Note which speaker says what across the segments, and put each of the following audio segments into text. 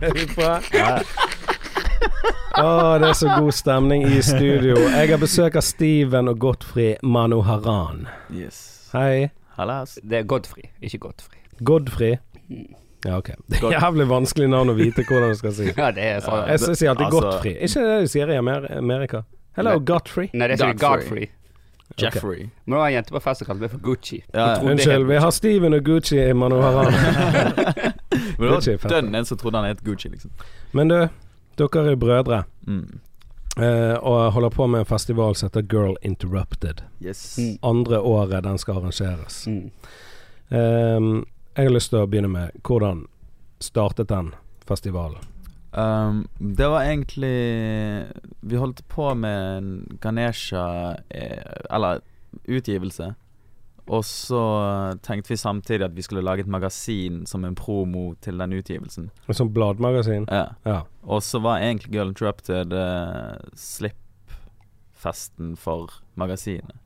Speaker 1: herifra. Å, det er så god stemning i studio. Jeg har besøk av Steven og Gottfrid Manoharan.
Speaker 2: Yes.
Speaker 1: Hei.
Speaker 2: Hallas.
Speaker 3: Det er Godfrey, ikke Godfrey.
Speaker 1: Godfrey. Ja, ok. Det er jævlig vanskelig navn å vite hvordan du skal si.
Speaker 3: Ja, det er sånn.
Speaker 1: Jeg s- sier alltid
Speaker 2: Altså-
Speaker 1: Godfrey. Ikke det du sier i Amer- Amerika. Hello,
Speaker 2: Nei.
Speaker 1: Godfrey.
Speaker 3: Nei, det er ikke
Speaker 2: Godfrey.
Speaker 3: Godfrey.
Speaker 2: Jeffrey.
Speaker 3: Men det var en jente på fest som kalte meg for Gucci. Hun
Speaker 2: Ja, ja.
Speaker 3: trodde jeg
Speaker 1: Unnskyld, vi har Steven og Gucci i Manoharan.
Speaker 2: Men
Speaker 1: Det er
Speaker 2: det
Speaker 1: ikke
Speaker 2: var
Speaker 1: fett.
Speaker 2: dønn en som trodde han het Gucci, liksom.
Speaker 1: Men du, dere er brødre
Speaker 2: Mm.
Speaker 1: eh, og holder på med en festival som heter Girl Interrupted.
Speaker 2: Yes.
Speaker 3: Mm.
Speaker 1: Andre året den skal arrangeres.
Speaker 3: Mm.
Speaker 1: Ehm, jeg har lyst til å begynne med hvordan startet den festivalen?
Speaker 2: Um, det var egentlig Vi holdt på med en Ganesha eh, Eller utgivelse. Og så tenkte vi samtidig at vi skulle lage et magasin som en promo til den utgivelsen.
Speaker 1: Et sånt sånn bladmagasin?
Speaker 2: Ja.
Speaker 1: Ja.
Speaker 2: Og så var egentlig Girl Interrupted eh, slippfesten for magasinet.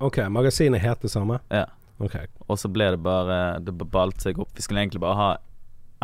Speaker 1: Ok, magasinet het det samme?
Speaker 2: Ja.
Speaker 1: Ok.
Speaker 2: Og så ble det bare Det ballte seg opp. Vi skulle egentlig bare ha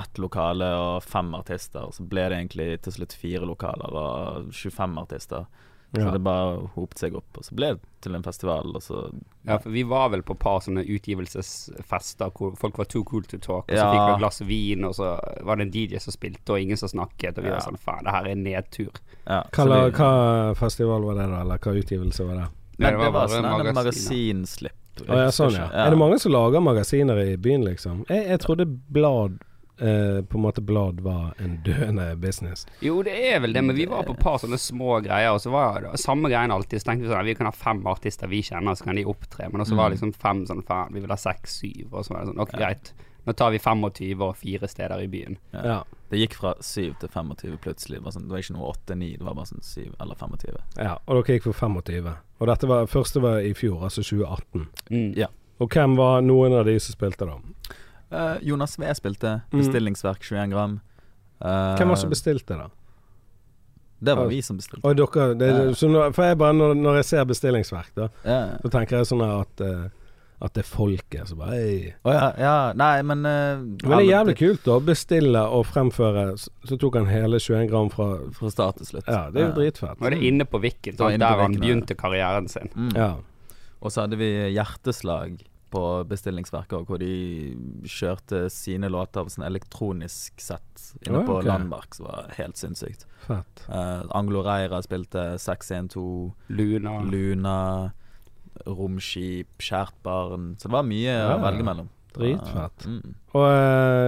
Speaker 2: ett lokale og fem artister. Så ble det egentlig til slutt fire lokaler og 25 artister. Så
Speaker 1: Ja.
Speaker 2: det bare hopet seg opp. Og så ble det til en festival, og så
Speaker 3: Ja, for vi var vel på et par sånne utgivelsesfester hvor folk var too cool to talk, og så
Speaker 2: Ja.
Speaker 3: fikk vi et glass vin, og så var det en DJ som spilte, og ingen som snakket, og vi
Speaker 2: Ja.
Speaker 3: var sånn faen, det her er nedtur.
Speaker 2: ja,
Speaker 1: Hva,
Speaker 2: så
Speaker 1: la-
Speaker 2: vi-
Speaker 1: hva festival var det, da? Eller hva utgivelse var det?
Speaker 2: Nei,
Speaker 3: det var
Speaker 2: det var
Speaker 3: bare
Speaker 2: sånn en
Speaker 3: magasin,
Speaker 2: magasinslipp.
Speaker 1: Å ja, sånn ja. Er det mange som lager magasiner i byen, liksom? Jeg, jeg trodde blad eh, På en måte blad var en døende business.
Speaker 3: Jo, det er vel det, men vi var på et par sånne små greier, og så var det samme greien alltid. Så tenkte vi sånn, vi kan ha fem artister vi kjenner, så kan de opptre, men også var
Speaker 2: Mm.
Speaker 3: det liksom fem sånn faen, vi vil ha seks, syv, og så var det sånn, ok, greit. Nå tar vi 25 og fire steder i byen.
Speaker 2: Ja.
Speaker 1: Ja.
Speaker 2: Det gikk fra 7 til 25 plutselig. Det var, sånn, det var ikke noe 8-9, det var bare sånn 7 eller 25.
Speaker 1: Ja, og dere gikk for 25. Og dette var, første var i fjor, altså 2018.
Speaker 3: Mm.
Speaker 1: Og hvem var noen av de som spilte da?
Speaker 2: Eh, Jonas V spilte
Speaker 1: Mm.
Speaker 2: bestillingsverk 21 gram. Eh,
Speaker 1: Hvem var det som bestilte da?
Speaker 2: Det var vi som bestilte.
Speaker 1: Og dere, det,
Speaker 2: Ja.
Speaker 1: så nå, for jeg bare, når, når jeg ser bestillingsverk, da,
Speaker 2: Ja, ja.
Speaker 1: så tenker jeg sånn her at eh, at det er folket som bare Ei.
Speaker 2: Å ja, ja. Nei, men eh,
Speaker 1: Men det er
Speaker 2: alle-
Speaker 1: jævlig kult, da. å Bestille og fremføre. Så så tok han hele 21 gram fra
Speaker 2: Fra start til slutt.
Speaker 1: Ja, det er jo dritfett.
Speaker 3: Nå er det inne på Vikken,
Speaker 2: var
Speaker 3: sånn,
Speaker 2: inne på
Speaker 3: der han
Speaker 2: Vikken, ja.
Speaker 3: begynte karrieren sin.
Speaker 2: Mm.
Speaker 1: Ja.
Speaker 2: Og så hadde vi Hjerteslag på bestillingsverket òg, hvor de kjørte sine låter av sånn elektronisk sett inne
Speaker 1: Å,
Speaker 2: på
Speaker 1: ok.
Speaker 2: Landmark, som var helt sinnssykt.
Speaker 1: Fett.
Speaker 2: Eh, Anglo Reira spilte 612,
Speaker 1: Ah.
Speaker 3: Luna.
Speaker 2: Luna, Romskip, Kjært barn. Så det var mye å
Speaker 1: Ja,
Speaker 2: velge mellom.
Speaker 1: dritfett.
Speaker 2: Ja, mm.
Speaker 1: Og,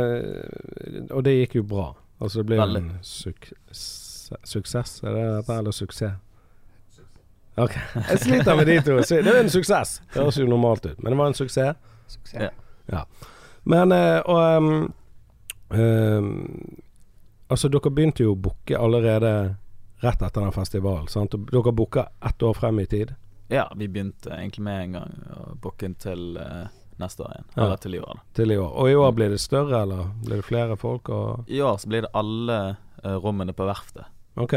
Speaker 1: eh, og det gikk jo bra. Altså det ble jo
Speaker 2: Veldig.
Speaker 1: en suk suksess, er det dette, eller suksess? Ok, jeg sliter med de to. Så Det var en suksess. Det høres jo normalt ut, men det var en suksess.
Speaker 3: Suksess.
Speaker 2: Ja.
Speaker 1: Men eh, og ehm, ehm, Altså, dere begynte jo å booke allerede rett etter den festivalen, sant? Og Dere booka ett år frem i tid.
Speaker 2: ja, vi begynte egentlig med en gang å booke inn til eh, neste år igjen.
Speaker 1: Ja.
Speaker 2: Eller til i år, da.
Speaker 1: Til i år. Og i år blir det større, eller blir det flere folk? Og
Speaker 2: I år så blir det alle eh, rommene på verftet.
Speaker 1: OK.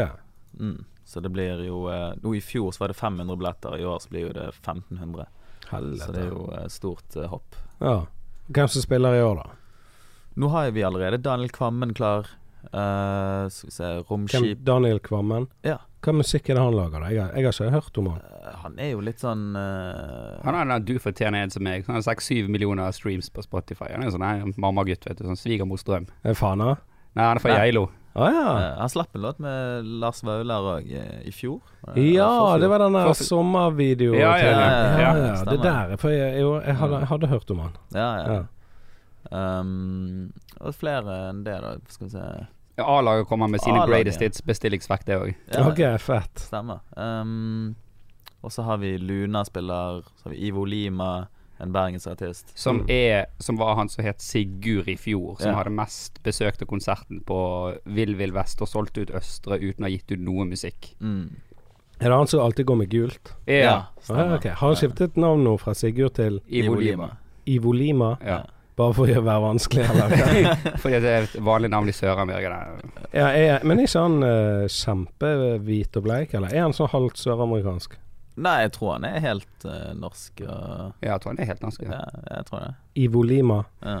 Speaker 2: Mm. Så det blir jo eh, Nå i fjor så var det 500 billetter, i år så blir jo det 1500.
Speaker 1: Helvete.
Speaker 2: Så det er jo eh, stort eh, hopp.
Speaker 1: Ja. Hvem som spiller i år, da?
Speaker 2: Nå har jo vi allerede Daniel Kvammen klar. Eh, skal vi se
Speaker 1: Hvem,
Speaker 2: Romskip
Speaker 1: Daniel Kvammen?
Speaker 2: Ja.
Speaker 1: Hva musikk er det han lager? da? Jeg har, jeg har ikke hørt om han.
Speaker 2: Eh, Han er jo litt sånn eh,
Speaker 3: Han er den du fortjener en som meg. Han har 6-7 millioner streams på Spotify. Han er en sånn nei, mammagutt, vet du. Sånn svigermors drøm.
Speaker 1: Er Fana?
Speaker 3: Nei, han er fra
Speaker 2: Nei.
Speaker 3: Geilo.
Speaker 1: Å ja.
Speaker 2: eh, Han slapp en låt med Lars Vaular òg i fjor. Eh,
Speaker 1: Ja,
Speaker 2: forfjor.
Speaker 1: det var den der
Speaker 2: Forfjor.
Speaker 1: sommervideoen.
Speaker 3: Ja, ja,
Speaker 1: til-
Speaker 2: ja, ja,
Speaker 1: ja,
Speaker 2: ja.
Speaker 1: ja, Det
Speaker 2: Stemmer.
Speaker 1: der For jeg, jo, jeg, hadde, jeg hadde hørt om han.
Speaker 2: Ja, ja.
Speaker 1: Ja.
Speaker 2: Um, og flere enn det, da. Skal vi se
Speaker 3: Ja, A-laget kommer med sine
Speaker 2: A-laget,
Speaker 3: greatest
Speaker 2: ja.
Speaker 3: hits, bestillingsvekt det òg.
Speaker 2: Ja,
Speaker 1: Ok, fett.
Speaker 2: Stemmer. Ehm, og så har vi Luna spiller, så har vi Ivo Lima, en bergensartist.
Speaker 3: Som er Som var han som het Sigurd i fjor, som
Speaker 2: Ja.
Speaker 3: hadde mest besøkte konserten på Vill Vill Vest og solgte ut Østre uten å ha gitt ut noe musikk.
Speaker 2: Mm.
Speaker 1: Er det han som alltid går med gult?
Speaker 3: Ja.
Speaker 1: Ah, ok. Har han skiftet navn nå fra Sigurd til
Speaker 3: Ivo Lima.
Speaker 1: Ivo Lima?
Speaker 3: Ja.
Speaker 1: Bare for å være vanskelig, eller?
Speaker 3: Fordi det er et vanlig navn i Sør-Amerika. det.
Speaker 1: ja, er, men er ikke han eh, kjempehvit og bleik, eller? Er han sånn halvt søramerikansk?
Speaker 2: Nei, jeg tror han er helt eh, norsk og
Speaker 3: Ja, jeg tror han er helt norsk. Ja.
Speaker 2: ja, jeg tror det.
Speaker 1: Ivo Lima?
Speaker 2: Ja.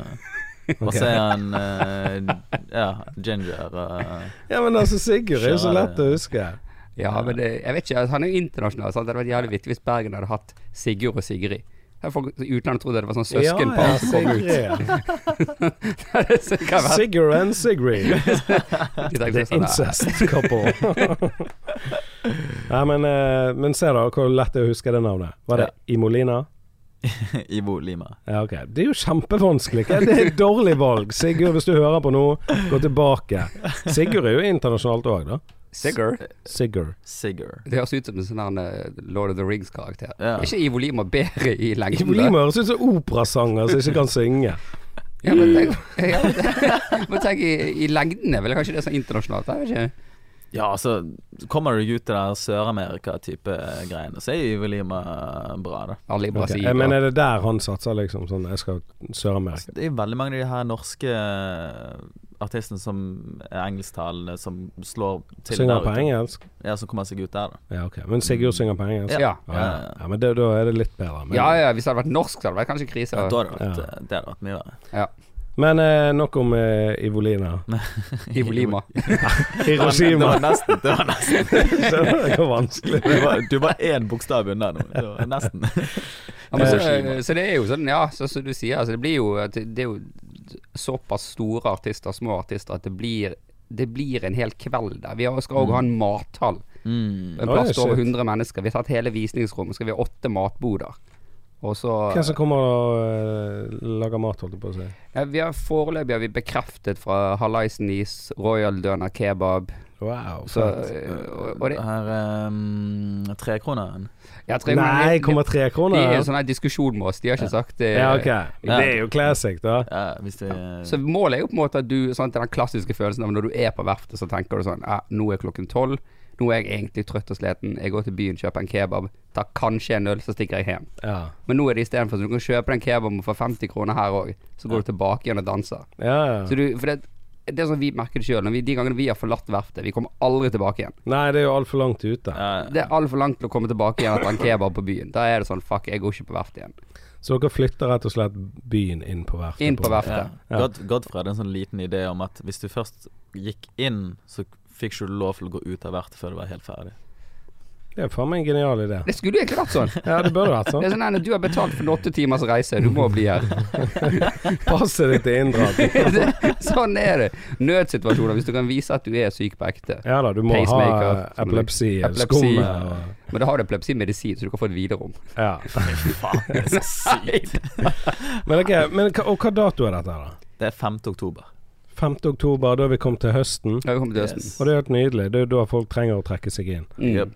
Speaker 2: Og så er han eh, ja, ginger. eh,
Speaker 1: Ja, men altså, Sigurd er jo så
Speaker 2: Kjære.
Speaker 1: lett å huske.
Speaker 3: Ja, men det, jeg vet ikke, altså, han er jo internasjonal. Sant? Det hadde vært jævlig vittig hvis Bergen hadde hatt Sigurd og Sigrid. Her Folk i utlandet trodde det var sånn søskenpar
Speaker 1: ja,
Speaker 3: som kom ut.
Speaker 1: Sigrid.
Speaker 3: Så det kan være-
Speaker 1: Sigurd and Sigrid.
Speaker 3: de tenkte
Speaker 1: The
Speaker 3: sånn, "Nei,
Speaker 1: incest couple. Nei, men, eh, men se da hvor lett det er å huske det navnet. Var det Imolina?
Speaker 2: Ibo Lima.
Speaker 1: Ja, ok. Det er jo kjempevanskelig. Hva? Det er et dårlig valg. Sigurd, hvis du hører på nå, gå tilbake. Sigurd er jo internasjonalt òg, da.
Speaker 3: Sigurd?
Speaker 1: Sigurd.
Speaker 2: Sigurd.
Speaker 3: Det høres ut som en sånn her, eh, Lord of the Rings-karakter.
Speaker 2: Ja.
Speaker 3: Er ikke Ivo Lima bedre i lengden?
Speaker 1: Ivolima høres ut som operasanger som ikke kan synge.
Speaker 3: Ja, men tenk, ja, men- men tenk i, i lengden er vel kanskje det er sånn internasjonalt? Jeg vet ikke.
Speaker 2: Ja, altså, kommer du ut til den Sør-Amerika-type eh, greiene, så er Ibo Lima eh, bra, da.
Speaker 3: Alle i
Speaker 1: Ok,
Speaker 3: Brasil.
Speaker 1: Jeg
Speaker 3: og-
Speaker 1: mener, er det der han satser, liksom? Sånn, jeg skal Sør-Amerika.
Speaker 2: Det er jo veldig mange av de her norske eh, artistene som er engelsktalende, som slår til
Speaker 1: Synger
Speaker 2: der
Speaker 1: på
Speaker 2: ute.
Speaker 1: engelsk?
Speaker 2: Ja, som kommer seg ut der, da.
Speaker 1: Ja, ok. Men Sigurd synger på engelsk? Ah,
Speaker 3: ja. Ja.
Speaker 1: Ja, ja. ja men det, da er det litt bedre. Men,
Speaker 3: ja, ja, hvis det hadde vært norsk, så hadde det vært kanskje krise.
Speaker 2: Da hadde det vært, eh,
Speaker 1: Ja.
Speaker 2: det hadde vært mye verre.
Speaker 1: men eh, nok om eh, Ivolina.
Speaker 3: Ivo Lima.
Speaker 2: Det
Speaker 1: Hiroshima.
Speaker 2: var nesten. Det var nesten.
Speaker 1: Skjønner du hvor vanskelig
Speaker 2: Du var, du var én bokstav unna nå. Det var nesten.
Speaker 3: Ja, men så,
Speaker 2: Hiroshima.
Speaker 3: så det er jo sånn, ja, så, som du sier, altså, det blir jo at Det det er jo såpass store artister, små artister, at det blir det blir en hel kveld der. Vi har- skal òg ha en mathall.
Speaker 2: Mm.
Speaker 3: Mm. En
Speaker 1: Oi,
Speaker 3: plass til over
Speaker 1: shit.
Speaker 3: 100 mennesker. Vi har tatt hele visningsrommet. Skal vi ha åtte matboder. Og så
Speaker 1: Hvem som kommer og eh, lager mat, holdt jeg på å si.
Speaker 3: ja, vi har Foreløpig har vi bekreftet fra Hallaisen is, Royal Døner Kebab
Speaker 1: Wow.
Speaker 3: så,
Speaker 1: fett.
Speaker 3: og, og det,
Speaker 2: Her um, Trekroneren.
Speaker 3: jeg tror-
Speaker 1: Nei, kommer tre
Speaker 3: De er en
Speaker 1: kroner?
Speaker 3: sånn her diskusjon med oss. De har ikke sagt eh, det.
Speaker 1: Ja, ok. Det er jo classic, da.
Speaker 2: Ja, hvis det
Speaker 3: Så målet er jo på en måte at du sånn, Den klassiske følelsen av når du er på verftet, så tenker du sånn ja, Nå er klokken tolv. Nå er jeg egentlig trøtt og sliten. Jeg går til byen, kjøper en kebab, tar kanskje en øl, så stikker jeg hjem.
Speaker 1: Ja,
Speaker 3: Men nå er det istedenfor så du kan kjøpe den kebaben for 50 kroner her òg. Så går du tilbake igjen og danser.
Speaker 1: ja. ja.
Speaker 3: Så du, for det, det er sånn vi merker det sjøl. De gangene vi har forlatt verftet, vi kommer aldri tilbake igjen.
Speaker 1: Nei, det er jo altfor langt ute.
Speaker 2: ja,
Speaker 3: Det er altfor langt til å komme tilbake igjen etter en kebab på byen. Da er det sånn fuck, jeg går ikke på verftet igjen.
Speaker 1: Så dere flytter rett og slett byen inn på verftet?
Speaker 3: Inn på
Speaker 2: ja.
Speaker 3: verftet.
Speaker 1: Ja.
Speaker 2: Godfred Godfrey hadde en sånn liten idé om at hvis du først gikk inn, så fikk ikke du lov til å gå ut av verftet før du var helt ferdig.
Speaker 1: Det er faen meg en genial idé.
Speaker 3: Det skulle jo egentlig vært sånn.
Speaker 1: Ja, det burde vært
Speaker 3: Det
Speaker 1: sånn.
Speaker 3: er sånn nei, nei, Du har betalt for en åtte timers reise, du må bli her.
Speaker 1: Passet ditt er inndratt.
Speaker 3: Det- sånn er det. Nødsituasjoner. Hvis du kan vise at du er syk på ekte.
Speaker 1: Ja da, du må ha eh,
Speaker 3: Pacemaker, som du-
Speaker 1: epilepsi,
Speaker 3: Epilepsi.
Speaker 1: skumme og
Speaker 3: Men da har du epilepsimedisin, så du kan få et hvilerom.
Speaker 1: Ja.
Speaker 2: Faen, det er så sykt.
Speaker 1: Men, ok, men hva- og hva dato er dette, her, da?
Speaker 2: Det er 5. oktober.
Speaker 1: 5. oktober, da er vi kommet til høsten.
Speaker 3: Da har vi kommet til høsten.
Speaker 2: Yes.
Speaker 1: Og det er helt nydelig. Det er jo da folk trenger å trekke seg inn.
Speaker 3: Mm.
Speaker 2: Jep.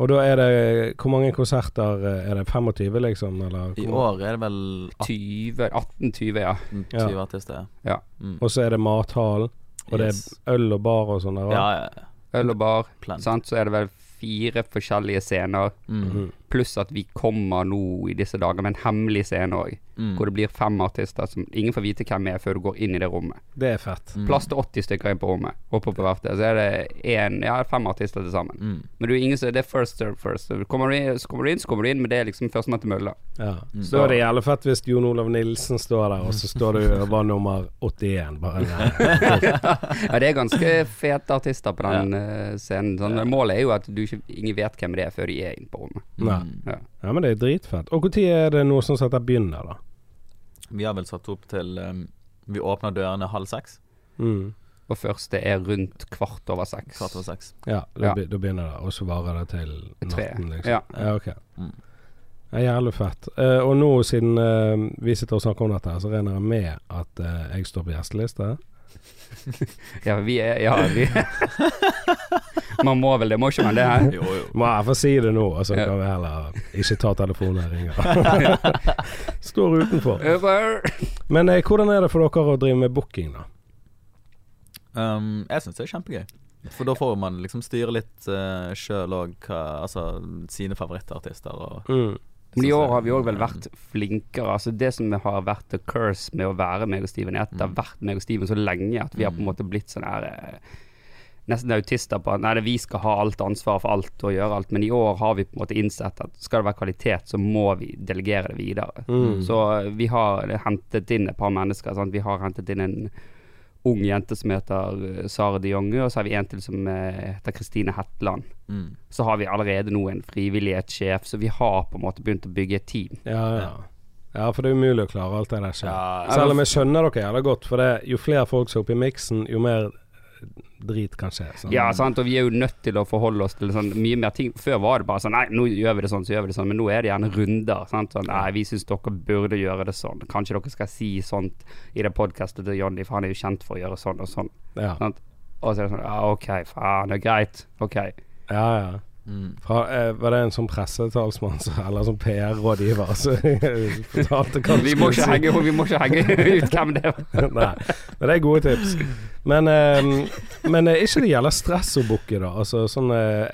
Speaker 1: Og da er det Hvor mange konserter eh, er det? 25, liksom? Eller?
Speaker 2: I
Speaker 1: hvor-
Speaker 2: år er det vel
Speaker 3: Mm. 20, 18-20, ja.
Speaker 2: 18-20
Speaker 1: Ja.
Speaker 2: artister. Mm.
Speaker 1: Og så er det mathallen, og det
Speaker 2: Yes.
Speaker 1: er øl og bar og sånn der.
Speaker 2: Ja,
Speaker 1: da.
Speaker 2: ja, ja.
Speaker 3: Øl og bar.
Speaker 2: Plenty.
Speaker 3: Sant? Så er det vel fire forskjellige scener.
Speaker 1: Mhm.
Speaker 2: Mm.
Speaker 3: Pluss at vi kommer nå i disse dager med en hemmelig scene òg.
Speaker 2: Mm.
Speaker 3: Hvor det blir fem artister som ingen får vite hvem er før du går inn i det rommet.
Speaker 1: Det er fett.
Speaker 2: Mm.
Speaker 3: Plass til 80 stykker inn på rommet. Oppe på verftet. Så er det en, ja, fem artister til sammen.
Speaker 2: Mm.
Speaker 3: Men du, ingen, som- det er first serve first. serve. Kommer du, inn, så kommer du inn, så kommer du inn, men det er liksom førstemann til mølla.
Speaker 1: Ja. Så da er det jævlig fett hvis Jon Olav Nilsen står der, og så står du og var nummer 81. Bare nei.
Speaker 3: Ja, det er ganske fete artister på den eh, scenen. Sånn, men Målet er jo at du ikke, ingen vet hvem det er før de er inne på rommet.
Speaker 2: Mm.
Speaker 1: nei.
Speaker 3: Ja.
Speaker 1: Ja, men det er dritfett. Og når er det noe sånn som dette begynner, da?
Speaker 2: Vi har vel satt opp til um, Vi åpner dørene halv seks.
Speaker 1: Mm.
Speaker 3: Og første er rundt kvart over seks.
Speaker 2: Kvart over seks.
Speaker 1: Ja, da,
Speaker 3: Ja.
Speaker 1: be- da begynner det, og så varer det til
Speaker 3: Tre.
Speaker 1: natten, liksom.
Speaker 3: Ja.
Speaker 1: Ja, ok.
Speaker 2: Mm.
Speaker 1: Det er jævlig fett. Eh, og nå siden eh, vi sitter og snakker om dette, her, så regner jeg med at eh, jeg står på gjesteliste.
Speaker 3: ja, vi er Ja, vi Man må vel det, må ikke man det? Her?
Speaker 2: Jo, jo.
Speaker 1: Må jeg få si det nå, og så
Speaker 3: Ja.
Speaker 1: kan vi heller ikke ta telefonen og ringe. står utenfor.
Speaker 3: Over.
Speaker 1: Men eh, hvordan er det for dere å drive med booking, da?
Speaker 2: Um, jeg syns det er kjempegøy. For da får man liksom styre litt uh, sjøl òg hva Altså sine favorittartister og
Speaker 3: Men i år har vi òg vel vært flinkere. Altså Det som har vært the curse med å være meg og Steven, er at det har vært meg og Steven så lenge at vi har på en måte blitt sånn her eh, nesten autister på at nei, det, vi skal ha alt ansvar for alt og gjøre alt, men i år har vi på en måte innsett at skal det være kvalitet, så må vi delegere det videre.
Speaker 1: Mm.
Speaker 3: Så eh, vi har hentet inn et par mennesker. Sant? Vi har hentet inn en ung jente som heter eh, Sara de Jonge, og så har vi en til som eh, heter Kristine Hetland.
Speaker 2: Mm.
Speaker 3: Så har vi allerede nå en frivillighetssjef, så vi har på en måte begynt å bygge et team.
Speaker 1: Ja, ja. ja, for det er umulig å klare alt det der selv.
Speaker 2: Ja,
Speaker 1: Selv om jeg skjønner dere jævla godt, for det, jo flere folk som er oppe i miksen, jo mer drit kan skje. sant?
Speaker 3: Ja, sant, og vi er jo nødt til å forholde oss til sånn mye mer ting. Før var det bare sånn Nei, nå gjør vi det sånn, så gjør vi det sånn. Men nå er det gjerne runder. Sant? Sånn, nei, vi syns dere burde gjøre det sånn. Kanskje dere skal si sånt i det podkastet til Johnny, for han er jo kjent for å gjøre sånn og sånn.
Speaker 1: Ja, ja.
Speaker 3: Sant? Og så er det sånn Ja, OK, faen, det er greit. OK.
Speaker 1: ja.
Speaker 2: Mm.
Speaker 1: Fra, eh, var det en sånn pressetalsmann så- eller sånn PR-rådgiver som fortalte hva du
Speaker 3: Vi
Speaker 1: skulle
Speaker 3: må ikke
Speaker 1: si?
Speaker 3: henge, vi må ikke henge ut hvem det var.
Speaker 1: Nei, men det er gode tips. Men, eh, men eh, ikke det gjelder stress å booke, da. Altså sånn eh,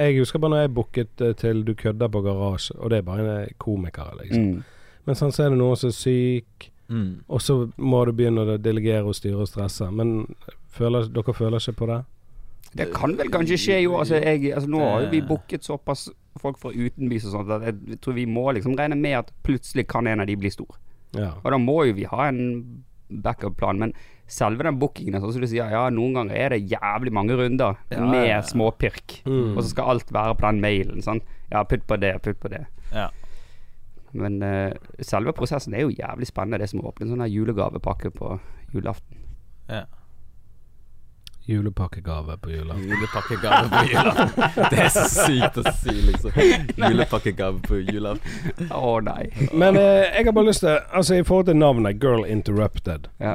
Speaker 1: Jeg husker bare når jeg booket eh, til Du kødder på garasje, og det er bare en eh, komiker, liksom.
Speaker 3: Mm.
Speaker 1: Men sånn så er det noen som er syk,
Speaker 2: Mm.
Speaker 1: og så må du begynne å delegere og styre og stresse. Men eh, føler, dere føler ikke på det?
Speaker 3: Det kan vel kanskje skje i år. Altså, jeg, altså, nå har jo vi booket såpass folk fra utenbys og sånt at jeg tror vi må liksom regne med at plutselig kan en av de bli stor.
Speaker 1: Ja.
Speaker 3: Og da må jo vi ha en backup-plan. Men selve den bookingen, sånn som du sier, ja, noen ganger er det jævlig mange runder
Speaker 2: Ja,
Speaker 3: med
Speaker 2: ja, ja.
Speaker 3: småpirk.
Speaker 1: Mm.
Speaker 3: Og så skal alt være på den mailen. Sånn. Ja, putt på det, putt på det.
Speaker 2: Ja.
Speaker 3: Men eh, selve prosessen er jo jævlig spennende, det som å åpne en sånn her julegavepakke på julaften.
Speaker 2: ja.
Speaker 1: Julepakkegave på jula.
Speaker 2: Julepakkegave på julaften. Det er så sykt å si, liksom. Julepakkegave på julaften.
Speaker 3: Å nei.
Speaker 1: Men eh, jeg har bare lyst til Altså I forhold til navnet Girl Interrupted
Speaker 3: Ja.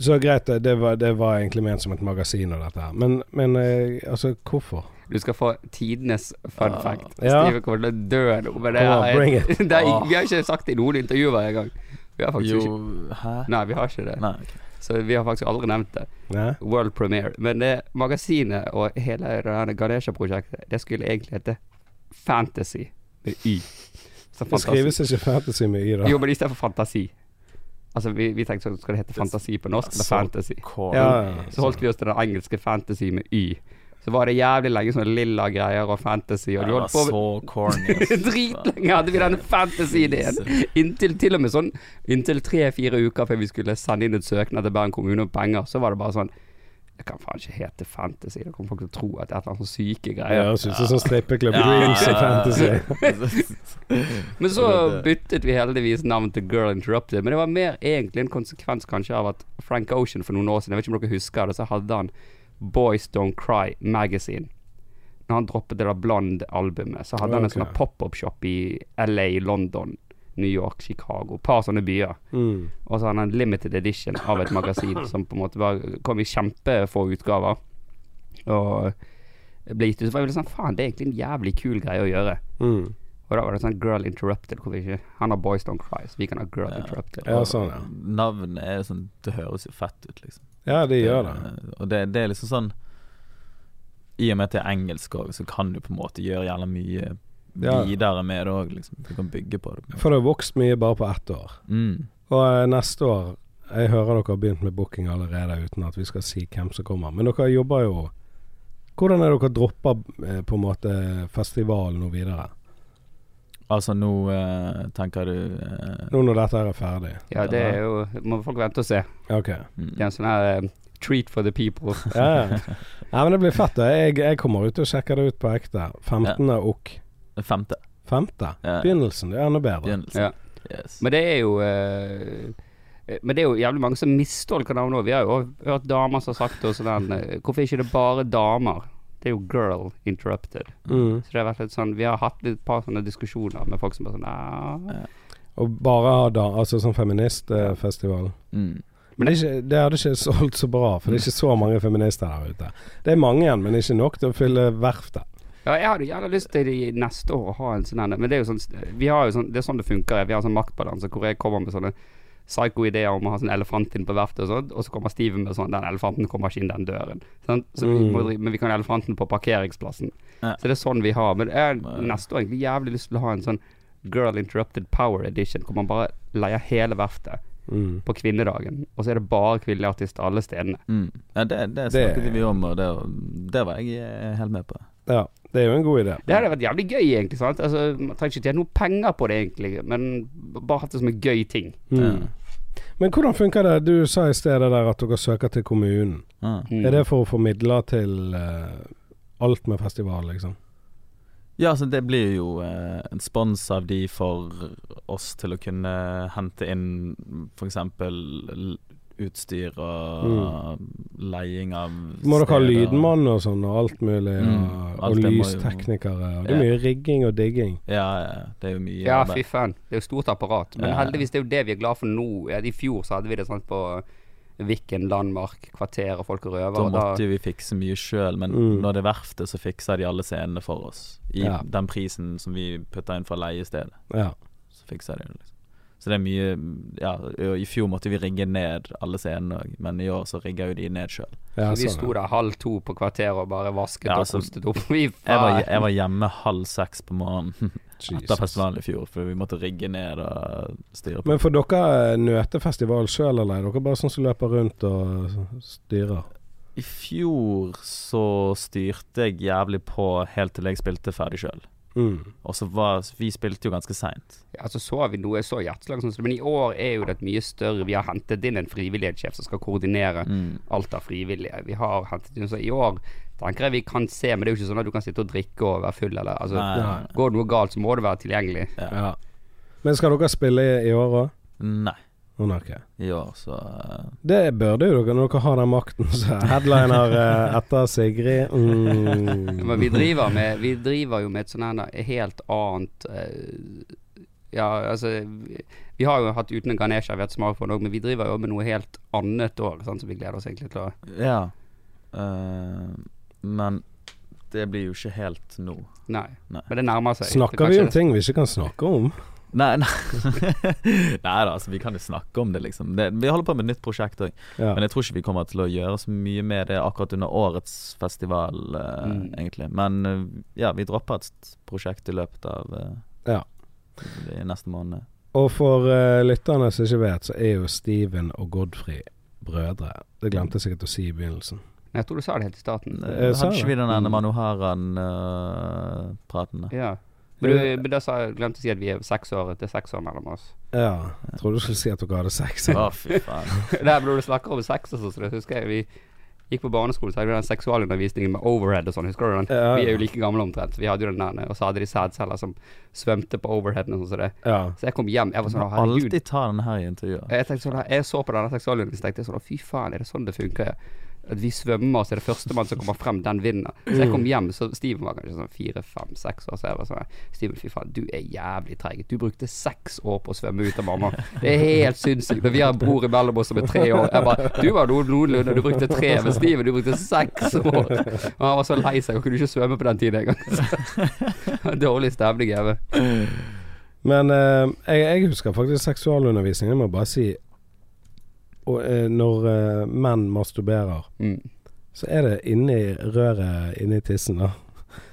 Speaker 1: Så greit, eh, det- det var, det var egentlig ment som et magasin og dette her. Men, men eh, altså, hvorfor?
Speaker 3: Du skal få tidenes fun
Speaker 2: Ah.
Speaker 3: fact.
Speaker 1: Ja.
Speaker 3: Steve kommer til å dø nå. Men det
Speaker 1: Come on,
Speaker 3: har jeg-
Speaker 1: bring it.
Speaker 3: det er,
Speaker 2: Ah.
Speaker 3: vi har ikke sagt det i noen intervjuer engang. Vi har faktisk
Speaker 2: Jo,
Speaker 3: ikke
Speaker 2: hæ?
Speaker 3: Nei, vi har ikke det.
Speaker 2: Nei. ok.
Speaker 3: Så vi har faktisk aldri nevnt det.
Speaker 1: Nei?
Speaker 3: World Premiere. Men det magasinet og hele det her Ganesha-prosjektet, det skulle egentlig hete Fantasy med Y. Så
Speaker 1: Det
Speaker 3: fantasi.
Speaker 1: skrives ikke fantasy mye i det.
Speaker 3: Jo, men istedenfor fantasi. Altså, vi, vi tenkte sånn, skal det hete fantasi på norsk eller
Speaker 2: Så
Speaker 3: fantasy?
Speaker 2: corny.
Speaker 1: Ja, ja, ja.
Speaker 3: Så holdt vi oss til den engelske fantasy med Y. Så var det jævlig lenge sånne lilla greier og fantasy, og
Speaker 2: Det
Speaker 3: du
Speaker 2: var
Speaker 3: holdt på
Speaker 2: så corny. ass.
Speaker 3: Dritlenge hadde vi denne fantasy-ideen. Inntil til og med sånn Inntil tre-fire uker før vi skulle sende inn en søknad til Bergen kommune om penger, så var det bare sånn Det kan faen ikke hete fantasy. Da kommer folk til å tro at det er et eller annet sånn syke
Speaker 1: Det
Speaker 3: greier.
Speaker 1: høres ut som sånn strippeklubb.
Speaker 2: Ja,
Speaker 1: Dreams
Speaker 2: ja,
Speaker 1: of
Speaker 2: ja.
Speaker 1: fantasy.
Speaker 3: Men så
Speaker 2: Ja, det-
Speaker 3: byttet vi heldigvis navn til Girl Interrupted. Men det var mer egentlig en konsekvens kanskje av at Frank Ocean for noen år siden, jeg vet ikke om dere husker det, så hadde han Boys Don't Cry Magazine. Når han droppet det der Blond-albumet, så hadde han en
Speaker 1: Ok.
Speaker 3: sånn pop-up-shop i LA, London, New York, Chicago. Et par sånne byer.
Speaker 1: Mm.
Speaker 3: Og så hadde han en limited edition av et magasin som på en måte var, kom i kjempefå utgaver. Og ble gitt ut. Så var jeg veldig sånn Faen, det er egentlig en jævlig kul greie å gjøre.
Speaker 1: Mm.
Speaker 3: Og da var det sånn Girl Interrupted. Hvorfor ikke? Han har Boys Don't Cry, så vi kan ha Girl
Speaker 2: Ja.
Speaker 3: Interrupted.
Speaker 1: Ja, sånn, ja.
Speaker 2: Navn er sånn Det høres jo fett ut, liksom.
Speaker 1: Ja, de gjør det.
Speaker 2: Og det, det er liksom sånn I og med at det er engelsk òg, så kan du på en måte gjøre jævla mye
Speaker 1: Ja.
Speaker 2: videre med det òg, liksom. Du kan bygge på det.
Speaker 1: For det har vokst mye bare på ett år.
Speaker 2: Mm.
Speaker 1: Og eh, neste år Jeg hører dere har begynt med booking allerede uten at vi skal si hvem som kommer. Men dere jobber jo Hvordan er dere dropper eh, på en måte festivalen og videre?
Speaker 2: Altså nå eh, tenker du eh,
Speaker 1: Nå når dette her er ferdig.
Speaker 3: Ja, det er jo Må folk vente og se.
Speaker 1: Ok.
Speaker 2: mm.
Speaker 3: Det er en sånn her eh, treat for the people.
Speaker 1: Ja, ja. Nei, men det blir fett. da. Jeg, jeg kommer ut og sjekker det ut på ekte. 15. og
Speaker 2: Femte
Speaker 1: 5.
Speaker 2: Ja.
Speaker 1: Begynnelsen. Det er enda bedre.
Speaker 2: begynnelse.
Speaker 3: Ja.
Speaker 2: Yes.
Speaker 3: Men det er jo eh, eh, men det er jo jævlig mange som mistolker navnet òg. Vi har jo også hørt damer som har sagt det og sånn eh, Hvorfor er ikke det bare damer? Det er jo Girl Interrupted.
Speaker 1: Mm.
Speaker 3: Så det har vært litt sånn Vi har hatt litt par sånne diskusjoner med folk som bare sånn "Nei."
Speaker 1: Og bare ha da, altså sånn feministfestival.
Speaker 2: Mm.
Speaker 1: Men det, er ikke, det hadde ikke solgt så bra, for det er ikke så mange feminister der ute. Det er mange igjen, men ikke nok til å fylle verftet.
Speaker 3: Ja, jeg hadde gjerne lyst til i neste år å ha en sånn en, men det er jo sånn Vi har jo sånn Det er sånn det funker. ja. Vi har en sånn maktbalanse hvor jeg kommer med sånne psycho ideer om å ha sånn elefant inn på verftet og sånn, og så kommer Steven med sånn Den elefanten kommer ikke inn den døren. Sant? Så vi
Speaker 1: Mm.
Speaker 3: må, drive- men vi kan ha elefanten på parkeringsplassen.
Speaker 2: Ja.
Speaker 3: Så det er sånn vi har. Men jeg
Speaker 2: Ja.
Speaker 3: har neste år egentlig jævlig lyst til å ha en sånn Girl Interrupted Power Edition, hvor man bare leier hele verftet.
Speaker 1: Mm.
Speaker 3: på kvinnedagen, og så er det bare kvinnelige artister alle stedene.
Speaker 2: Mm. Ja, det, det snakket vi om, og det, det var jeg eh, helt med på.
Speaker 1: Ja, det er jo en god idé.
Speaker 3: Det hadde vært jævlig gøy, egentlig. sant? Altså, Man trenger ikke tjene noe penger på det, egentlig, men bare hatt det som en gøy ting.
Speaker 1: Mm. Men hvordan funker det? Du sa i sted det der at dere søker til kommunen.
Speaker 2: Ja.
Speaker 3: Mm.
Speaker 1: Er det for å få midler til eh, alt med festival, liksom?
Speaker 2: Ja, så det blir jo eh, en spons av de for oss til å kunne hente inn f.eks. utstyr og leiing av
Speaker 1: Mm. Må dere ha
Speaker 2: steder.
Speaker 1: lydmann og sånn, og alt mulig?
Speaker 2: Mm,
Speaker 1: og,
Speaker 2: alt
Speaker 1: og
Speaker 2: det må jo-
Speaker 1: lysteknikere? Og det
Speaker 2: Ja.
Speaker 1: er mye rigging og digging.
Speaker 2: Ja, ja, ja, det er jo mye
Speaker 3: Ja,
Speaker 2: arbeid.
Speaker 3: fy faen. Det er jo stort apparat. Men
Speaker 2: Ja.
Speaker 3: heldigvis, det er jo det vi er glad for nå. Ja, I fjor så hadde vi det sånn på Viken, Landmark, Kvarter og Folk og Røver.
Speaker 2: Da
Speaker 3: og
Speaker 2: måtte jo vi fikse mye sjøl, men
Speaker 1: Mm.
Speaker 2: når det er verftet, så fikser de alle scenene for oss. I
Speaker 1: Ja.
Speaker 2: den prisen som vi putter inn fra leiestedet,
Speaker 1: Ja.
Speaker 2: så fikser de det. liksom Så det er mye Ja, og i fjor måtte vi rigge ned alle scenene òg, men i år så rigger jo de ned sjøl.
Speaker 1: ja
Speaker 3: Så vi
Speaker 1: sånn,
Speaker 3: sto der halv to på kvarteret og bare vasket
Speaker 2: Ja,
Speaker 3: og
Speaker 2: så-
Speaker 3: kostet opp. Vi
Speaker 2: Jeg var,
Speaker 3: faen.
Speaker 2: jeg var hjemme halv seks på morgenen
Speaker 1: ja.
Speaker 2: etter
Speaker 1: Jesus.
Speaker 2: festivalen i fjor, for vi måtte rigge ned og styre på.
Speaker 1: Men får dere eh, nøte festival sjøl, eller er dere bare sånn som løper rundt og styrer?
Speaker 2: I fjor så styrte jeg jævlig på helt til jeg spilte ferdig sjøl.
Speaker 1: Mm.
Speaker 2: Og så var Vi spilte jo ganske seint.
Speaker 3: Ja, Altså, så så vi noe så hjerteslag, sånn som det, men i år er jo det et mye større Vi har hentet inn en frivillighetssjef som skal koordinere
Speaker 2: Mm.
Speaker 3: alt av frivillige. Vi har hentet inn Så i år tenker jeg vi kan se, men det er jo ikke sånn at du kan sitte og drikke og være full, eller altså,
Speaker 2: Nei.
Speaker 3: Går det noe galt, så må det være tilgjengelig.
Speaker 1: Ja. Men skal dere spille i- i år òg?
Speaker 2: Nei.
Speaker 1: Å, nei, ok.
Speaker 2: I år, så eh,
Speaker 1: Det burde jo dere når dere har den makten. Så headliner eh, etter Sigrid mm.
Speaker 3: Men vi driver, med, vi driver jo med et sånn her helt annet eh, Ja, altså Vi, vi har jo hatt uten en ganesja, vi har hatt smak på den òg, men vi driver jo med noe helt annet år, sant, som vi gleder oss egentlig til å
Speaker 2: Ja. Eh, men det blir jo ikke helt nå.
Speaker 3: Nei.
Speaker 2: Nei.
Speaker 3: Men det nærmer seg.
Speaker 1: Snakker vi om ting vi ikke kan snakke om?
Speaker 2: Nei, nei. nei da, altså, vi kan jo snakke om det, liksom. Det, vi holder på med et nytt prosjekt òg.
Speaker 1: Ja.
Speaker 2: Men jeg tror ikke vi kommer til å gjøre så mye med det akkurat under årets festival, eh,
Speaker 3: Mm.
Speaker 2: egentlig. Men eh, ja, vi dropper et s- prosjekt i løpet av eh,
Speaker 1: Ja.
Speaker 2: de neste månedene.
Speaker 1: Og for eh, lytterne som ikke vet, så er jo Steven og Godfrey brødre. Det glemte jeg sikkert å si i begynnelsen.
Speaker 3: Nei, Jeg tror du sa det helt i starten.
Speaker 1: Eh, sa
Speaker 2: Hadde
Speaker 1: jeg det?
Speaker 2: ikke vi den
Speaker 1: Mm.
Speaker 2: ene Manuharan-praten? eh? da?
Speaker 3: Ja. Men, du, men da sa, glemte jeg å si at vi er seks år, det er seks år mellom oss.
Speaker 1: Ja. Jeg trodde du skulle si at dere hadde sex.
Speaker 2: Å, fy faen.
Speaker 3: Der ble det snakker om sex og sånn, så det husker jeg vi gikk på barneskolen, så hadde vi den seksualundervisningen med overhead og sånn, husker du den?
Speaker 1: Ja.
Speaker 3: Vi er jo like gamle omtrent, vi hadde jo den der, og så hadde de sædceller som svømte på overheaden og sånn, så det.
Speaker 1: Ja.
Speaker 3: Så jeg kom hjem, jeg var sånn, herregud.
Speaker 2: Alltid ta den her i intervjuer.
Speaker 3: Jeg tenkte sånn, jeg så på denne seksualundervisningen, tenkte jeg sånn, fy faen, er det sånn det funker? At vi svømmer, så er det førstemann som kommer frem, den vinner. Så jeg kom hjem, så Steven var kanskje sånn fire, fem, seks år, så jeg var sånn, Steven, fy faen, du er jævlig treig. Du brukte seks år på å svømme ut av mamma. Det er helt sinnssykt. Når vi har en bror imellom oss som er tre år, jeg bare, du var noen- noenlunde, du brukte tre, men Steven, du brukte seks år. Og han var så lei seg, og kunne ikke svømme på den tiden engang. Så- Dårlig stemning, jeg vet.
Speaker 1: Men eh, jeg, jeg husker faktisk seksualundervisning. Jeg må bare si og, eh, Når eh, menn masturberer,
Speaker 3: Mm.
Speaker 1: så er det inni røret inni tissen, da.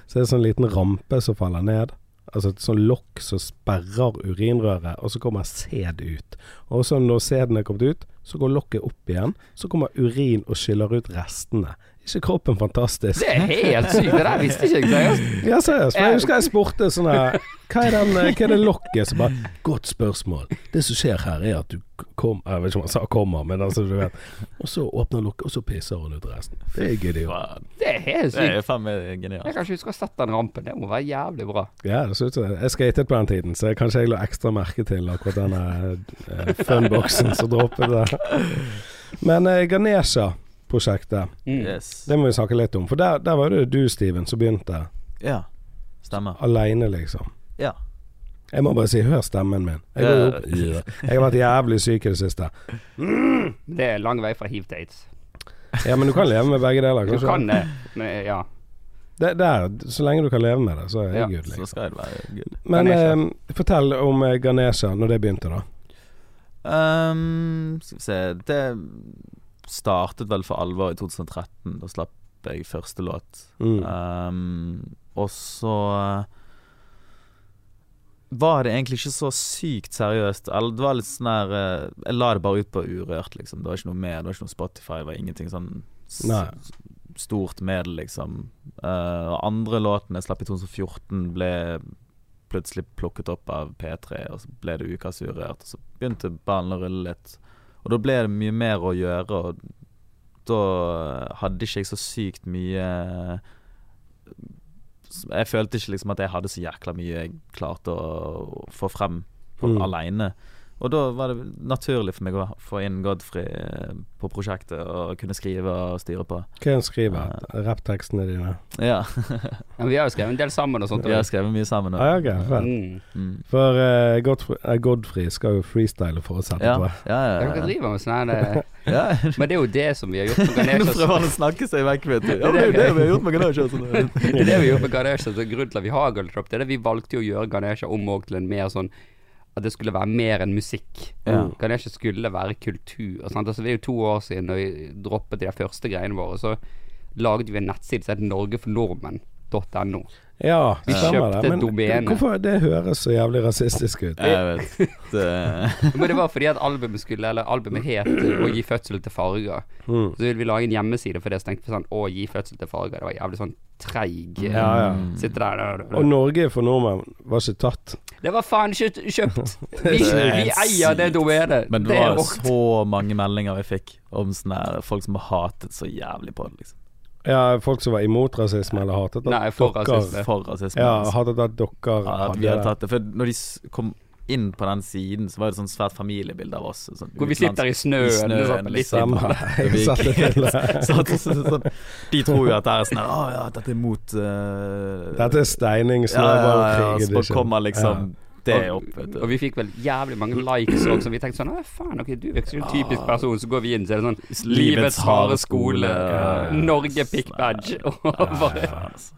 Speaker 1: Så er det sånn liten rampe som faller ned. Altså et sånn lokk som sperrer urinrøret, og så kommer sæd ut. Og så når sæden er kommet ut, så går lokket opp igjen. Så kommer urin og skyller ut restene. Ikke kroppen fantastisk?
Speaker 3: Det er helt sykt, det der visste ikke jeg, seriøst.
Speaker 1: Ja, seriøst. For jeg husker jeg spurte sånn her Hva er, den, hva er det lokket som bare Godt spørsmål. Det som skjer her, er at du kom Jeg vet ikke om han sa 'kommer', men altså, du vet. Og så åpner lokket, og så pisser hun ut resten. Det er genialt.
Speaker 2: Faen.
Speaker 3: Det er helt
Speaker 2: Det
Speaker 3: sykt.
Speaker 2: er jo faen meg genialt.
Speaker 3: Jeg kan ikke huske å ha sett den rampen. Det må være jævlig bra.
Speaker 1: Ja, det ser ut som det. Jeg skatet på den tiden, så jeg kanskje jeg la ekstra merke til akkurat denne eh, funboxen som droppet der. Men eh, Ganesha-prosjektet,
Speaker 2: Yes.
Speaker 1: Mm. det må vi snakke litt om. For der, der var det du, Steven, som begynte.
Speaker 2: Ja. Stemmer.
Speaker 1: Aleine, liksom.
Speaker 2: Ja.
Speaker 1: Jeg må bare si 'hør stemmen min'. Jeg, går jo opp. jeg har vært jævlig syk i det siste.
Speaker 3: Det er lang vei fra hiv til aids.
Speaker 1: Ja, men du kan leve med begge deler,
Speaker 3: Du
Speaker 1: kanskje?
Speaker 3: kan det, men eh, ja.
Speaker 1: Det, det er, så lenge du kan leve med det, så er
Speaker 3: Ja,
Speaker 1: jeg good.
Speaker 2: Så
Speaker 1: Liksom.
Speaker 2: skal det være good.
Speaker 1: Men
Speaker 3: Ganesha.
Speaker 1: eh, fortell om eh, Ganesha, når det begynte, da.
Speaker 2: Ehm, skal vi se Det startet vel for alvor i 2013. Da slapp jeg første låt.
Speaker 1: Mm.
Speaker 2: Ehm, og så eh, var det egentlig ikke så sykt seriøst. Eller det var litt sånn der eh, Jeg la det bare ut på Urørt, liksom. Det var ikke noe mer, det var ikke noe Spotify, det var ingenting sånn s-
Speaker 1: Nei.
Speaker 2: stort med det, liksom. Eh, og andre låten jeg slapp i 2014, ble plutselig plukket opp av P3, og så ble det ukas Urørt, og så begynte ballen å rulle litt. Og da ble det mye mer å gjøre, og da hadde ikke jeg så sykt mye jeg følte ikke liksom at jeg hadde så jækla mye jeg klarte å få frem på,
Speaker 1: Mm.
Speaker 2: alene. Og da var det naturlig for meg å få inn Godfrey eh, på prosjektet og kunne skrive og styre på.
Speaker 1: Hva er det han skriver? Rapptekstene dine?
Speaker 2: Ja,
Speaker 3: Men vi har jo skrevet en del sammen og sånt.
Speaker 2: vi har skrevet mye sammen.
Speaker 1: Ah, ja,
Speaker 2: Og,
Speaker 1: ok, fett.
Speaker 3: Mm.
Speaker 2: mm.
Speaker 1: For eh, Godfrey, eh, Godfrey skal jo freestyle for oss
Speaker 2: ja,
Speaker 1: etterpå.
Speaker 2: ja,
Speaker 3: Dere
Speaker 2: ja, ja.
Speaker 3: driver med sånn her eh,
Speaker 2: ja.
Speaker 3: Men det er jo det som vi har gjort med
Speaker 2: Nå
Speaker 3: Ganesha.
Speaker 2: prøver han å snakke seg vekk, vet du. Ja, men det er jo det vi har gjort med Ganesha. Sånn.
Speaker 3: Det er det vi gjorde med Ganesha. Så grunnen til at vi har Girl Drop, det er det vi valgte jo å gjøre Ganesha om og til en mer sånn at det skulle være mer enn musikk.
Speaker 2: Ja.
Speaker 3: Ganesha skulle være kultur. Sant? Altså, det er jo to år siden når vi droppet de der første greiene våre, så laget vi en nettside som het norgefornordmenn.no.
Speaker 1: Ja,
Speaker 3: Vi
Speaker 1: stemmer
Speaker 3: kjøpte
Speaker 1: det.
Speaker 3: domenet.
Speaker 1: hvorfor det høres så jævlig rasistisk ut?
Speaker 2: Jeg vet. Det,
Speaker 3: Men det var fordi at albumet skulle Eller albumet het eh, 'Å gi fødsel til farger'.
Speaker 1: Mm.
Speaker 3: Så ville vi lage en hjemmeside for det, så tenkte vi sånn 'Å gi fødsel til farger'. Det var jævlig sånn treig eh,
Speaker 1: Ja, ja.
Speaker 3: Sitte der da, da, da.
Speaker 1: Og Norge for nordmenn var ikke tatt.
Speaker 3: Det var faen ikke kjøpt! Vi,
Speaker 2: Det er
Speaker 3: vi
Speaker 2: helt
Speaker 3: eier det
Speaker 2: sykt.
Speaker 3: domenet.
Speaker 2: men det
Speaker 3: Det er
Speaker 2: var
Speaker 3: vårt.
Speaker 2: så mange meldinger vi fikk om sånne her folk som hatet så jævlig på det. liksom
Speaker 1: Ja, folk som var imot rasisme eller hatet at
Speaker 3: Nei, for
Speaker 1: dere-
Speaker 3: rasisme.
Speaker 2: For rasisme.
Speaker 1: Ja,
Speaker 2: liksom.
Speaker 1: hatet at dere
Speaker 2: Ja, at vi hadde tatt det. For når de s- kom inn på den siden, så var det sånn svært familiebilde av oss. Sånn,
Speaker 3: Hvor vi sitter i snøen, sånn, litt
Speaker 1: Samme. Jeg satt det til.
Speaker 2: liksom. så, så, så, så, de tror jo at det er sånn Å ja, dette er mot eh,
Speaker 1: Dette er steining,
Speaker 2: ja, ja, ja,
Speaker 1: snøballkrig.
Speaker 2: ja, Så
Speaker 1: edition.
Speaker 2: kommer liksom det
Speaker 3: Og-
Speaker 2: opp, vet du.
Speaker 3: Og vi fikk vel jævlig mange likes også, så vi tenkte sånn Å, faen, ok, du virker som en typisk person. Så går vi inn, så er det sånn Livets harde skole.
Speaker 2: Ja, ja.
Speaker 3: Norge pick badge. Og bare-
Speaker 2: Faen, altså.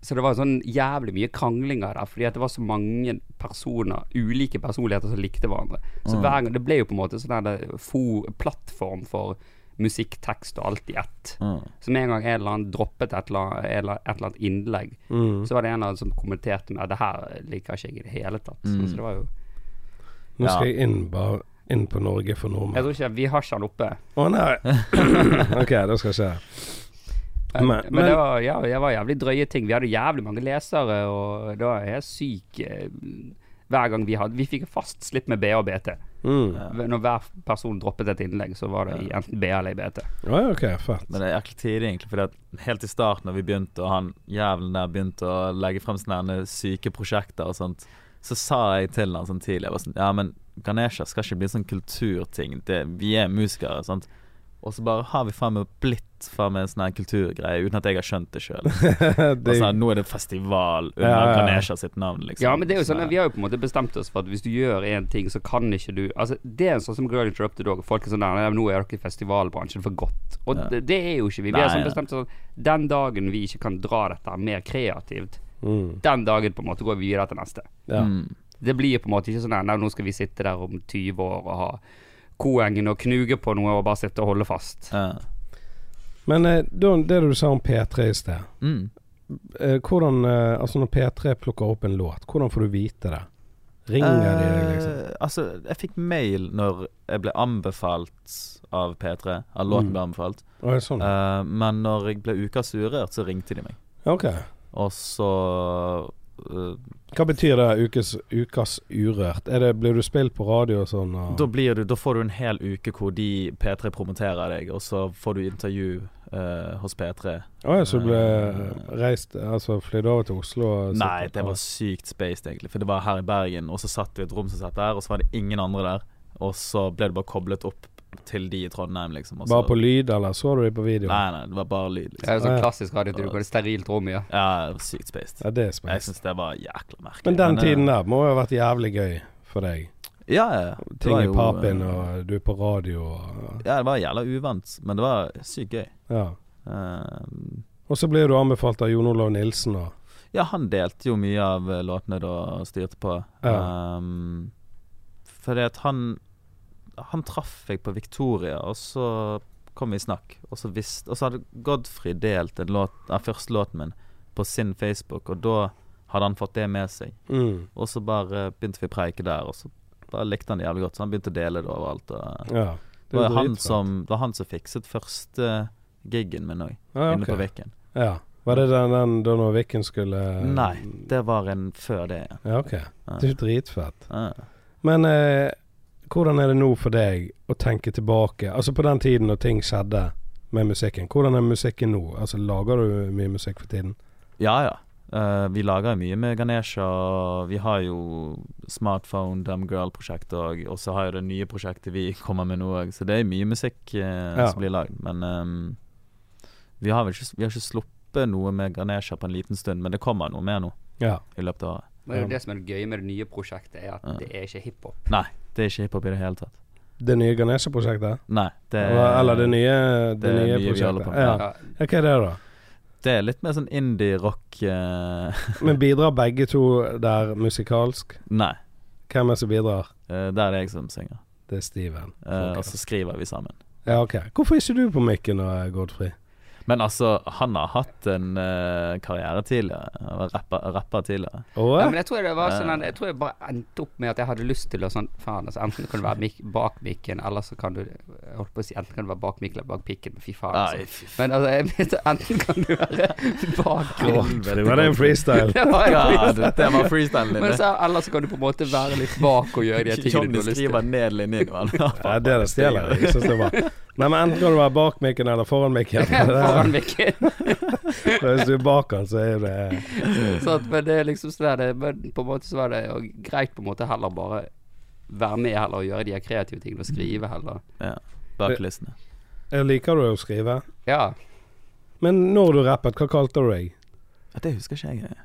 Speaker 3: Så det var sånn jævlig mye kranglinger der, fordi at det var så mange personer, ulike personligheter, som likte hverandre. Så hver gang Det ble jo på en måte sånn der fo- plattform for musikk, tekst og alt i ett.
Speaker 2: Mm.
Speaker 3: Så med en gang en eller annen droppet et eller annet, et eller annet innlegg, så var det en eller annen som kommenterte med det her liker ikke jeg i det hele tatt. Så det var jo
Speaker 1: Nå skal jeg inn, bare inn på Norge for
Speaker 3: Jeg
Speaker 1: nordmenn.
Speaker 3: tror ikke Vi har ikke han oppe.
Speaker 1: Å nei! ok, det skal skje.
Speaker 3: Men,
Speaker 1: Men-
Speaker 3: men,
Speaker 1: men-
Speaker 3: det, var, ja, det var jævlig drøye ting. Vi hadde jævlig mange lesere, og det var helt syk eh, hver gang vi hadde Vi fikk fast slipp med BA og BT.
Speaker 1: Mm.
Speaker 3: Når hver person droppet et innlegg, så var det i enten BA eller i BT.
Speaker 1: Ja, ja, ok, fett.
Speaker 2: Men det er jæklig tidlig, egentlig. Fordi at helt i starten, når vi begynte, og han jævlen der begynte å legge frem sånne herne syke prosjekter og sånt, så sa jeg til han sånn tidlig Jeg var sånn Ja, men Ganesha skal ikke bli en sånn kulturting. Det, vi er musikere, sant. Og så bare har vi faen meg blitt faen meg en sånn her kulturgreie uten at jeg har skjønt det sjøl.
Speaker 1: det,
Speaker 2: Sånn, nå er det festival under
Speaker 1: Ja, ja, ja.
Speaker 2: Ganesha sitt navn, liksom.
Speaker 3: Ja, men det er jo sånn at Vi
Speaker 2: her.
Speaker 3: har jo på en måte bestemt oss for at hvis du gjør én ting, så kan ikke du Altså, Det er en sånn som Girl Interrupted òg. Folk er sånn der «Nei, Nå er dere i festivalbransjen for godt. Og
Speaker 2: Ja.
Speaker 3: det, det er jo ikke vi. Vi
Speaker 2: Nei,
Speaker 3: har sånn
Speaker 2: nei.
Speaker 3: bestemt oss at den dagen vi ikke kan dra dette her mer kreativt,
Speaker 1: mm,
Speaker 3: den dagen på en måte går vi videre til neste.
Speaker 1: ja.
Speaker 2: Mm.
Speaker 3: Det blir på en måte ikke sånn at nå skal vi sitte der om 20 år og ha koengen og knuge på noe og bare sitte og holde fast.
Speaker 2: Ja.
Speaker 1: Men eh, da- det du sa om P3 i sted
Speaker 2: Mm.
Speaker 1: eh, Hvordan, eh, altså Når P3 plukker opp en låt, hvordan får du vite det? Ringer de deg, liksom?
Speaker 2: Eh, Altså, jeg fikk mail når jeg ble anbefalt av P3. Av
Speaker 1: Mm.
Speaker 2: låten ble anbefalt.
Speaker 1: Å, er det sånn?
Speaker 2: Eh, men når jeg ble ukas urørt, så ringte de meg.
Speaker 1: Ok.
Speaker 2: Og så eh,
Speaker 1: Hva betyr det, ukes, ukas urørt? Er det, blir du spilt på radio og sånn? Og,
Speaker 2: da, blir du, da får du en hel uke hvor de P3 promoterer deg, og så får du intervju eh, hos P3.
Speaker 1: Å, ja, så du ble reist Altså flydd over til Oslo? Og
Speaker 2: Eh. Nei, det var sykt spaced, egentlig. For det var her i Bergen, og så satt vi i et rom som satt der, og så var det ingen andre der. Og så ble du bare koblet opp til de i Trondheim, liksom. Og så,
Speaker 1: Bare på lyd, eller så du det på video?
Speaker 2: Nei, nei, det var bare lyd, liksom.
Speaker 3: Det er jo sånn
Speaker 1: Ja.
Speaker 3: klassisk radiotur hvor det er sterilt rom, ja.
Speaker 2: Ja, det var sykt spaced.
Speaker 1: Ja, det er
Speaker 2: Jeg
Speaker 1: spes.
Speaker 2: syns det var jækla merkelig.
Speaker 1: Men den
Speaker 2: eh,
Speaker 1: tiden der må jo ha vært jævlig gøy for deg.
Speaker 2: Ja, ja. ja. Det
Speaker 1: Ting
Speaker 2: var
Speaker 1: i
Speaker 2: jo,
Speaker 1: papen,
Speaker 2: eh,
Speaker 1: og du er på radio og
Speaker 2: Ja, det var jævla uvant, men det var sykt gøy.
Speaker 1: Ja.
Speaker 2: Eh,
Speaker 1: Og så blir du anbefalt av Jon Olav Nilsen og
Speaker 2: ja, han delte jo mye av eh, låtene da og styrte på.
Speaker 1: Ja.
Speaker 2: Um, fordi at han Han traff jeg på Victoria, og så kom vi i snakk. Og så, visst, og så hadde Godfrey delt en låt, den første låten min på sin Facebook, og da Hadde han fått det med seg?
Speaker 1: Mm.
Speaker 2: Og så bare begynte vi å preike der, og så bare likte han det jævlig godt. Så han begynte å dele det overalt. Og
Speaker 1: Ja.
Speaker 2: det var han
Speaker 1: dritfett.
Speaker 2: som, det var han som fikset første giggen min òg,
Speaker 1: ah,
Speaker 2: inne på
Speaker 1: ok.
Speaker 2: Viken.
Speaker 1: ja. Var det den, den da når Viken skulle
Speaker 2: Nei, det var en før det. ja.
Speaker 1: Ja, ok. Det er jo dritfett.
Speaker 2: Ja.
Speaker 1: Men eh, hvordan er det nå for deg å tenke tilbake? Altså på den tiden når ting skjedde med musikken. Hvordan er musikken nå? Altså Lager du mye musikk for tiden?
Speaker 2: Ja, ja. Eh, vi lager jo mye med Ganesha. og Vi har jo Smartphone Dumgirl-prosjektet òg. Og så har jo det nye prosjektet vi kommer med nå òg. Så det er mye musikk eh,
Speaker 1: Ja.
Speaker 2: som blir lagd. Men ehm, vi har vel ikke, vi har ikke sluppet noe med Ganesha på en liten stund. Men det kommer noe mer nå
Speaker 1: Ja.
Speaker 2: i løpet av året.
Speaker 3: Det er jo det som er det gøye med det nye prosjektet, er at det er ikke hiphop.
Speaker 2: Nei, det er ikke hiphop i det hele tatt.
Speaker 1: Det nye Ganesha-prosjektet?
Speaker 2: Nei, det er,
Speaker 1: Eller eller det nye, det
Speaker 2: det
Speaker 1: nye,
Speaker 2: nye vi holder
Speaker 1: prosjektet?
Speaker 2: på med.
Speaker 1: Ja.
Speaker 3: Ja.
Speaker 1: Ja, Hva er det, da?
Speaker 2: det er litt mer sånn indie-rock eh,
Speaker 1: Men bidrar begge to der musikalsk?
Speaker 2: Nei,
Speaker 1: Hvem er det som bidrar?
Speaker 2: eh, der er det jeg som synger.
Speaker 1: Det er Steven.
Speaker 2: Eh,
Speaker 1: Ok.
Speaker 2: Og så skriver vi sammen.
Speaker 1: Ja, ok. Hvorfor er ikke du på mikken nå, Godfrey?
Speaker 2: Men altså, han har hatt en eh, karriere tidligere. Han var rapper, rapper tidligere.
Speaker 1: Åh?
Speaker 3: Ja, men jeg tror det var sånn at- Jeg tror jeg bare endte opp med at jeg hadde lyst til å sånn Faen, altså enten kan du være mik bak mikken, eller så kan du Jeg holdt på å si enten kan du være bak mikken eller bak pikken, men fy faen.
Speaker 2: Nei,
Speaker 3: Altså.
Speaker 2: fy f-
Speaker 3: Men altså, jeg mente enten kan du være bak
Speaker 1: det var det en freestyle.
Speaker 3: Det var jo
Speaker 2: Ja,
Speaker 3: freestyle.
Speaker 2: det, det var freestylen din.
Speaker 3: Men
Speaker 2: det.
Speaker 3: så, eller så kan du på en måte være litt bak og gjøre de tingene du
Speaker 2: Johnny
Speaker 3: har lyst til.
Speaker 2: skriver ned linjen. man.
Speaker 1: Ja, det er det stjeler jeg. Synes det var. Nei, men Enten kan du være bak mikken eller foran mikken.
Speaker 3: Foran mikken.
Speaker 1: Hvis du er bak den, så er det
Speaker 3: Så at, men det er liksom sånn der, det- Men på en måte så var det jo greit på en måte heller bare være med heller og gjøre de her kreative tingene og skrive heller.
Speaker 2: Ja, bak listene.
Speaker 1: Jeg liker du å skrive.
Speaker 3: Ja.
Speaker 1: Men når du rappet, hva kalte du deg?
Speaker 2: Ja, Det husker ikke jeg.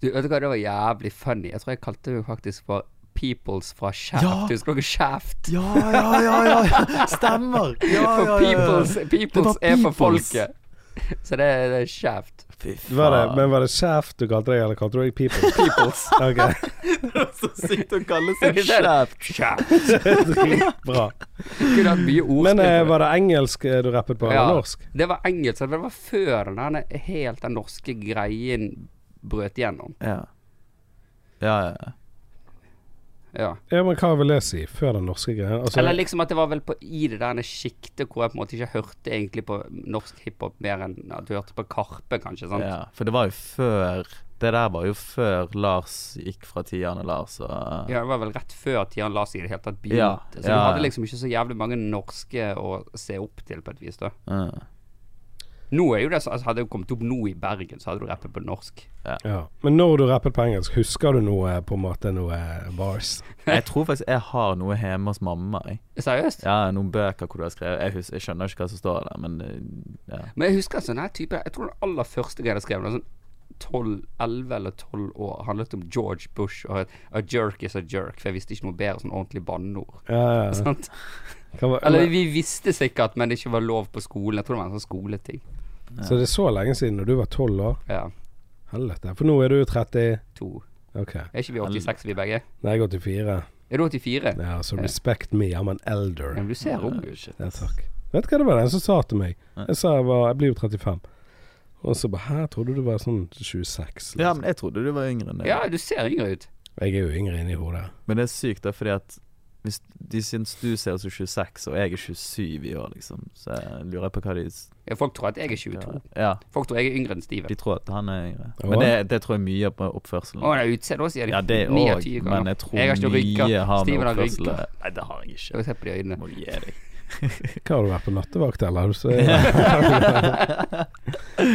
Speaker 3: Du, vet du hva, det var jævlig funny. Jeg tror jeg kalte det faktisk for Peoples fra Shaft.
Speaker 2: Ja.
Speaker 3: Husker dere Shaft?
Speaker 2: Ja, ja, ja, ja. Stemmer. Ja,
Speaker 3: for
Speaker 2: ja,
Speaker 3: Peoples, peoples
Speaker 2: Det var
Speaker 3: er for
Speaker 2: Peoples.
Speaker 3: folket. Så det, er- det er Shaft.
Speaker 2: Fy
Speaker 1: Var det,
Speaker 2: faen.
Speaker 1: men var det Chef du kalte deg, eller kalte du deg People? Peoples. Ok,
Speaker 2: Så sykt å kalle
Speaker 3: seg
Speaker 2: sjef.
Speaker 3: Shaft.
Speaker 1: Bra.
Speaker 3: Kunne hatt mye ordspill.
Speaker 1: Men eh,
Speaker 3: på det.
Speaker 1: var det engelsk eh, du rappet på, eller
Speaker 3: Ja.
Speaker 1: norsk?
Speaker 3: det var engelsk, så det var før den der helt den norske greien brøt gjennom.
Speaker 2: Ja. Ja, ja, ja.
Speaker 3: Ja.
Speaker 1: Ja, men hva vil det si? Før den norske greia? Altså,
Speaker 3: Eller liksom at det var vel på i det der sjiktet hvor jeg på en måte ikke hørte egentlig på norsk hiphop mer enn at du hørte på Karpe, kanskje. sant?
Speaker 2: ja. For det var jo før Det der var jo før Lars gikk fra Tian og Lars og
Speaker 3: Ja, det var vel rett før Tian Lars i det hele tatt begynte.
Speaker 2: Ja,
Speaker 3: så
Speaker 2: ja,
Speaker 3: du
Speaker 2: ja.
Speaker 3: hadde liksom ikke så jævlig mange norske å se opp til, på et vis. da
Speaker 2: Ja.
Speaker 3: Nå er jo det så- altså, Hadde jeg kommet opp nå i Bergen, så hadde du rappet på norsk.
Speaker 1: ja. Men når du rappet på engelsk, husker du noe eh, på en måte noe eh, bars?
Speaker 2: Jeg tror faktisk jeg har noe hjemme hos mamma. Jeg.
Speaker 3: Seriøst?
Speaker 2: Ja, Noen bøker hvor du har skrevet Jeg, hus jeg skjønner ikke hva som står der, men eh, ja.
Speaker 3: Men jeg husker en sånn her type Jeg tror den aller første greia jeg skrev, da, sånn 12, 11 eller 12 år, handlet om George Bush og at A jerk is a jerk, for jeg visste ikke noe bedre sånn ordentlig banneord.
Speaker 1: Ja, ja, ja.
Speaker 3: Sant?
Speaker 1: Hva var-
Speaker 3: Eller vi visste sikkert, men det ikke var lov på skolen. Jeg tror det var en sånn skoleting.
Speaker 1: Så det er så lenge siden, når du var tolv år?
Speaker 3: Ja,
Speaker 1: Helvete. For nå er du 30
Speaker 3: to.
Speaker 1: Ok.
Speaker 3: Er ikke vi 86, vi begge?
Speaker 1: Nei, jeg er 84.
Speaker 3: Er du 84?
Speaker 1: Ja, så respect me, I'm an elder.
Speaker 3: Ja, men du ser ung ut.
Speaker 1: Ja, takk. Vet du hva det var den som sa til meg?
Speaker 2: Ja.
Speaker 1: Jeg sa jeg, var, jeg blir jo 35. Og så bare Her trodde du var sånn 26. Liksom.
Speaker 2: ja, men jeg trodde du var yngre enn det.
Speaker 3: Ja, du ser yngre ut.
Speaker 1: Jeg er jo yngre inni hodet.
Speaker 2: Men det er sykt, da, fordi at hvis de syns du ser ut som 26, og jeg er 27 i år, liksom, så jeg lurer jeg på hva de s-
Speaker 3: Ja, Folk tror at jeg er 22.
Speaker 2: Ja,
Speaker 3: Folk tror jeg er yngre enn Steven.
Speaker 2: de tror at han er yngre.
Speaker 1: Ja.
Speaker 2: Men det, det tror jeg mye på oppførselen.
Speaker 3: Å, det er utseende også, sier de.
Speaker 2: Ja, det
Speaker 3: Ni av
Speaker 2: òg,
Speaker 3: ti ganger.
Speaker 2: men jeg tror
Speaker 3: Jeg har ikke rynker.
Speaker 2: mye har med
Speaker 3: Steven har
Speaker 2: oppførselen
Speaker 3: rynker.
Speaker 2: Nei, det har jeg ikke.
Speaker 3: Jeg ser på de øynene.
Speaker 2: Må du gi deg.
Speaker 1: Hva har du vært på nattevakt, eller? Så,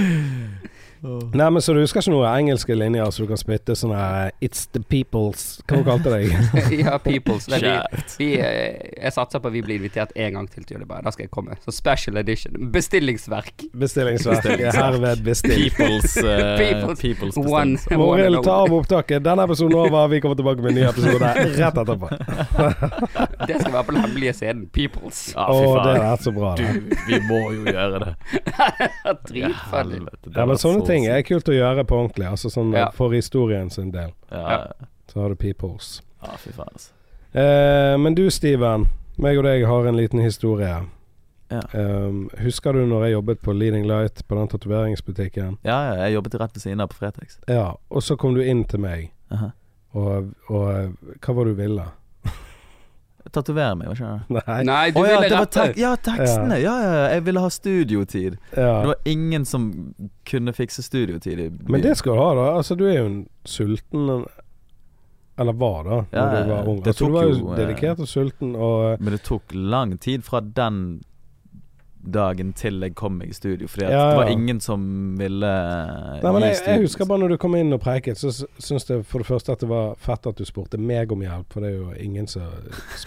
Speaker 1: Nei, men Så du husker ikke noen engelske linjer så du kan spytte sånn her It's the peoples Hva hun kalte deg?
Speaker 3: ja, peoples. Det er vi,
Speaker 2: Kjært.
Speaker 3: vi, eh, jeg satser på at vi blir invitert en gang til til Jølleberg. Da skal jeg komme. Så special edition. Bestillingsverk.
Speaker 1: Bestillingsverk. Herved bestilt.
Speaker 2: People's, eh,
Speaker 3: People's-
Speaker 2: people's
Speaker 3: One,
Speaker 2: bestemmelse.
Speaker 3: one
Speaker 1: Morild,
Speaker 3: and
Speaker 1: ta
Speaker 3: only.
Speaker 1: av opptaket. Denne episoden er over. Vi kommer tilbake med en ny episode rett etterpå.
Speaker 3: Det skal være på den hemmelige scenen. Peoples.
Speaker 2: Ja,
Speaker 1: Å,
Speaker 2: fy
Speaker 1: det
Speaker 2: faen.
Speaker 1: er så bra. Det.
Speaker 2: Du, vi må jo gjøre det.
Speaker 3: Dritfunny.
Speaker 2: Helvete, det
Speaker 1: Ja,
Speaker 2: var
Speaker 1: men sånne
Speaker 2: så
Speaker 1: ting er kult å gjøre på ordentlig. Altså sånn
Speaker 3: Ja.
Speaker 1: For historien sin del.
Speaker 2: Ja,
Speaker 1: Så har du peoples.
Speaker 2: ja fy faen, altså.
Speaker 1: Eh, men du, Steven. Meg og deg har en liten historie.
Speaker 2: Ja.
Speaker 1: Ehm, husker du når jeg jobbet på Leading Light, på den tatoveringsbutikken?
Speaker 2: Ja, ja, jeg jobbet rett ved siden av på Fretex.
Speaker 1: Ja, og så kom du inn til meg,
Speaker 2: Aha.
Speaker 1: og, og hva var det du ville?
Speaker 2: Tatovere meg, hva skjønner du?
Speaker 1: Nei.
Speaker 3: Nei, du
Speaker 2: Å ja,
Speaker 3: ville
Speaker 2: det var
Speaker 3: rette.
Speaker 2: tek ja, tekstene! Ja. ja, ja, jeg ville ha studiotid. Det
Speaker 1: Ja.
Speaker 2: var ingen som kunne fikse studiotid i byen.
Speaker 1: Men det skal du ha, da. Altså, du er jo en sulten Eller var, da, når
Speaker 2: Ja,
Speaker 1: du var ung.
Speaker 2: det
Speaker 1: Altså, du
Speaker 2: tok
Speaker 1: var
Speaker 2: jo,
Speaker 1: jo
Speaker 2: eh,
Speaker 1: dedikert og sulten, og
Speaker 2: Men det tok lang tid fra den dagen til jeg kom meg i studio, fordi at
Speaker 1: Ja, ja.
Speaker 2: det var ingen som ville
Speaker 1: Nei, men jeg,
Speaker 2: gi
Speaker 1: jeg
Speaker 2: studio.
Speaker 1: husker bare når du kom inn og preiket, så s- syns jeg for det første at det var fett at du spurte meg om hjelp, for det er jo ingen som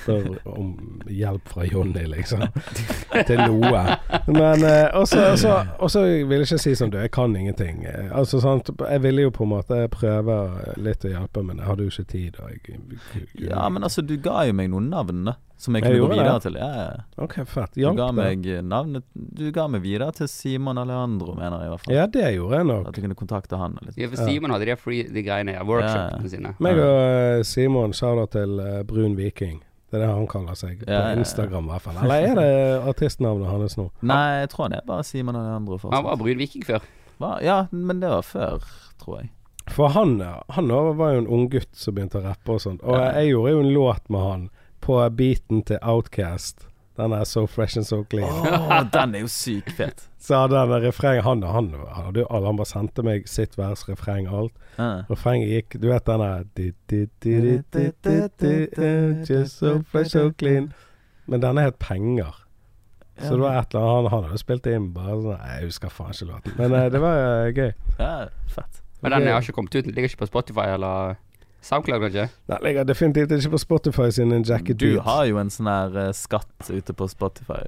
Speaker 1: spør om hjelp fra Jonny, liksom. Til noe. Men eh, også, også, også ville jeg ikke si sånn du, jeg kan ingenting. Eh, Altså sant, Jeg ville jo på en måte prøve litt å hjelpe, men jeg hadde jo ikke tid. Og jeg,
Speaker 2: Ja, men altså, du ga jo meg noen navn, da. Som jeg
Speaker 1: Jeg
Speaker 2: kunne gå
Speaker 1: gjorde
Speaker 2: videre
Speaker 1: det.
Speaker 2: til. Ja, ja.
Speaker 1: OK, fett.
Speaker 2: Du
Speaker 1: Hjalp
Speaker 2: ga
Speaker 1: det?
Speaker 2: meg eh, navnet Du ga meg videre til Simon Alejandro, mener jeg i hvert fall.
Speaker 1: Ja, det gjorde jeg nok.
Speaker 2: At jeg kunne kontakte han. og Litt.
Speaker 3: Ja, for Simon hadde de free de greiene, ja, workshopene
Speaker 2: Ja.
Speaker 3: sine.
Speaker 1: Meg og eh, Simon sa da til eh, Brun Viking. Det er det han kaller seg på
Speaker 2: Ja, ja, ja.
Speaker 1: Instagram, i hvert fall. Eller er det artistnavnet hans nå?
Speaker 2: Nei, jeg tror det er bare Simon Alejandro
Speaker 3: Han var
Speaker 2: fortsatt.
Speaker 3: brun viking før.
Speaker 2: Hva? Ja, men det var før, tror jeg.
Speaker 1: For han, eh, han også var jo en ung gutt som begynte å rappe og sånt. Og
Speaker 2: Ja.
Speaker 1: jeg gjorde jo en låt med han på beaten til Outcast. Den er So Fresh and So Clean.
Speaker 2: Åh, den er jo sykt fet.
Speaker 1: Så hadde han refreng Han, han, han, hadde jo alle- han bare sendte meg sitt vers, refreng, alt.
Speaker 2: Ja.
Speaker 1: Refrenget gikk Du vet den der di, di, di, di, di, di, di, eh, Just so fresh so clean Men denne het Penger Så det var et eller annet Han han hadde jo spilt inn bare sånn Nei, jeg husker faen ikke låten Men eh, det var eh, gøy
Speaker 2: Ja, fett.
Speaker 3: Men den har ikke kommet ut. Den ligger ikke på Spotify eller SoundCloud, kanskje?
Speaker 1: Den ligger definitivt ikke på Spotify sin En jacket
Speaker 2: Du
Speaker 1: Beat.
Speaker 2: har jo en sånn her eh, skatt ute på Spotify.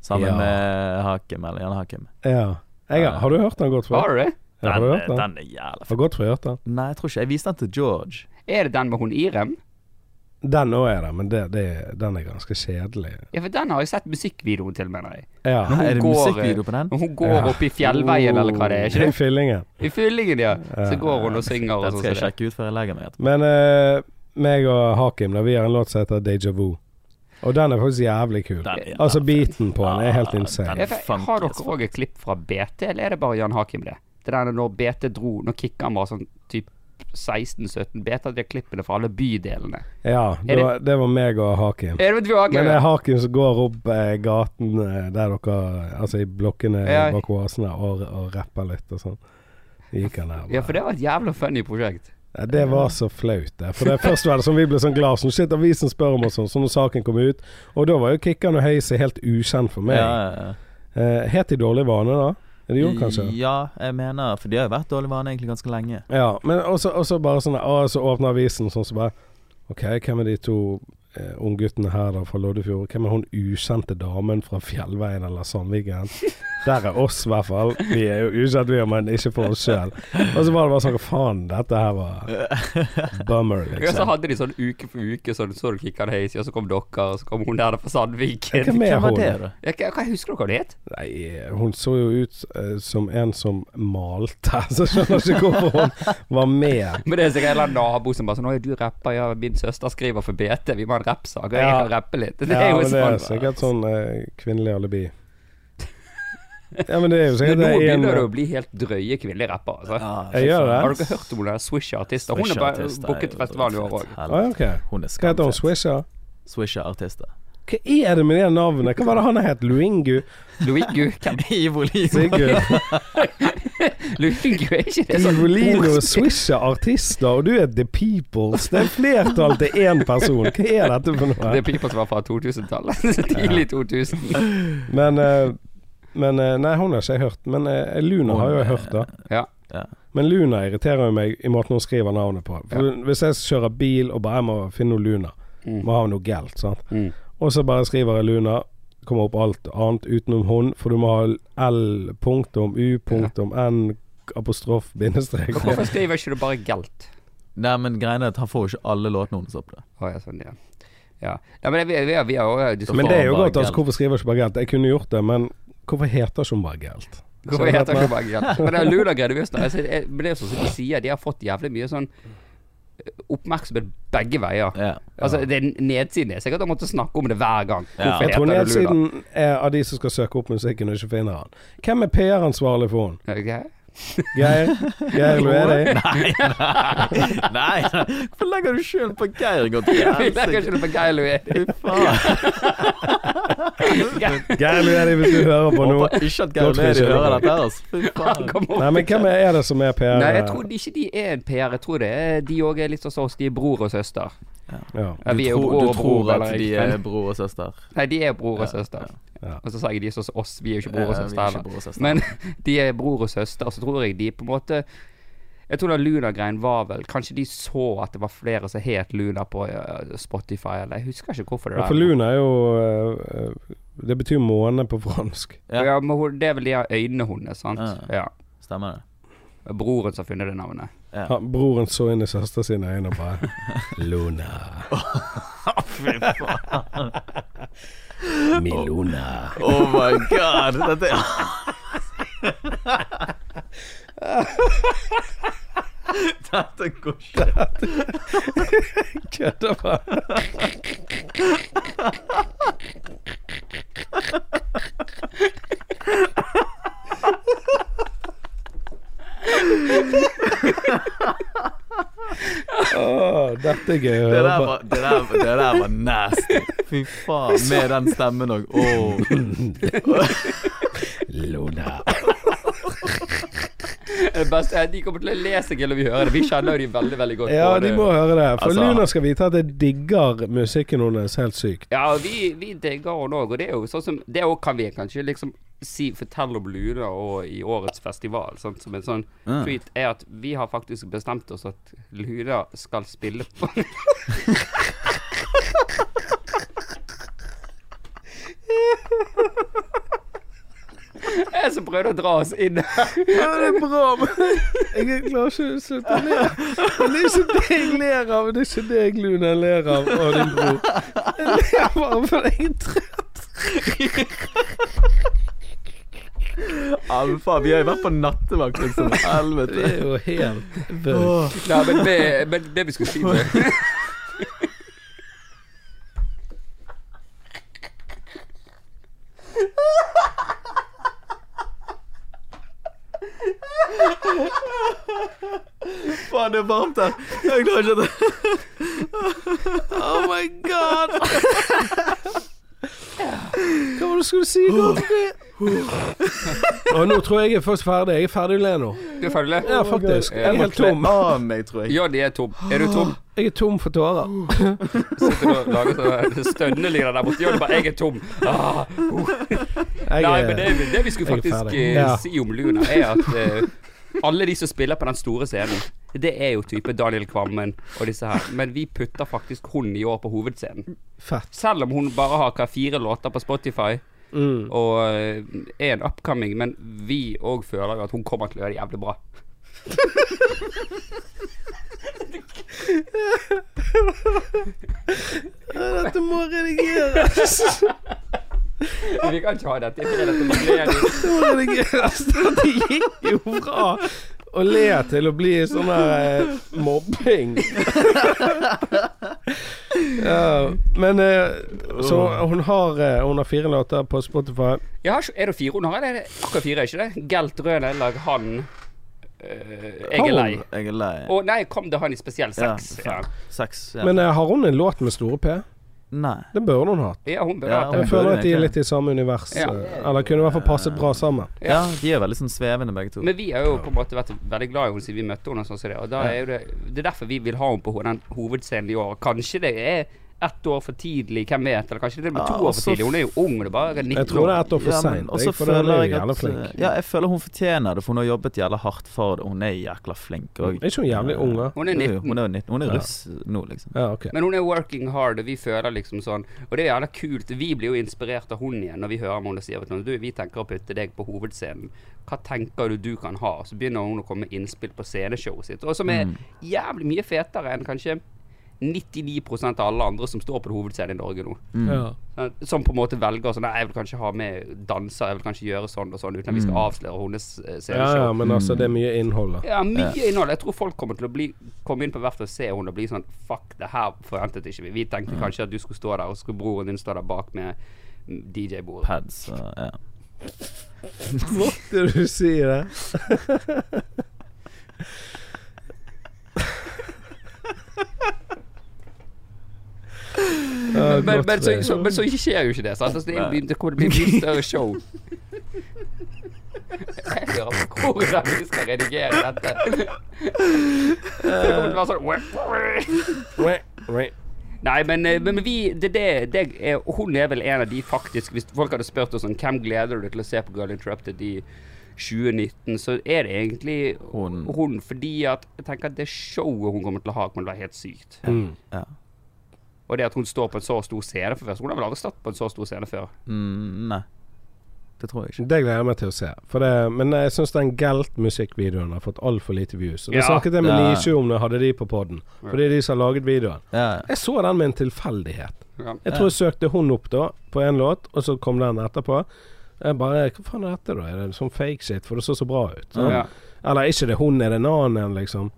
Speaker 2: Sammen
Speaker 1: Ja.
Speaker 2: med Hakim, eller Jan Hakim.
Speaker 1: Ja jeg, har- Har du hørt den godt før?
Speaker 3: Har du det?
Speaker 1: Ja, har
Speaker 2: Den,
Speaker 1: du
Speaker 2: eh,
Speaker 1: hørt den?
Speaker 2: den er jævla fet.
Speaker 1: Har godt før hørt den
Speaker 2: Nei, jeg tror ikke. Jeg viste den til George.
Speaker 3: Er det den med hun Irem?
Speaker 1: Den også er det Men det, det, den er ganske kjedelig
Speaker 3: Ja, for den har jeg sett musikkvideoen til, mener jeg.
Speaker 1: Ja
Speaker 3: hun
Speaker 2: er det
Speaker 3: går, eh,
Speaker 2: musikkvideo på den?
Speaker 3: Når hun går opp i fjellveien, eller hva det er. ikke
Speaker 1: I
Speaker 3: det?
Speaker 1: fyllingen
Speaker 3: I fyllingen, ja. Så går hun og synger og
Speaker 2: Den
Speaker 3: sånn.
Speaker 2: skal jeg
Speaker 3: som det.
Speaker 2: sjekke ut før jeg legger meg. etterpå.
Speaker 1: Men eh, meg og Hakim da, Vi har en låt som heter Deja Vu Og den er faktisk jævlig kul
Speaker 2: Den er
Speaker 1: Altså
Speaker 2: jævla
Speaker 1: beaten på den er helt
Speaker 2: Ja,
Speaker 1: insane
Speaker 2: den-
Speaker 3: Ja, for Har dere òg et klipp fra BT, eller er det bare Jan Hakim det? Det der når BT dro, når Kikkan var sånn typ 16-17, BT hadde de klippene fra alle bydelene.
Speaker 1: Ja, det
Speaker 3: det-
Speaker 1: var, det var meg og Hakim
Speaker 3: Er det du, Hakim?
Speaker 1: Men
Speaker 2: eh,
Speaker 1: det er Hakim som går opp eh, gaten eh, der dere Altså i blokkene
Speaker 3: Ja.
Speaker 1: bak oasene og, og rapper litt og sånn Gikk han der
Speaker 3: Ja, for det var et jævla funny prosjekt.
Speaker 1: Ja, Det var så flaut, det. For det først var det sånn vi ble sånn glad sånn Shit, avisen spør om oss sånn, så når saken kom ut. Og da var jo Kikkan og Høyse helt ukjent for meg.
Speaker 2: Ja, ja, ja.
Speaker 1: Eh, het de Dårlig vane da? Ja, De gjorde kanskje
Speaker 2: Ja, jeg mener For de har jo vært dårlig vane egentlig ganske lenge.
Speaker 1: Ja, men også, også bare sånn Å, så åpner avisen sånn så bare Ok, hvem er de to eh, ungguttene her da fra Loddefjord? Hvem er hun ukjente damen fra Fjellveien eller Sandviken? Der er oss, i hvert fall. Vi er jo ukjente, vi, er, men ikke for oss sjøl. Og så var det bare sånn Faen, dette her var bummer,
Speaker 3: Ja, så
Speaker 1: liksom.
Speaker 3: hadde de sånn uke for uke, sånn så du Kikkan Heisi, og så kom dere, og så kom hun der fra Sandviken.
Speaker 1: Hvem er
Speaker 2: Hvem var
Speaker 1: hun?
Speaker 2: det, da?
Speaker 3: Ja, hva, hva husker dere hva det het?
Speaker 1: Nei, hun så jo ut eh, som en som malte, så jeg skjønner ikke hvorfor hun var med.
Speaker 3: Men det er sikkert en eller annen nabo som bare sånn 'Å, du rapper, ja, min søster skriver for BT, vi må ha en rappsak, og jeg
Speaker 1: Ja.
Speaker 3: kan rappe litt'. Det er
Speaker 1: Ja,
Speaker 3: jo
Speaker 1: men det er
Speaker 3: sånn.
Speaker 1: sikkert sånn eh, kvinnelig alibi. Ja, men det er jo
Speaker 3: Men
Speaker 1: sikkert
Speaker 3: nå
Speaker 1: det er en-
Speaker 3: begynner det å bli helt drøye kvinnelige rappere, altså.
Speaker 2: Ja,
Speaker 1: Jeg gjør det.
Speaker 3: Har dere hørt om hun der Swisha-artisten? Hun er bare
Speaker 2: Swisha-artister
Speaker 3: booket
Speaker 2: er
Speaker 3: til
Speaker 2: jo
Speaker 3: festivalen i år
Speaker 2: dritfett.
Speaker 3: òg.
Speaker 1: Å, ja,
Speaker 2: Helvete.
Speaker 1: ok.
Speaker 2: Hun er
Speaker 1: Hva heter hun?
Speaker 2: skamfet.
Speaker 1: Swisha?
Speaker 2: Swisha-artister.
Speaker 1: Hva er det med de navnene? Hva var det han het? Luingu?
Speaker 3: Luigu, hvem
Speaker 2: Ivoli.
Speaker 1: Sigurd?
Speaker 3: Luigu er ikke det sånn
Speaker 1: Ivolino og
Speaker 3: ordspill?
Speaker 1: Swisha artister, og du er The Peoples. Det er flertall til én person. Hva er dette for
Speaker 3: Det
Speaker 1: noe?
Speaker 3: er people som var fra 2000-tallet. Tidlig 2000.
Speaker 1: Men, eh, men eh, Nei, hun har ikke jeg hørt. Men eh, Luna har jo jeg hørt, da.
Speaker 3: Ja.
Speaker 2: Ja.
Speaker 1: Men Luna irriterer jo meg i måten hun skriver navnet på. For Hvis jeg kjører bil og bare jeg må finne noe Luna, må ha noe galt, sant.
Speaker 3: Mm.
Speaker 1: Og så bare skriver jeg Luna. Kommer opp alt annet utenom hun, for du må ha L punktum U punktum N apostrof bindestrek.
Speaker 3: Hvorfor skriver ikke du bare Gelt?
Speaker 2: Nei, men greia er at han får jo ikke alle låtene hennes opp. da.
Speaker 3: Å ja, sånn, ja. ja. Nei, men vi, vi, vi har jo
Speaker 1: Men det er jo
Speaker 2: Bare
Speaker 1: godt, altså.
Speaker 2: Gelt.
Speaker 1: Hvorfor skriver jeg ikke bare Gelt? Jeg kunne gjort det, men hvorfor heter ikke hun bare Gelt?
Speaker 3: Hvorfor altså, heter det ikke bare Gelt? Men det er Luna-greiene vi har snakket om. Men det er jo sånn som de sier, de har fått jævlig mye sånn oppmerksomhet begge veier.
Speaker 2: Ja.
Speaker 3: Altså, det er nedsiden er sikkert å måtte snakke om det hver gang.
Speaker 2: Ja.
Speaker 3: Hvorfor
Speaker 1: Jeg tror
Speaker 3: heter det Lula?
Speaker 1: nedsiden er av de som skal søke opp musikken og ikke finner han. Hvem er PR-ansvarlig for han?
Speaker 3: Ok.
Speaker 1: Geir? Geir Løding?
Speaker 2: Nei, nei, nei. Hvorfor legger du skylden på Geir? Godt
Speaker 3: Vi legger ikke noe på Geir Louis.
Speaker 2: Fy faen.
Speaker 1: Geir Løding, hvis du hører på nå.
Speaker 2: Håper ikke at
Speaker 1: Nå tror
Speaker 2: Geir
Speaker 1: jeg ikke
Speaker 2: Leri hører
Speaker 1: det.
Speaker 2: dette her, altså. Fy
Speaker 3: Han
Speaker 2: faen.
Speaker 3: kom opp.
Speaker 1: Nei, men hvem er det som er PR?
Speaker 3: Nei, jeg tror de ikke de er en PR. Jeg tror det er de òg er litt sånn som oss. De er bror og søster.
Speaker 1: Ja.
Speaker 3: Ja, vi er jo
Speaker 2: Du tror-
Speaker 3: bror og
Speaker 2: du
Speaker 3: bror,
Speaker 2: tror
Speaker 3: eller
Speaker 2: at de
Speaker 3: ikke?
Speaker 2: er
Speaker 3: Men,
Speaker 2: bror og søster?
Speaker 3: nei, de er bror og søster.
Speaker 1: ja.
Speaker 3: Og så sa jeg de er sånn som oss. Vi er jo ikke bror og
Speaker 2: Ja, vi er
Speaker 3: søster
Speaker 2: ikke
Speaker 3: heller.
Speaker 2: bror og søster.
Speaker 3: Men de er bror og søster, og så tror jeg de på en måte jeg tror den Luna-greien var vel Kanskje de så at det var flere som het Luna på eh, Spotify, eller jeg husker ikke hvorfor det
Speaker 1: Ja, for Luna er jo eh, eh, Det betyr måne på fransk.
Speaker 3: Ja. Ja, men hun- det er vel de her øynene hennes, sant?
Speaker 2: Ja.
Speaker 3: Ja.
Speaker 2: Stemmer det?
Speaker 3: Broren som har funnet det navnet.
Speaker 1: Ja, broren så inn i søster sine øyne og bare Luna. Min Luna.
Speaker 2: Oh my god! Dette er Dette går ikke.
Speaker 1: Kødder bare. Åh, dette er gøy å
Speaker 2: Det
Speaker 1: høre
Speaker 2: der
Speaker 1: på.
Speaker 2: var, det der, det der var nasty. Fy faen. Med den stemmen òg. Åh
Speaker 1: Luna.
Speaker 3: Det beste er at De kommer til å le seg til når vi hører det. Vi kjenner jo de veldig veldig godt.
Speaker 1: Ja,
Speaker 3: og
Speaker 1: de
Speaker 3: det-
Speaker 1: må høre det. For
Speaker 2: Altså-
Speaker 1: Luna skal vite at jeg digger musikken hennes helt sykt.
Speaker 3: Ja, og vi, vi digger henne òg, og det er jo sånn som Det også kan vi kanskje liksom si, fortelle om Luna og i årets festival, sant, som en sånn
Speaker 2: Mm.
Speaker 3: tweet, er at vi har faktisk bestemt oss at Luna skal spille på Jeg som prøvde å dra oss inn her.
Speaker 1: Ja, det er bra, men jeg klarer ikke å slutte å le. Men det er ikke det jeg ler av. Det er ikke det jeg Luna ler av og din bror. Jeg ler bare fordi jeg er trøtt.
Speaker 2: Ja, men faen, vi har jo vært på nattevakt, liksom.
Speaker 1: Det
Speaker 2: Helvete.
Speaker 1: er jo helt bøk.
Speaker 3: Nei, men det, men det vi skulle si
Speaker 2: Faen, det er varmt her. Jeg klarer ikke det.
Speaker 1: Oh my god. Hva var det du skulle si? Og nå tror jeg jeg er først ferdig. Jeg er ferdig å le nå.
Speaker 3: Du følger?
Speaker 1: Ja, faktisk. Jeg
Speaker 3: Jeg
Speaker 1: er
Speaker 3: må
Speaker 1: helt tom.
Speaker 2: av meg, tror jeg.
Speaker 3: Johnny er tom. Er du tom?
Speaker 1: Jeg er tom for tårer.
Speaker 3: Sitter og lager sånne stønnelyder der borte. Johnny bare 'jeg er tom'. Ah.
Speaker 1: Jeg
Speaker 3: Nei, men
Speaker 1: er-
Speaker 3: det, det vi skulle
Speaker 1: jeg er
Speaker 3: faktisk
Speaker 1: ferdig.
Speaker 3: eh,
Speaker 1: Ja.
Speaker 3: si om Luna, er at eh, alle de som spiller på den store scenen, det er jo type Daniel Kvammen og disse her. Men vi putter faktisk hun i år på hovedscenen.
Speaker 1: Fett.
Speaker 3: Selv om hun bare har hva, fire låter på Spotify
Speaker 1: Mm.
Speaker 3: og eh, er en upcoming, men vi òg føler jo at hun kommer til å gjøre det jævlig bra.
Speaker 1: Dette må redigeres.
Speaker 3: Vi kan ikke ha dette. Det er dette med glede.
Speaker 1: Det må redigeres. Det gikk jo fra å le til å bli sånn her eh, mobbing. ja, men eh, Så hun har, eh, hun har fire låter på Spotify.
Speaker 3: Jeg har ikke, er det fire hun har? Eller er det akkurat fire, er ikke det? Gelt Rønelag, han øh, Jeg er
Speaker 1: Han?
Speaker 3: lei.
Speaker 2: Jeg er lei.
Speaker 3: Å nei, kom det han i spesiell seks? Ja,
Speaker 2: Ja. Sex. Ja.
Speaker 1: Men eh, har hun en låt med store P?
Speaker 2: Nei.
Speaker 1: Det burde hun hatt.
Speaker 3: ja. hun bør
Speaker 2: Ja,
Speaker 3: ha hatt
Speaker 1: Jeg
Speaker 3: det.
Speaker 2: hun-
Speaker 1: føler at de
Speaker 2: egentlig.
Speaker 1: er litt i samme univers.
Speaker 3: Ja.
Speaker 1: eh, Eller kunne i hvert fall passet bra sammen.
Speaker 2: Ja, de er veldig sånn svevende, begge to.
Speaker 3: Men vi har jo på en måte vært veldig glad i henne siden vi møtte henne. Og sånn som det, og da er jo det, det er derfor vi vil ha henne på ho- den hovedscenen i år. Kanskje det er ett år for tidlig, hvem vet? Eller kanskje det blir to
Speaker 2: Ja,
Speaker 3: år
Speaker 2: også
Speaker 3: for tidlig? Hun er jo ung, det er bare 19
Speaker 1: Jeg tror det er
Speaker 3: år.
Speaker 1: ett år for
Speaker 2: Ja, men
Speaker 1: seint.
Speaker 2: også
Speaker 1: For den er
Speaker 2: føler
Speaker 1: jo
Speaker 2: jeg
Speaker 1: jævla
Speaker 2: at- eh,
Speaker 1: flink.
Speaker 2: Ja, jeg føler hun fortjener det, for hun har jobbet jævla hardt for det. Hun er jækla flink òg.
Speaker 1: Er ikke hun jævlig ung, da?
Speaker 3: Hun er 19.
Speaker 2: Hun er, 19. Hun er russ nå, liksom.
Speaker 1: Ja, ok.
Speaker 3: Men hun er working hard, og vi føler liksom sånn Og det er gjerne kult. Vi blir jo inspirert av hun igjen når vi hører om hun og sier at du, vi tenker å putte deg på hovedscenen. Hva tenker du du kan ha? Så begynner hun å komme med innspill på sceneshowet sitt, og som er jævlig mye fetere enn kanskje 99 av alle andre som står på hovedscenen i Norge nå.
Speaker 2: Mm.
Speaker 1: Ja.
Speaker 3: Sant? Som på en måte velger sånn Nei, jeg vil kanskje ha med danser, jeg vil kanskje gjøre sånn og sånn, uten at vi skal avsløre hennes eh,
Speaker 1: ja,
Speaker 3: sceneshow.
Speaker 1: ja, men altså, det er mye innhold, da.
Speaker 3: Ja, mye innhold. Jeg tror folk kommer til å bli komme inn på verftet og se henne og bli sånn Fuck, det her forventet ikke vi. Vi tenkte kanskje at du skulle stå der, og så skulle broren din stå der bak med DJ-bordet.
Speaker 2: Pads og ja.
Speaker 1: Måtte du si det? Ja,
Speaker 3: Men,
Speaker 1: godt eh.
Speaker 3: men, så,
Speaker 1: det.
Speaker 3: så, men så skjer jo ikke det. Sant? Altså, det,
Speaker 2: Nei.
Speaker 3: blir- det kommer til å bli mye større show. Jeg hører på hvordan vi skal redigere dette. Det kommer til å være sånn
Speaker 1: Right, right.
Speaker 3: Nei, men, eh, men vi det, det, det er, Hun er vel en av de faktisk Hvis folk hadde spurt oss om hvem gleder du deg til å se på Girl Interrupted i 2019, så er det egentlig hun.
Speaker 2: Hun.
Speaker 3: fordi at jeg tenker at det showet hun kommer til å ha, kommer til å være helt sykt.
Speaker 1: Mm.
Speaker 2: ja.
Speaker 3: Og det at hun står på en så stor scene for først Hun har vel aldri stått på en så stor scene før.
Speaker 2: Mm, nei. Det tror jeg ikke.
Speaker 1: Det gleder jeg meg til å se. For det, men jeg syns den Gelt-musikkvideoen har fått altfor lite views. Og det
Speaker 3: Ja.
Speaker 1: snakket jeg med
Speaker 2: Ja.
Speaker 1: Nisje om da jeg hadde de på poden. Fordi de som har laget videoen.
Speaker 2: Ja.
Speaker 1: Jeg så den med en tilfeldighet.
Speaker 3: Ja.
Speaker 1: Jeg tror jeg søkte hun opp da, på en låt, og så kom den etterpå. Jeg bare Hva faen er dette, da? Er det sånn fake shit? For det så så bra ut. sant?
Speaker 3: Ja.
Speaker 1: Eller ikke det er hun, er det en annen, liksom.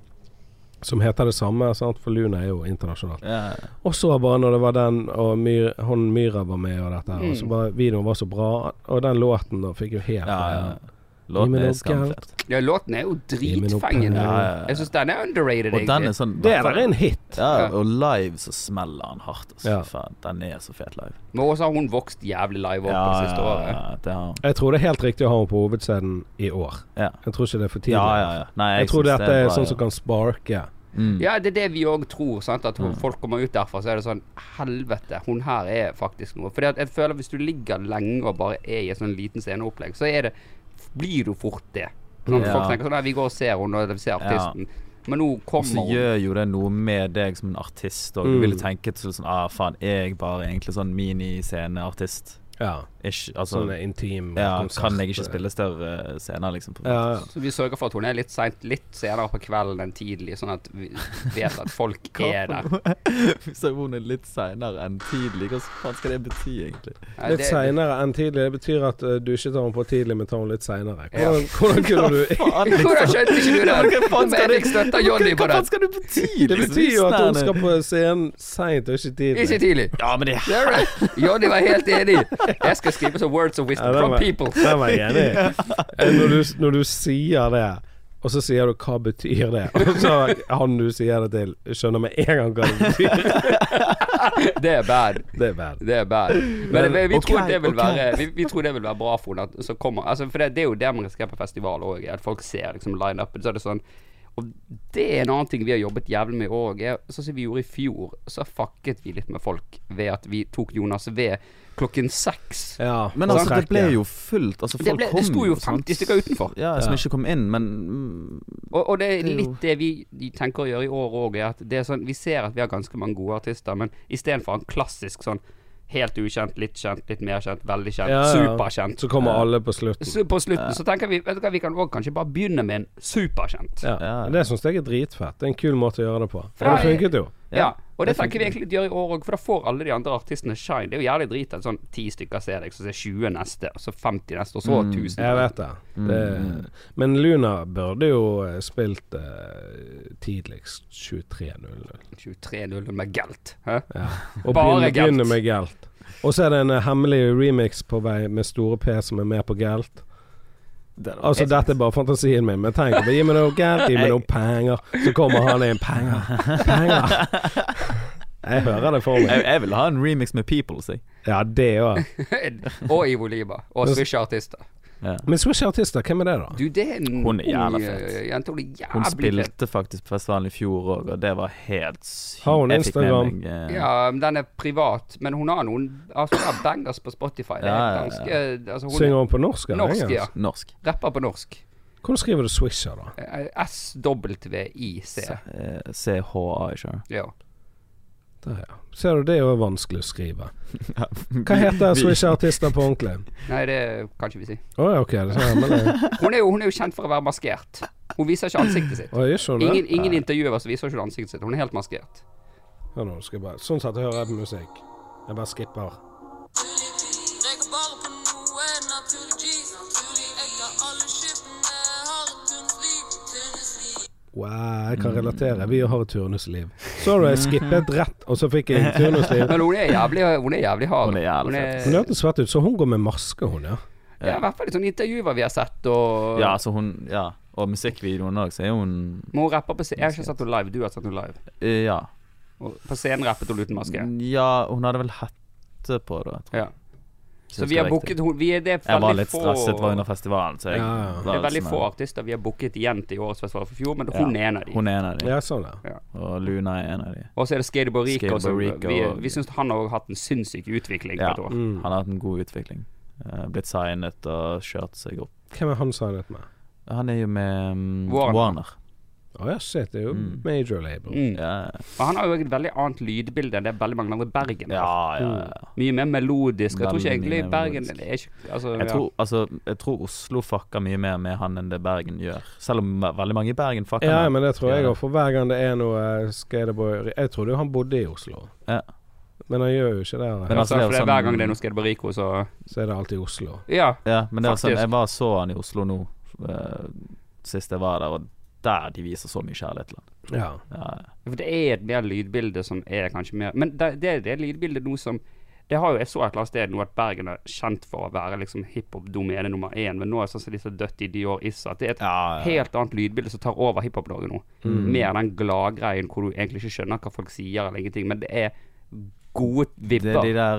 Speaker 1: Som heter det samme, sant? for Luna er jo internasjonal.
Speaker 2: Ja.
Speaker 1: Og så bare når det var den og Myr, hun Myra var med og dette her, og så bare videoen var så bra, og den låten da fikk jo helt
Speaker 2: ja, ja.
Speaker 1: eh,
Speaker 2: Låten
Speaker 1: Gi meg
Speaker 2: er
Speaker 1: noe
Speaker 2: skamfett.
Speaker 3: ja, låten er jo
Speaker 1: men nå-
Speaker 3: dritfengende.
Speaker 1: Ja,
Speaker 2: ja, ja.
Speaker 3: Jeg syns den er underrated,
Speaker 2: Og den er
Speaker 3: egentlig.
Speaker 2: sånn
Speaker 1: Det der er en hit.
Speaker 2: Ja, og live så smeller han hardt. Altså.
Speaker 1: Ja.
Speaker 2: Faen, den er så fet live.
Speaker 3: Men også har hun vokst jævlig live opp det siste
Speaker 2: ja,
Speaker 3: året.
Speaker 2: ja, det har han.
Speaker 1: Jeg tror det er helt riktig å ha henne på hovedscenen i år.
Speaker 2: Ja.
Speaker 1: Jeg tror ikke det er for tidlig.
Speaker 2: Ja, ja, ja. Nei,
Speaker 1: Jeg tror
Speaker 2: synes
Speaker 1: dette er
Speaker 2: bra,
Speaker 1: sånn
Speaker 2: ja.
Speaker 1: som kan sparke.
Speaker 2: mm.
Speaker 3: Ja, det er det vi òg tror. Sant? At hun, folk kommer ut derfra, så er det sånn Helvete, hun her er faktisk noe. For jeg føler hvis du ligger lenge og bare er i en sånn liten sceneopplegg, så er det Blir du fort det. Sånn, at
Speaker 2: Ja.
Speaker 3: Folk tenker sånn Nei, vi går og ser henne, og vi ser artisten. Men nå
Speaker 2: Og så
Speaker 3: kommer hun.
Speaker 2: gjør jo det noe med deg som en artist, og du
Speaker 1: Mm.
Speaker 2: ville tenke til sånn Ah, faen, er jeg bare egentlig sånn minisceneartist?
Speaker 1: Ja.
Speaker 2: Ikke Altså,
Speaker 1: Sånn intim
Speaker 2: ja,
Speaker 1: konsert. eh.
Speaker 2: kan jeg ikke spille større scener, liksom? På,
Speaker 1: Ja, ja.
Speaker 3: Så vi sørger for at hun er litt seint, litt senere på kvelden enn tidlig, sånn at vi vet at folk er der.
Speaker 2: Hvis hun er litt seinere enn tidlig, hva faen skal det bety, egentlig?
Speaker 3: Nei,
Speaker 1: Litt
Speaker 3: det-
Speaker 1: seinere enn tidlig. Det betyr at eh, du ikke tar henne på tidlig, men tar henne litt seinere.
Speaker 3: Ja.
Speaker 1: Hvordan, hvordan kunne du
Speaker 2: Faen,
Speaker 3: Hvordan skjønte ikke du det?
Speaker 2: Ja, hva
Speaker 3: Men
Speaker 2: faen skal
Speaker 3: jeg
Speaker 2: det-
Speaker 3: fikk støtte av Johnny på
Speaker 2: Hva faen
Speaker 3: det.
Speaker 2: skal det bety?
Speaker 1: Det
Speaker 2: liksom?
Speaker 1: betyr jo at hun skal
Speaker 2: Snærne.
Speaker 1: på scenen seint og ikke tidlig.
Speaker 3: Ikke tidlig.
Speaker 2: Ja, men det er
Speaker 3: Det er det. Johnny var helt enig. Jeg skal skrive sånn words of
Speaker 1: Ja,
Speaker 3: wisdom
Speaker 1: den
Speaker 3: from
Speaker 1: var-
Speaker 3: people.
Speaker 1: Den var jeg enig i. Eh, Når, du- når du sier det, og så sier du 'hva betyr det', og så han du sier det til, skjønner med en gang hva det betyr.
Speaker 3: Det er bad.
Speaker 1: Det er bad.
Speaker 3: Det er bad. Men vi, vi,
Speaker 2: ok,
Speaker 3: tror det vil
Speaker 2: ok.
Speaker 3: være, vi, vi tror det vil være bra for henne. at- Så kommer, altså, for det, det er jo det man skal på festival òg, at folk ser liksom lineupen. Så er det sånn Og det er en annen ting vi har jobbet jævlig med òg. er- Sånn som vi gjorde i fjor, så fucket vi litt med folk ved at vi tok Jonas ved klokken seks.
Speaker 1: Ja,
Speaker 2: Men
Speaker 1: og
Speaker 2: altså, det ble
Speaker 1: trekke.
Speaker 2: jo fullt. Altså, folk
Speaker 3: Det, ble,
Speaker 2: kom
Speaker 3: det sto jo
Speaker 2: og sånt.
Speaker 3: 50 stykker utenfor.
Speaker 2: Ja, som ikke kom inn, men mm,
Speaker 3: Og, og det er
Speaker 2: Det er jo-
Speaker 3: litt det vi de tenker å gjøre i år òg. Sånn, vi ser at vi har ganske mange gode artister, men istedenfor en klassisk sånn helt ukjent, litt kjent, litt mer kjent, veldig kjent,
Speaker 1: Ja, ja.
Speaker 3: superkjent
Speaker 1: Så kommer alle på slutten.
Speaker 3: så På slutten så tenker vi Vet du hva, vi kan også kanskje bare begynne med en superkjent. Ja.
Speaker 1: Ja.
Speaker 2: Ja.
Speaker 1: Det syns jeg er dritfett. Det er en kul måte å gjøre det på. For det
Speaker 3: Ja, jeg-
Speaker 1: funket jo.
Speaker 3: og det,
Speaker 2: det
Speaker 3: tenker vi
Speaker 2: funker.
Speaker 3: egentlig å gjøre i år òg, for da får alle de andre artistene shine. Det er jo jævlig drit at sånn ti stykker ser deg, så ser 20 neste, og så 50 neste, og så 1000.
Speaker 1: Jeg vet det.
Speaker 2: Mm.
Speaker 1: det men Luna burde jo eh, spilt eh, tidligst 23.00.
Speaker 3: 23-0 med Gelt. Hæ?
Speaker 1: Og begynne,
Speaker 3: Bare Gelt.
Speaker 1: begynne med Gelt. Og så er det en eh, hemmelig remix på vei med Store P som er med på Gelt.
Speaker 2: det er-
Speaker 1: Altså, dette er bare fantasien min, men tenk bare, Gi meg noe galt, gi meg noe penger. Så kommer han inn. Penger, penger. Jeg hører det for
Speaker 2: jeg,
Speaker 1: meg.
Speaker 2: jeg vil ha en remix med Peoples, jeg.
Speaker 1: Ja, det òg.
Speaker 3: og Ivo Liba. Og Swish-artister.
Speaker 2: Ja.
Speaker 1: Men Swish-artister, hvem er det, da?
Speaker 3: Du, det er en
Speaker 2: Hun er jævla
Speaker 3: ung,
Speaker 2: fet.
Speaker 3: eh, jente. Hun er jævlig
Speaker 2: Hun
Speaker 3: fet.
Speaker 2: spilte faktisk på festivalen i fjor òg, og det var helt sykt.
Speaker 1: Har hun
Speaker 2: Jeg fikk med
Speaker 1: Instagram?
Speaker 2: meg, eh,
Speaker 3: Ja, men den er privat, men hun har noen altså, hun har bangers på Spotify. Det
Speaker 2: Ja,
Speaker 3: er
Speaker 2: ja, ja.
Speaker 3: ganske eh, altså, Hun
Speaker 1: Synger hun på norsk?
Speaker 3: er
Speaker 1: eller
Speaker 3: norsk, ja.
Speaker 1: engelsk?
Speaker 2: Norsk.
Speaker 3: Rapper på norsk.
Speaker 1: Hvordan skriver du Swisher, da?
Speaker 3: Eh, SWIC.
Speaker 2: Eh, CHA, ikke sant?
Speaker 3: Ja.
Speaker 1: Der, ja. Ser du, det er jo vanskelig å skrive. Hva heter Swish-artister på ordentlig?
Speaker 3: Nei, det kan ikke vi si.
Speaker 1: Å ja, ok. Det er sånn, men det-
Speaker 3: Hun er, jo, hun er jo kjent for å være maskert. Hun viser ikke ansiktet sitt.
Speaker 1: Å, jeg skjønner.
Speaker 3: Ingen, ingen intervjuer så viser hun ikke ansiktet sitt. Hun er helt maskert.
Speaker 1: Hør nå, skal jeg bare Sånn sett hører jeg på musikk. Jeg bare skipper.
Speaker 4: Tenker bare på noe naturligvis. Jeg tar alle skiftene, har et tunnelsliv. Tunnelsliv.
Speaker 1: Wow, jeg kan relatere. Vi har et turnusliv. Så du, jeg skippet rett, og så fikk jeg et turnusliv.
Speaker 3: Men hun er jævlig, hun er jævlig hard.
Speaker 2: Hun er jævlig
Speaker 1: Hun hørtes svett ut, så hun går med maske, hun, ja.
Speaker 3: ja, I hvert fall i sånne intervjuer vi har sett, og
Speaker 2: Ja, så hun Ja. Og musikkvideoen òg, så er hun
Speaker 3: Men hun rapper på scenen. Jeg har ikke sett henne live, du har sett henne live.
Speaker 2: eh, Ja.
Speaker 3: Og på scenen rappet hun uten maske.
Speaker 2: Mm. Ja, hun hadde vel hette på, da.
Speaker 3: Ja.
Speaker 2: hvis
Speaker 3: Så
Speaker 2: jeg
Speaker 3: vi har
Speaker 2: husker riktig.
Speaker 3: booket hun vi er, Det er
Speaker 2: Jeg var
Speaker 3: veldig
Speaker 2: litt
Speaker 3: få
Speaker 2: stresset, var under festivalen, så jeg
Speaker 1: Ja, ja.
Speaker 3: Det er
Speaker 2: var
Speaker 3: veldig
Speaker 2: sånn
Speaker 3: få
Speaker 2: her,
Speaker 3: artister vi har booket igjen til årets festival for fjor, men hun er en av de.
Speaker 2: Hun er en av de.
Speaker 1: Ja, sånn, ja.
Speaker 2: Og Luna er en av de.
Speaker 3: Og så er det Skady Borico.
Speaker 2: Skady
Speaker 3: som-
Speaker 2: Borico
Speaker 3: Vi,
Speaker 2: og-
Speaker 3: vi syns han har hatt en sinnssyk utvikling på
Speaker 2: Ja.
Speaker 3: et år.
Speaker 1: Mm.
Speaker 2: Han har hatt en god utvikling. Eh, Blitt signet og kjørt seg opp.
Speaker 1: Hvem er han signet med?
Speaker 2: Han er jo med mm,
Speaker 3: Warner.
Speaker 2: Warner.
Speaker 1: Å ja, shit, det er jo
Speaker 2: Mm.
Speaker 1: major label.
Speaker 3: Mm.
Speaker 2: Ja,
Speaker 3: Og han har jo et veldig annet lydbilde enn det veldig mange andre i Bergen har.
Speaker 2: ja, ja,
Speaker 1: Mm.
Speaker 2: ja.
Speaker 3: Mye mer melodisk. Jeg tror ikke
Speaker 2: Veldig
Speaker 3: egentlig
Speaker 2: mer
Speaker 3: Bergen
Speaker 2: melodisk.
Speaker 3: er ikke, altså,
Speaker 2: Jeg
Speaker 3: ja.
Speaker 2: tror, altså, jeg tror Oslo fucker mye mer med han enn det Bergen gjør. Selv om ve- veldig mange i Bergen fucker
Speaker 1: Ja,
Speaker 2: med
Speaker 1: men det tror jeg òg, for hver gang det er noe eh, skateboy Jeg trodde jo han bodde i Oslo,
Speaker 2: Ja.
Speaker 1: men han gjør jo ikke det.
Speaker 2: Men
Speaker 1: Her.
Speaker 2: altså, det er jo
Speaker 3: for det er
Speaker 2: sånn-
Speaker 3: Hver gang det er noe Skady Borico, så
Speaker 1: Så er det alltid Oslo.
Speaker 3: Ja.
Speaker 2: Ja, men det var sånn,
Speaker 3: Faktisk.
Speaker 2: jeg var så han i Oslo nå eh, sist jeg var der, og der de viser så mye kjærlighet til han.
Speaker 1: Ja.
Speaker 2: Ja, ja.
Speaker 3: For det er et mer lydbilde som er kanskje mer Men det, det, det lydbildet nå som det har jo, Jeg så et eller annet sted nå at Bergen er kjent for å være liksom hiphop-domene nummer én, men nå er det sånn som disse Dutty Dior Issa. at Det er et
Speaker 2: Ja, ja.
Speaker 3: helt annet lydbilde som tar over hiphop-Norge nå. Mer den gladgreien hvor du egentlig ikke skjønner hva folk sier eller ingenting, men det er gode
Speaker 2: Det er de
Speaker 3: vibber.
Speaker 2: der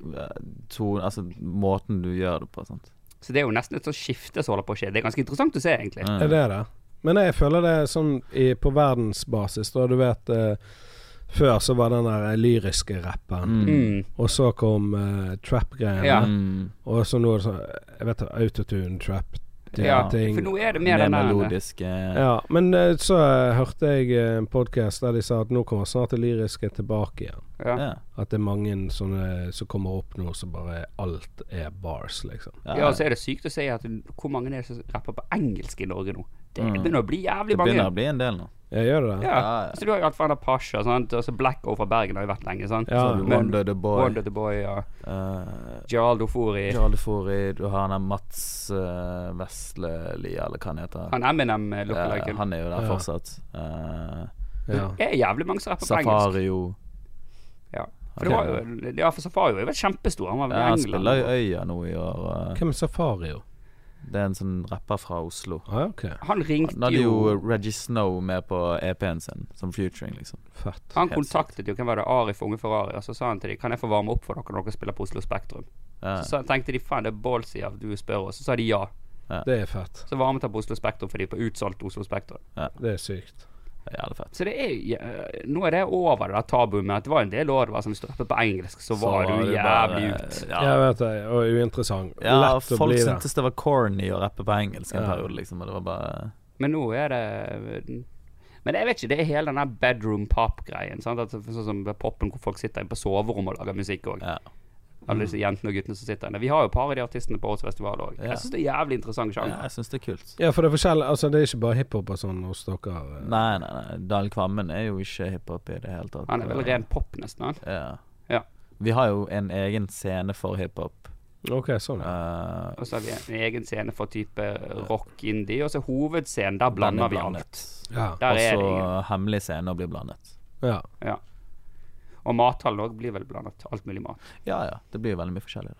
Speaker 3: Mm.
Speaker 2: eh, to, Altså måten du gjør det på, sant.
Speaker 3: så det er jo nesten et sånt skifte som holder på å skje. Det er ganske interessant å se, egentlig.
Speaker 1: Er det det? Men jeg føler det er sånn i, på verdensbasis, da. Du vet eh, Før så var den der eh, lyriske rappen,
Speaker 3: Mm.
Speaker 1: og så kom eh, trap-greiene,
Speaker 3: Ja.
Speaker 2: Mm,
Speaker 1: og så nå er det sånn Jeg vet ikke, autotune, trap, de
Speaker 3: Ja,
Speaker 1: ting.
Speaker 3: for nå er det mer
Speaker 2: mer
Speaker 3: den der
Speaker 2: melodisk eh,
Speaker 1: Ja, men eh, så eh, hørte jeg eh, en podkast der de sa at nå kommer snart det lyriske tilbake igjen.
Speaker 3: ja.
Speaker 2: ja.
Speaker 1: At det er mange sånne som kommer opp nå som bare alt er bars, liksom.
Speaker 2: Eh,
Speaker 3: Ja, altså, og så er det sykt å si at hvor mange er det som rapper på engelsk i Norge nå? Det
Speaker 2: Mm.
Speaker 3: begynner å bli jævlig
Speaker 2: det begynner
Speaker 3: mange.
Speaker 2: å bli en del nå.
Speaker 1: Jeg gjør det det?
Speaker 3: Ja.
Speaker 2: Ja, ja.
Speaker 3: Så du har jo alt fra Anna Pasha, sant? og så Blacko fra Bergen har jo vært lenge. sant?
Speaker 1: Ja.
Speaker 2: Så har du
Speaker 3: Men-
Speaker 2: Wonder the Boy.
Speaker 3: Wonder the Boy ja.
Speaker 2: eh,
Speaker 3: Gerald Ofori.
Speaker 2: Jarle Fori, du har han der Mats uh, Veslelie, eller hva han heter.
Speaker 3: Han Eminem eh,
Speaker 2: Eh,
Speaker 3: lookaliken.
Speaker 2: han er jo der
Speaker 1: Ja.
Speaker 2: fortsatt. Eh,
Speaker 1: Ja.
Speaker 3: Det er jævlig mange som rapper på engelsk.
Speaker 2: Safario.
Speaker 3: Ja. For, det var jo, ja, for Safari var jo kjempestor. Han var
Speaker 2: Ja,
Speaker 3: vel i
Speaker 2: han
Speaker 3: England.
Speaker 2: spiller i Øya nå i år. eh.
Speaker 1: Hvem er Safario?
Speaker 2: Det er en sånn rapper fra Oslo.
Speaker 1: Ah, ok.
Speaker 3: Han
Speaker 2: Han
Speaker 3: ringte
Speaker 2: hadde jo
Speaker 3: jo
Speaker 2: Reggie Snow med på EP-en sin, som featuring, liksom.
Speaker 1: Fett.
Speaker 3: Han
Speaker 2: helt
Speaker 3: kontaktet jo hvem var det, Arif Unge Ferrari, og så sa han til dem kan jeg få varme opp for dere når dere spiller på Oslo Spektrum.
Speaker 2: Ja,
Speaker 3: Så sa- tenkte de faen, det er ballsy av du spør oss. Så sa de ja.
Speaker 1: Det er fett.
Speaker 3: Så varmet han på Oslo Spektrum for de på utsolgt Oslo Spektrum.
Speaker 1: Det er sykt.
Speaker 2: det er jævlig fett.
Speaker 3: Så det er ja, Nå er det over det der tabuet med at det var en del år det var som hvis du rappet på engelsk, så var du jævlig
Speaker 2: bare-
Speaker 3: ut.
Speaker 1: Jeg
Speaker 2: Ja,
Speaker 1: vet det, og uinteressant.
Speaker 2: ja
Speaker 1: Lett å
Speaker 2: folk
Speaker 1: bli det.
Speaker 2: syntes det var corny å rappe på engelsk en
Speaker 1: Ja.
Speaker 2: periode, liksom, og det var bare
Speaker 3: Men nå er det Men jeg vet ikke, det er hele den der bedroom pop-greien. sant? At det- Sånn som ved poppen hvor folk sitter inne på soverommet og lager musikk òg.
Speaker 2: Ja.
Speaker 3: Alle disse jentene og guttene som sitter inne. Vi har jo et par av de artistene på årets festival òg.
Speaker 2: Ja.
Speaker 3: Jeg syns det er jævlig interessant
Speaker 2: ja,
Speaker 3: sjanger.
Speaker 2: jeg syns det er kult.
Speaker 1: Ja, for det er forskjellig Altså, det er ikke bare hiphop og sånn hos dere. eh.
Speaker 2: Nei, nei, nei. Dalen Kvammen er jo ikke hiphop i det hele tatt.
Speaker 3: Han er vel ren pop, nesten. han.
Speaker 2: Ja.
Speaker 3: Ja.
Speaker 2: Vi har jo en egen scene for hiphop.
Speaker 1: Ok, sånn. ja.
Speaker 2: Uh,
Speaker 3: Og så har vi en egen scene for type rock indie, og så hovedscenen, der blander vi alt.
Speaker 1: Ja.
Speaker 3: Der
Speaker 2: Og
Speaker 3: er det ingen.
Speaker 2: så hemmelig scene blir blandet.
Speaker 1: ja.
Speaker 3: Ja. Og mathallen òg blir vel blandet. Alt mulig mat.
Speaker 2: Ja ja, det blir jo veldig mye forskjellig. da.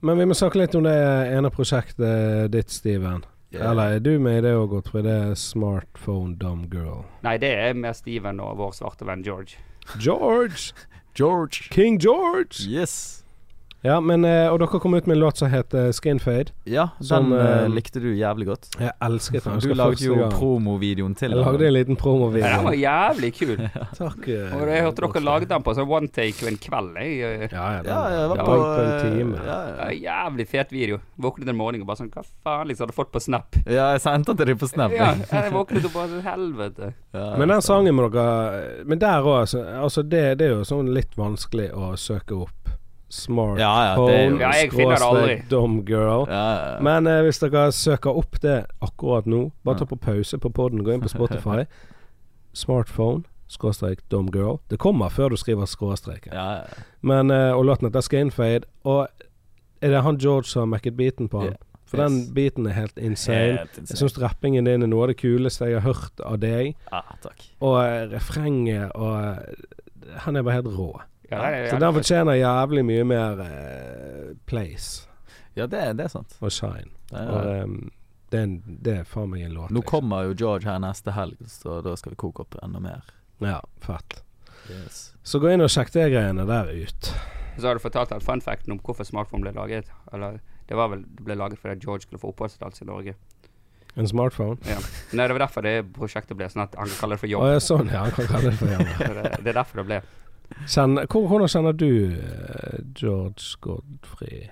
Speaker 1: Men vi må snakke litt om det ene prosjektet ditt, Steven.
Speaker 2: Ja.
Speaker 1: Eller er du med i det òg, Gottfried? Det er Smartphone Dumb Girl.
Speaker 3: Nei, det er mer Steven og vår svarte venn George.
Speaker 1: George!
Speaker 2: George.
Speaker 1: King George!
Speaker 2: Yes.
Speaker 1: Ja, men eh, Og dere kom ut med en låt som heter Skinfade.
Speaker 2: Ja,
Speaker 1: Som,
Speaker 2: den eh,
Speaker 1: eh,
Speaker 2: likte du jævlig godt.
Speaker 1: Jeg elsket den. Jeg
Speaker 2: Du
Speaker 1: husker
Speaker 2: lagde
Speaker 1: første
Speaker 2: jo
Speaker 1: gang.
Speaker 2: promovideoen til
Speaker 1: Jeg lagde en liten
Speaker 3: Ja, Den var
Speaker 1: promovideo.
Speaker 3: jævlig kul.
Speaker 1: Takk.
Speaker 2: eh,
Speaker 3: Og jeg hørte dere lagde den på sånn one take en kveld. Jeg.
Speaker 1: Ja, ja, den,
Speaker 2: Ja, jeg var
Speaker 1: den
Speaker 2: på,
Speaker 1: langt på en
Speaker 2: eh,
Speaker 1: time.
Speaker 2: Ja,
Speaker 3: Det
Speaker 2: ja.
Speaker 3: var en Jævlig fet video. Våknet en morgen og bare sånn Hva faen, liksom? Hadde fått på Snap.
Speaker 2: ja, jeg sendte den til deg på Snap.
Speaker 3: Ja, jeg våknet og bare sånn Helvete.
Speaker 2: Ja.
Speaker 1: Men den sangen må dere Men der òg, altså. altså det, det er jo sånn litt vanskelig å søke opp. Smart
Speaker 2: Ja, ja, det er jo-
Speaker 3: Ja, jeg finner det aldri.
Speaker 1: Dumb girl.
Speaker 2: ja, ja.
Speaker 1: Men eh, hvis dere søker opp det akkurat nå, bare ta på pause på poden, gå inn på Spotify. Smartphone, skråstrek domgirl. Det kommer før du skriver skråstreken.
Speaker 2: Ja, ja.
Speaker 1: Men, eh, og låten heter Skinfade. Og er det han George som har mekket beaten på han?
Speaker 2: Ja.
Speaker 1: For
Speaker 2: Yes.
Speaker 1: den beaten er helt insane.
Speaker 2: Helt
Speaker 1: Jeg
Speaker 2: insane.
Speaker 1: syns rappingen din er noe av det kuleste jeg har hørt av deg.
Speaker 2: Ja, takk.
Speaker 1: Og eh, refrenget og eh, Han er bare helt rå.
Speaker 3: Ja, det er-
Speaker 1: Så den fortjener jævlig mye mer eh, place
Speaker 2: Ja, det, det er sant.
Speaker 1: og shine.
Speaker 2: Det
Speaker 1: Og,
Speaker 2: er,
Speaker 1: em, det, er en, det er faen meg en låt.
Speaker 2: nå
Speaker 1: liksom.
Speaker 2: kommer jo George her neste helg, så da skal vi koke opp enda mer.
Speaker 1: Ja, fett.
Speaker 2: Yes.
Speaker 1: Så gå inn og sjekk de greiene der ut.
Speaker 3: Så har du fortalt at fun facten om hvorfor smartphone ble laget. Eller det var vel det ble laget fordi at George skulle få oppholdstillatelse i Norge.
Speaker 1: En smartphone.
Speaker 3: Ja. Nei, det var derfor det prosjektet ble sånn at han kan kalle det for
Speaker 1: Å
Speaker 3: jobb.
Speaker 1: ja, sånn, ja. Han kan kalle det for hjemme.
Speaker 3: Så Det, det er derfor det ble.
Speaker 1: Kjenn- hvor, hvordan kjenner du eh, George Godfrey?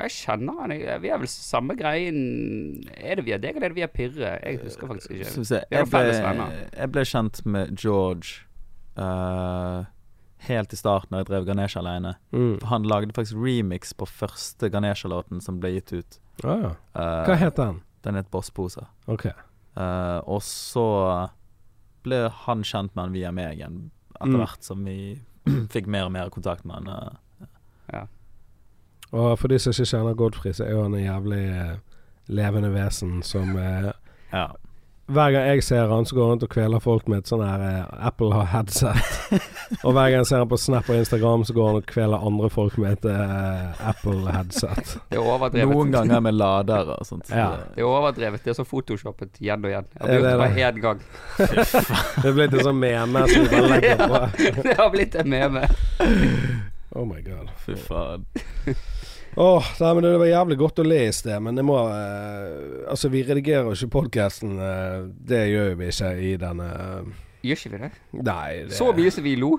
Speaker 3: Jeg kjenner han. jeg- Vi er vel samme greien Er det via deg, eller er det via Pirre? Jeg husker faktisk
Speaker 2: Skal
Speaker 3: ikke.
Speaker 2: vi se.
Speaker 3: Vi er jo
Speaker 2: Jeg ble,
Speaker 3: felles venner.
Speaker 2: jeg ble kjent med George eh, helt i starten da jeg drev Ganesha alene.
Speaker 1: Mm.
Speaker 2: For Han lagde faktisk remix på første Ganesha-låten som ble gitt ut.
Speaker 1: Ah, ja.
Speaker 2: Eh,
Speaker 1: Hva het den?
Speaker 2: Den het Bossposer.
Speaker 1: Ok.
Speaker 2: Eh, og så ble han kjent med han via meg igjen, etter
Speaker 1: Mm.
Speaker 2: hvert som vi fikk mer og mer kontakt med han. eh.
Speaker 1: Og for de som ikke kjenner Godfrey, så er jo han en jævlig eh, levende vesen som eh,
Speaker 2: ja.
Speaker 1: Hver gang jeg ser han, så går han rundt og kveler folk med et sånn her eh, Apple headset. og hver gang jeg ser han på Snap og Instagram, så går han og kveler andre folk med et eh, Apple headset.
Speaker 3: Det er overdrevet.
Speaker 2: Noen ganger med lader og sånt.
Speaker 1: Ja.
Speaker 3: Det er overdrevet. Det er så photoshoppet igjen og igjen.
Speaker 1: Er
Speaker 3: Jeg har gjort det
Speaker 1: det
Speaker 3: bare én gang.
Speaker 1: Det blir litt sånn meme som vi bare legger på.
Speaker 3: Det har blitt en meme.
Speaker 1: Oh my god.
Speaker 2: Fy faen.
Speaker 1: Åh, nei, men det var jævlig godt å le i sted, men det må eh, Altså, vi redigerer jo ikke podkasten. det gjør jo vi ikke i denne eh,
Speaker 3: Gjør ikke vi det?
Speaker 1: Nei. Det,
Speaker 3: Så mye som vi lo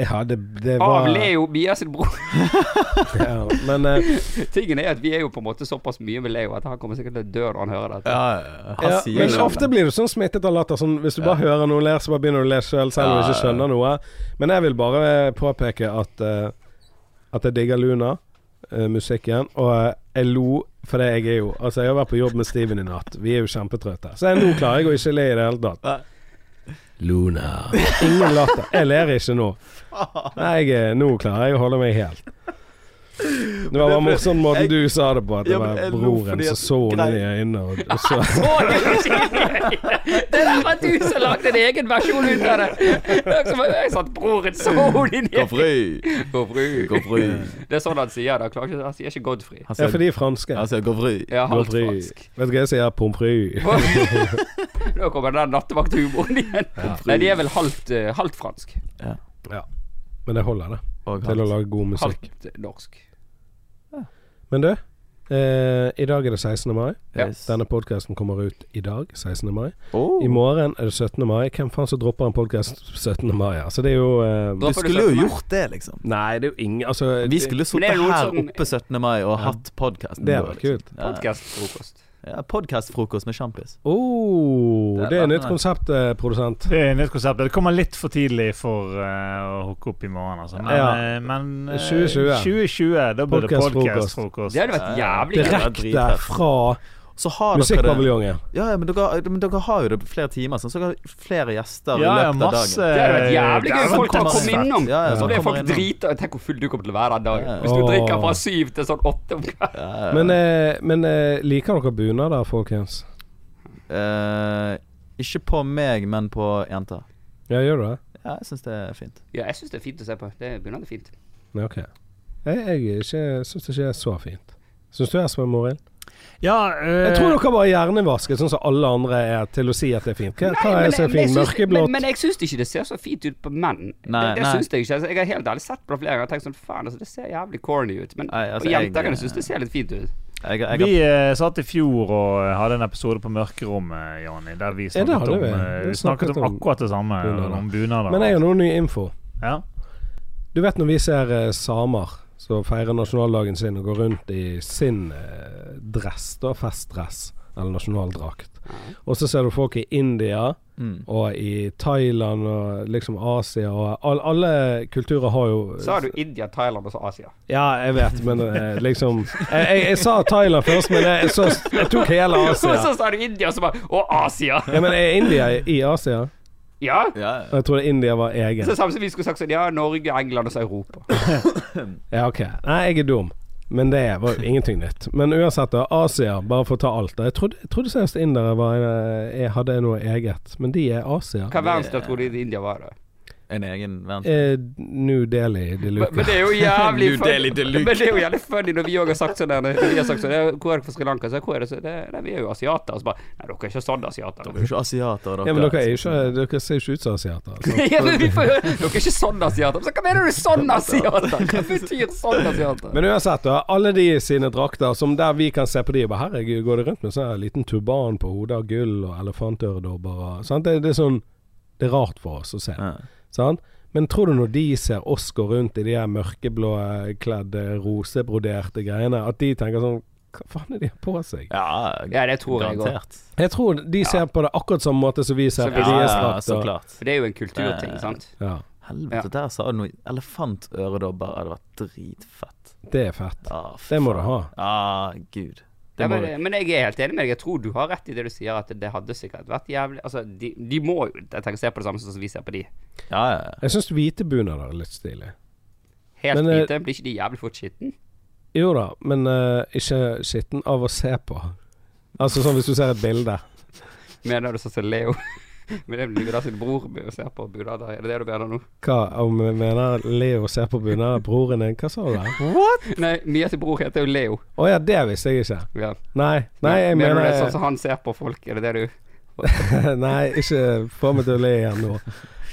Speaker 1: Ja, det, det var
Speaker 3: av Leo Mia sin bror.
Speaker 1: Ja, men eh,
Speaker 3: Tingen er at vi er jo på en måte såpass mye med Leo at han kommer sikkert til å dø når han hører dette.
Speaker 2: Ja, ja, han
Speaker 1: ja,
Speaker 2: sier
Speaker 1: Men
Speaker 2: jo
Speaker 1: ofte blir du sånn smittet av latter. Sånn, hvis du bare hører noen ler, så bare begynner du å le sjøl, selv om du
Speaker 2: Ja,
Speaker 1: ikke skjønner noe. Men jeg vil bare påpeke at eh, At jeg digger Luna, eh, musikken, og eh, jeg lo fordi jeg er jo Altså, jeg har vært på jobb med Steven i natt. Vi er jo kjempetrøtte. Så jeg, nå klarer jeg å ikke le i det hele tatt.
Speaker 2: Nei.
Speaker 1: Luna. Ingen latter. Jeg ler ikke nå. Nei, jeg, er- nå klarer jeg å holde meg helt. Det var bare morsomt måten du sa det på, at det
Speaker 2: Ja, men
Speaker 1: var
Speaker 2: jeg lo
Speaker 1: broren
Speaker 2: fordi
Speaker 1: som
Speaker 2: at-
Speaker 1: så henne inn i
Speaker 2: grei-
Speaker 1: øynene. Og, og så.
Speaker 3: Å, det er jo skikkelig gøy. Det der var du som lagde en egen versjon ut av det. Det er som om Jeg satt broren så din
Speaker 2: Godfrey!
Speaker 3: Godfrey.
Speaker 2: Godfrey.
Speaker 3: Det er sånn han sier det. Han klarer ikke- Han sier ikke Godfrey.
Speaker 2: Han
Speaker 1: Ja,
Speaker 2: sier,
Speaker 1: for de er franske.
Speaker 2: han sier Godfrey.
Speaker 3: Ja, halvt
Speaker 1: Godfrey.
Speaker 3: fransk.
Speaker 1: Vet du hva jeg sier? Pommes frites.
Speaker 3: Nå kommer den nattevakthumoren igjen. Nei, de er vel halvt, eh, halvt fransk.
Speaker 1: Men det holder, det.
Speaker 2: Og
Speaker 1: Til å
Speaker 2: han-
Speaker 1: lage god musikk.
Speaker 3: Halvt eh, norsk.
Speaker 1: Men du, eh, i dag er det 16. mai.
Speaker 3: Ja,
Speaker 2: Yes.
Speaker 1: Denne podkasten kommer ut i dag, 16. mai.
Speaker 2: Åh.
Speaker 1: I morgen er det 17. mai. Hvem faen som dropper en podkast 17. mai? Altså, det er jo eh,
Speaker 2: Du
Speaker 3: Dropper du
Speaker 2: skulle jo
Speaker 3: 17. mai?
Speaker 2: gjort det, liksom.
Speaker 1: Nei, det er jo ingen Altså,
Speaker 2: Vi skulle sittet
Speaker 3: det er jo
Speaker 2: her
Speaker 3: sånn-
Speaker 2: oppe 17. mai og hatt liksom. podkast.
Speaker 1: det var kult.
Speaker 3: Podkast-frokost.
Speaker 2: Ja, Podkastfrokost med sjampis.
Speaker 1: Oh,
Speaker 2: Det er
Speaker 1: det er
Speaker 2: veldig
Speaker 1: nytt
Speaker 2: nice.
Speaker 1: konsept, eh, produsent.
Speaker 5: Det er nytt konsept. Det kommer litt for tidlig for eh, å hooke opp i morgen, altså. Men,
Speaker 1: Ja.
Speaker 5: eh, men eh,
Speaker 1: 2020.
Speaker 5: 2020, da blir det
Speaker 1: Podcast-frokost.
Speaker 3: Det
Speaker 5: podkast-frokost.
Speaker 3: hadde vært
Speaker 2: Ja, ja.
Speaker 3: jævlig gøy.
Speaker 2: var
Speaker 1: Direkte
Speaker 2: dritfett.
Speaker 1: fra
Speaker 2: Så har dere det
Speaker 1: musikkpaviljongen.
Speaker 2: Ja, ja, men dere, men dere har jo det på flere timer, sånn, så dere har flere gjester
Speaker 5: Ja,
Speaker 2: i
Speaker 5: ja,
Speaker 2: løpet av
Speaker 5: masse
Speaker 2: dagen.
Speaker 3: Det hadde vært jævlig gøy.
Speaker 5: Det er
Speaker 3: Folk kan
Speaker 5: masse-
Speaker 3: komme innom.
Speaker 2: Ja, ja,
Speaker 3: Så
Speaker 2: folk
Speaker 3: ble folk
Speaker 2: kommer innom.
Speaker 3: drita. Tenk hvor full du kommer til å være den dagen.
Speaker 2: Ja.
Speaker 3: Hvis du
Speaker 1: Åh.
Speaker 3: drikker fra syv til sånn åtte om kvelden.
Speaker 2: Ja, ja.
Speaker 1: Men, eh, men eh, liker dere bunader, folkens?
Speaker 2: Eh, ikke på meg, men på jenter.
Speaker 1: Ja, gjør du det?
Speaker 2: Ja, jeg syns det er fint.
Speaker 3: Ja, jeg syns det er fint å se på. Det begynner det fint.
Speaker 1: Nei, ok. Jeg, jeg er ikke, syns det ikke er så fint. Syns du Espen Morild?
Speaker 5: Ja, eh,
Speaker 1: Jeg tror dere bare er hjernevasket, sånn som alle andre er, til å si at det er fint. Hva, hva er så fint?
Speaker 3: syns- men,
Speaker 1: Mørkeblått?
Speaker 3: men jeg syns ikke det ser så fint ut på menn.
Speaker 2: Nei,
Speaker 3: det det
Speaker 2: nei.
Speaker 3: syns jeg ikke. Altså, jeg har helt ærlig sett på det flere ganger og tenkt sånn faen, altså, det ser jævlig corny ut. Men
Speaker 2: Nei, altså,
Speaker 3: og jenter
Speaker 2: jeg-
Speaker 3: kan synes det ser litt fint ut.
Speaker 2: Jeg, jeg,
Speaker 5: vi eh, satt i fjor og eh, hadde en episode på Mørkerommet, Jani, der vi
Speaker 1: Ja, det
Speaker 5: snakket,
Speaker 1: hadde
Speaker 5: om,
Speaker 1: vi.
Speaker 5: eh,
Speaker 1: Vi
Speaker 5: snakket
Speaker 1: snakket
Speaker 5: om
Speaker 1: om
Speaker 5: akkurat det samme,
Speaker 1: bunader.
Speaker 5: om bunader.
Speaker 1: Men jeg har noe ny info.
Speaker 5: ja.
Speaker 1: Du vet når vi ser eh, samer som feirer nasjonaldagen sin og går rundt i sin eh, dress, da, festdress eller nasjonaldrakt. Og så ser du folk i India
Speaker 2: Mm.
Speaker 1: og i Thailand og liksom Asia og all, Alle kulturer har jo eh,
Speaker 3: Sa du India, Thailand og så Asia?
Speaker 1: Ja, jeg vet, men eh, liksom jeg, jeg, jeg sa Thailand først, men jeg, jeg, så, jeg tok hele
Speaker 3: Og så
Speaker 1: Asia.
Speaker 3: sa du India, og så bare Å, Asia!
Speaker 1: Ja, men er India i Asia?
Speaker 3: Ja!
Speaker 2: Ja,
Speaker 1: Og Jeg trodde India var egen.
Speaker 3: Så samme som vi skulle sagt sånn Ja, Norge, England og så Europa.
Speaker 1: Ja, ok. Nei, jeg er dum. Men det var jo ingenting nytt. Men uansett, da. Asia, bare for å ta alt. da. Jeg trodde, jeg trodde seriøst indere var, eh, jeg hadde noe eget, men de er Asia.
Speaker 3: Hva verdensdel tror du India var, da?
Speaker 2: en egen verden.
Speaker 1: Eh, New Delhi de
Speaker 3: Men men
Speaker 1: luke.
Speaker 3: det er jo jævlig
Speaker 2: New Delhi
Speaker 3: funny.
Speaker 2: Deluxe.
Speaker 3: Men det er jo jævlig funny når vi òg har sagt sånn der, når vi har sagt sånn, «Ja, Hvor er dere fra Sri Lanka? Så, hvor er det, så, det, nei, vi er jo asiater. Og så bare Nei, dere er ikke sånn asiater.
Speaker 2: Dere er jo ikke asiater, dere.
Speaker 1: Ja, men dere, er jo ikke, dere ser jo ikke ut som asiater. Altså.
Speaker 2: sånn
Speaker 3: ja, men vi får, dere er ikke sånn asiater. Så hva mener du sånn asiater? Hva betyr sånn asiater?
Speaker 1: Men uansett, da. Alle de sine drakter som der vi kan se på de og bare Herregud, går det rundt med sånn her liten turban på hodet av gull og elefantøredobber og sant? Det, det er sånn Det er rart for oss å se.
Speaker 2: Ja.
Speaker 1: Sant? Men tror du når de ser oss gå rundt i de her mørkeblåkledde, eh, rosebroderte greiene, at de tenker sånn Hva faen er de har på seg?
Speaker 2: Ja,
Speaker 3: Ja, det tror jeg òg.
Speaker 2: garantert.
Speaker 1: Jeg tror de ser på det akkurat samme måte som vi ser
Speaker 3: Så
Speaker 1: på
Speaker 3: vi-
Speaker 2: Ja,
Speaker 1: deres
Speaker 2: ja, så
Speaker 1: drakter.
Speaker 2: klart.
Speaker 3: For det er jo en kulturting,
Speaker 2: Eh,
Speaker 3: sant?
Speaker 1: Ja,
Speaker 2: Helvete, der sa du noe elefantøredobber. Det hadde vært dritfett.
Speaker 1: det er fett.
Speaker 2: Ah,
Speaker 1: Det må du
Speaker 2: faen.
Speaker 1: ha.
Speaker 2: Ah, gud. Det
Speaker 3: Ja,
Speaker 2: må
Speaker 3: men,
Speaker 2: du.
Speaker 3: men jeg er helt enig med deg. Jeg tror du har rett i det du sier, at det hadde sikkert vært jævlig Altså, de, de må jo Jeg tenker se på det samme som vi ser på de.
Speaker 2: Ja, ja, ja.
Speaker 1: Jeg syns hvite bunader er litt stilig.
Speaker 3: Helt
Speaker 1: Men, eh,
Speaker 3: hvite. Blir ikke de jævlig fort skitten?
Speaker 1: Jo da, men eh, ikke skitten av å se på. Altså sånn hvis du ser et bilde.
Speaker 3: Mener du sånn som Leo? Men det blir jo da sin bror med å se på bunader. Er det det du mener nå?
Speaker 1: Hva om jeg mener Leo ser på bunader? Broren din, hva sa du der? Å
Speaker 3: Nei, Mia sin bror heter jo Leo.
Speaker 1: ja, det visste jeg ikke.
Speaker 3: Ja.
Speaker 1: Nei, nei, jeg
Speaker 3: mener
Speaker 1: mener
Speaker 3: du det er sånn som han ser på folk? Er det det du
Speaker 1: Nei, ikke få meg til å le igjen nå.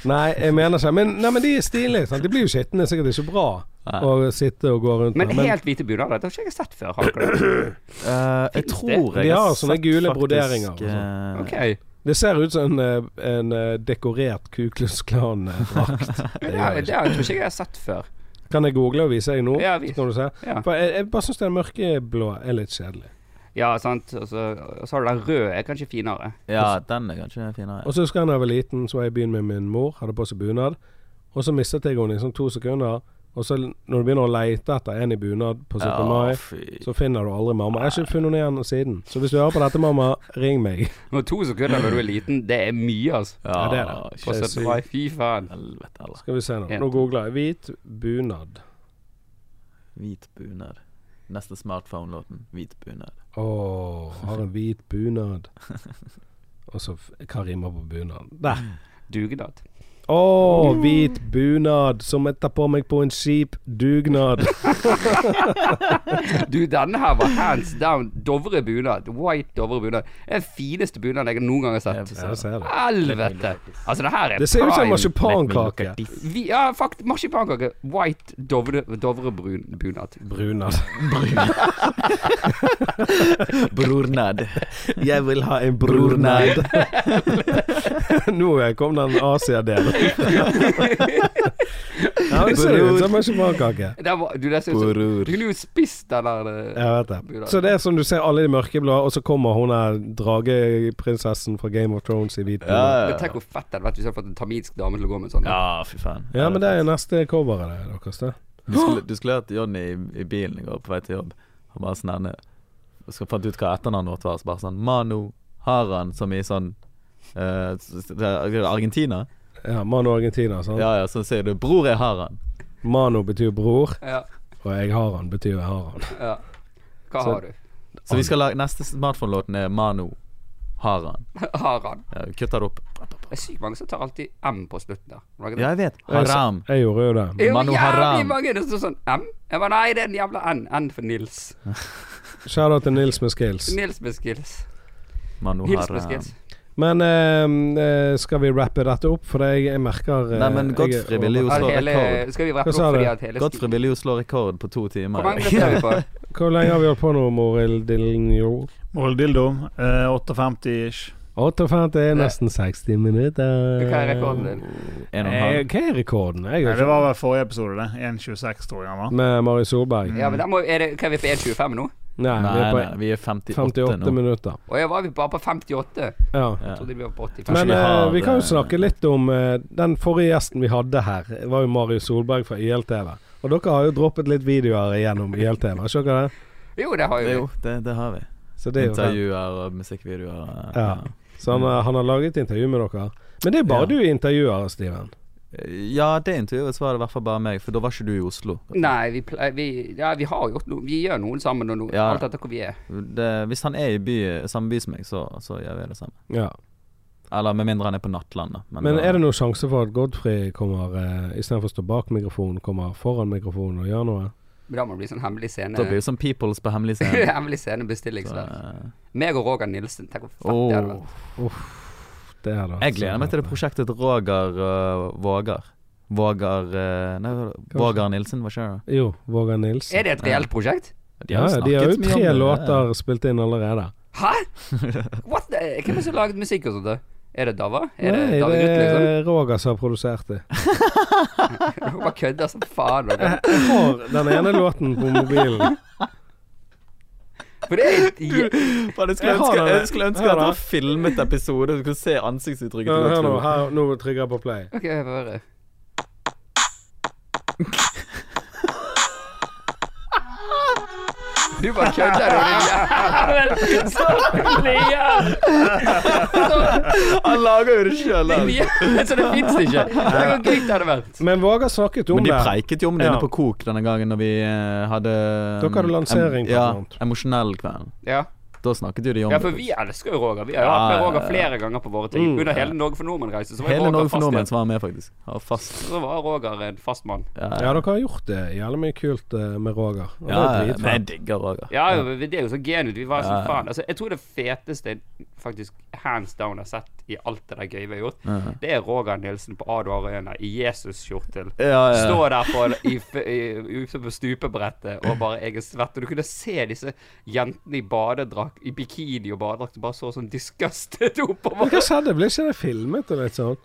Speaker 1: Nei, jeg mener ikke Men, nei, men de er stilige. sant? De blir jo skitne. Det er Sikkert ikke bra
Speaker 2: Nei.
Speaker 1: å sitte og gå rundt
Speaker 3: Men
Speaker 1: med.
Speaker 3: helt hvite bunader, det har ikke jeg sett før. Har dere det?
Speaker 2: Eh, jeg
Speaker 3: Finnes
Speaker 2: tror
Speaker 3: det?
Speaker 2: jeg
Speaker 1: De har sånne
Speaker 2: sett
Speaker 1: gule
Speaker 2: faktisk,
Speaker 1: broderinger og sånn.
Speaker 2: eh,
Speaker 3: Ok.
Speaker 1: det ser ut som en, eh, en eh, dekorert Ku Klux Klan-drakt.
Speaker 3: Ja, det har- det har jeg tror ikke jeg har sett før.
Speaker 1: Kan jeg google og vise deg nå?
Speaker 3: Ja,
Speaker 1: Så
Speaker 3: vis.
Speaker 1: Kan du se?
Speaker 3: Ja.
Speaker 1: For jeg, jeg bare syns den mørkeblå er litt kjedelig.
Speaker 3: Ja, sant. Og så, og så har du den røde, er kanskje finere.
Speaker 2: Ja, den er kanskje finere.
Speaker 1: Og så husker jeg da jeg var liten, så var jeg i byen med min mor, hadde på seg bunad. Og så mistet jeg henne i sånn to sekunder. Og så når du begynner å leite etter en i bunad på 17. mai,
Speaker 2: fy.
Speaker 1: så finner du aldri mamma. Jeg har ikke funnet henne igjen siden. Så hvis du hører på dette, mamma, ring meg.
Speaker 3: Og to sekunder når du er liten, det er mye, altså.
Speaker 2: Ja,
Speaker 1: Ja, det er det.
Speaker 3: På 17. mai, fy faen.
Speaker 2: Helvete, eller.
Speaker 1: Skal vi se nå. Nå googler jeg. Hvit bunad.
Speaker 2: Hvit bunad. Neste smartphone-låten. Hvit bunad.
Speaker 1: Å, har en hvit bunad. Og så f- Hva rimer på bunad? Der.
Speaker 2: Mm.
Speaker 3: Dugnad.
Speaker 1: Å, hvit bunad som jeg tar på meg på en skip. Dugnad.
Speaker 3: Du, denne her var hands down Dovre bunad. White Dovre bunad. Det er Den fineste bunaden jeg noen gang har
Speaker 2: Jeg
Speaker 3: sett.
Speaker 2: får se.
Speaker 1: Ja, jeg ser det.
Speaker 3: Helvete! Altså, det her er
Speaker 1: Det ser ut som en
Speaker 3: prime.
Speaker 2: Look
Speaker 1: marsipankake.
Speaker 2: at this.
Speaker 3: Vi, ja, faktisk marsipankake. White Dovre, Dovre brun bunad.
Speaker 1: Brunad.
Speaker 2: Brornad. Jeg vil ha en
Speaker 1: brornad. Nå kom den Asia-delen. ja, men det ser ut som en marsipankake.
Speaker 3: Det var, du, det ser ut som Du kunne jo spist den der eh,
Speaker 1: Jeg vet det. Så det er som du ser alle de mørkeblå, og så kommer hun her drageprinsessen fra Game of Thrones i hvit bunad.
Speaker 2: Ja,
Speaker 3: Men tenk hvor fett det hadde vært hvis du hadde fått en tamilsk dame til å gå med en sånn.
Speaker 2: ja, fy faen.
Speaker 1: Ja, men det er neste coveret det, deres. det.
Speaker 2: Du skulle, du skulle hørt Johnny i, i bilen i går på vei til jobb. Han bare sånn herne Skal fant ut hva etternavnet vårt var, så bare sånn Mano Haran, som i sånn eh, s- det er Argentina?
Speaker 1: Ja, Mano Argentina, sant.
Speaker 2: Ja ja, så sier du 'Bror er Haran'.
Speaker 1: Mano betyr bror,
Speaker 3: Ja,
Speaker 1: og jeg har han betyr jeg har han.
Speaker 3: ja. Hva
Speaker 2: Så-
Speaker 3: har du?
Speaker 2: Så vi skal lage Neste smartphone-låten er Mano Haran.
Speaker 3: Har han?
Speaker 2: Ja, vi kutter det opp.
Speaker 3: Det er sykt mange som tar alltid M på slutten der. Var det ikke det?
Speaker 2: Ja, jeg vet. Haram.
Speaker 1: Jeg gjorde jo det.
Speaker 3: Det er jo
Speaker 2: Manu
Speaker 3: jævlig
Speaker 2: Haram.
Speaker 3: mange det står sånn M. Jeg bare nei, det er en jævla N. N for Nils.
Speaker 1: Shout-out til Nils med skills.
Speaker 3: Nils med skills.
Speaker 2: Mano
Speaker 3: Nils med
Speaker 2: Haran.
Speaker 3: skills.
Speaker 1: Men ehm, eh, skal vi rappe dette opp, for jeg, jeg merker eh,
Speaker 2: Nei, men
Speaker 1: jeg-
Speaker 2: Godfrey ville jo
Speaker 3: At
Speaker 2: slå
Speaker 3: hele,
Speaker 2: rekord.
Speaker 3: skal vi
Speaker 1: Hva
Speaker 3: rappe
Speaker 1: sa
Speaker 3: opp fordi
Speaker 1: du?
Speaker 3: at hele
Speaker 2: Godfrey ville jo slå rekord på to timer.
Speaker 3: Hvor mange minutter er vi på?
Speaker 1: Hvor lenge har vi holdt på nå, Moril Dillinjo?
Speaker 5: Måldildo. Eh, 58-ish.
Speaker 1: 58 er nesten 60 minutter.
Speaker 3: Hva er rekorden din?
Speaker 2: En og en
Speaker 1: Eh,
Speaker 2: halv.
Speaker 1: Hva er rekorden? Jeg
Speaker 5: Nei,
Speaker 1: har
Speaker 5: det
Speaker 1: ikke
Speaker 5: var vel forrige episode, det. 1,26 tror jeg han var.
Speaker 1: Med Mari Solberg?
Speaker 3: Ja, men der må, er det, hva er vi på 1,25 nå?
Speaker 1: Nei, vi
Speaker 2: Nei,
Speaker 1: er på
Speaker 2: nei, vi er 58,
Speaker 1: 58
Speaker 2: nå.
Speaker 1: minutter.
Speaker 3: Å ja, var vi bare på 58?
Speaker 1: Ja.
Speaker 2: Ja.
Speaker 3: Jeg trodde vi var på 85.
Speaker 1: Men
Speaker 2: vi
Speaker 1: eh,
Speaker 2: har,
Speaker 1: vi kan jo
Speaker 2: eh,
Speaker 1: snakke litt om eh, Den forrige gjesten vi hadde her, var jo Mari Solberg fra YLTV. Og dere har jo droppet litt videoer gjennom YLTV, har ikke dere det?
Speaker 3: Jo, det har jo
Speaker 2: Det,
Speaker 3: vi.
Speaker 2: jo, det, det har vi.
Speaker 1: Så det er jo fett.
Speaker 2: Intervjuer og musikkvideoer.
Speaker 1: Ja. Så han, eh, han har laget intervju med dere. Men det er bare
Speaker 2: Ja.
Speaker 1: du intervjuer, Steven.
Speaker 2: Eh, Ja, det intervjuet var det i hvert fall bare meg, for da var ikke du i Oslo.
Speaker 3: Nei, vi, ple- vi, ja, vi har gjort noe. Vi gjør noen sammen, og noe,
Speaker 2: Ja.
Speaker 3: alt etter hvor vi er.
Speaker 2: Det, hvis han er i by, samme by som meg, så, så gjør vi det samme.
Speaker 1: Ja.
Speaker 2: Eller med mindre han er på Nattland, da.
Speaker 1: Men
Speaker 2: da-
Speaker 1: er det noen sjanse for at Godfrey kommer, eh, istedenfor å stå bak mikrofonen, kommer foran mikrofonen og gjør noe?
Speaker 3: Men da må det bli sånn hemmelig scene.
Speaker 2: Da blir det sånn Peoples på hemmelig scene.
Speaker 3: hemmelig scene
Speaker 2: Så,
Speaker 3: bestillingsverk.
Speaker 2: eh,
Speaker 3: Meg og Roger Nilsen. Tenk hvor fett det hadde
Speaker 2: åh.
Speaker 3: vært.
Speaker 1: Det altså. er da.
Speaker 2: jeg gleder meg til det prosjektet til Roger øh, Vågar. Vågar øh, Nei, Vågar Nilsen, hva skjer da?
Speaker 1: Jo, Vågar Nilsen.
Speaker 3: Er det et reelt prosjekt?
Speaker 1: Ja, ja, de har jo
Speaker 2: snakket mye om
Speaker 1: tre
Speaker 2: det.
Speaker 1: låter spilt inn allerede.
Speaker 3: Hæ? What the? Hvem er det som har laget musikk og sånt? da? Er det Dava? Er
Speaker 1: Nei,
Speaker 3: det David
Speaker 1: det
Speaker 3: Ruth, liksom?
Speaker 1: er Roger som har produsert det.
Speaker 3: Du bare kødder som faen. dere.
Speaker 1: Jeg har den ene låten på mobilen.
Speaker 3: For det er et
Speaker 2: Faen, jeg, skulle
Speaker 1: Jeg har
Speaker 2: ønske,
Speaker 1: det.
Speaker 2: jeg skulle ønske
Speaker 1: Her
Speaker 2: at det
Speaker 1: da.
Speaker 2: var filmet episode, du kunne se ansiktsuttrykket
Speaker 1: Hør hør
Speaker 2: til
Speaker 1: nå,
Speaker 2: Gottfried.
Speaker 1: her, nå trykker jeg på play.
Speaker 3: Ok, jeg får høre. Du bare kødder, du. Jævlig. Så lian!
Speaker 2: Han lager jo det altså. sjøl.
Speaker 3: Så det fins ikke. Tenk hvor gøy det hadde vært.
Speaker 1: Men Vågar snakket om
Speaker 2: Men de
Speaker 1: det.
Speaker 2: preiket jo om det
Speaker 1: Ja.
Speaker 2: inne på Kok denne gangen når vi eh, hadde
Speaker 1: Dere hadde lansering,
Speaker 2: em, Ja,
Speaker 1: blant annet.
Speaker 2: emosjonell kveld.
Speaker 3: Ja.
Speaker 2: Da snakket jo de om
Speaker 3: ja, for vi elsker jo Roger. Vi har jo hatt med Roger flere ganger på våre ting.
Speaker 1: Mm.
Speaker 3: Under hele Norge for nordmenn-reisen så var
Speaker 2: Hele
Speaker 3: Roger
Speaker 2: Norge for
Speaker 3: fast
Speaker 2: nordmenn
Speaker 3: igjen.
Speaker 2: som var med, faktisk. Ja, fast.
Speaker 3: Så var Roger en fast mann.
Speaker 2: Ja,
Speaker 1: Ja, dere har gjort det jævlig mye kult eh, med Roger. Og det
Speaker 2: ja,
Speaker 1: er
Speaker 2: men jeg
Speaker 1: dritfett.
Speaker 2: digger altså. Roger.
Speaker 3: Ja, jo, men det er jo så genuint. Vi var
Speaker 2: Ja,
Speaker 3: sånn
Speaker 2: ja.
Speaker 3: faen. Altså, jeg tror det feteste jeg faktisk hands down har sett i alt det der gøye vi har gjort,
Speaker 2: Ja.
Speaker 3: det er Roger Nilsen på Ador Arena i Jesus-skjortel.
Speaker 2: Ja, ja.
Speaker 3: Stå der på, i, f- i, ute på stupebrettet og bare jeg er svett. Og du kunne se disse jentene i badedrakt, i bikini og badedrakt, bare så sånn disgusted
Speaker 1: Men
Speaker 3: oppover.
Speaker 1: hva skjedde? Ble ikke det filmet og litt sånn?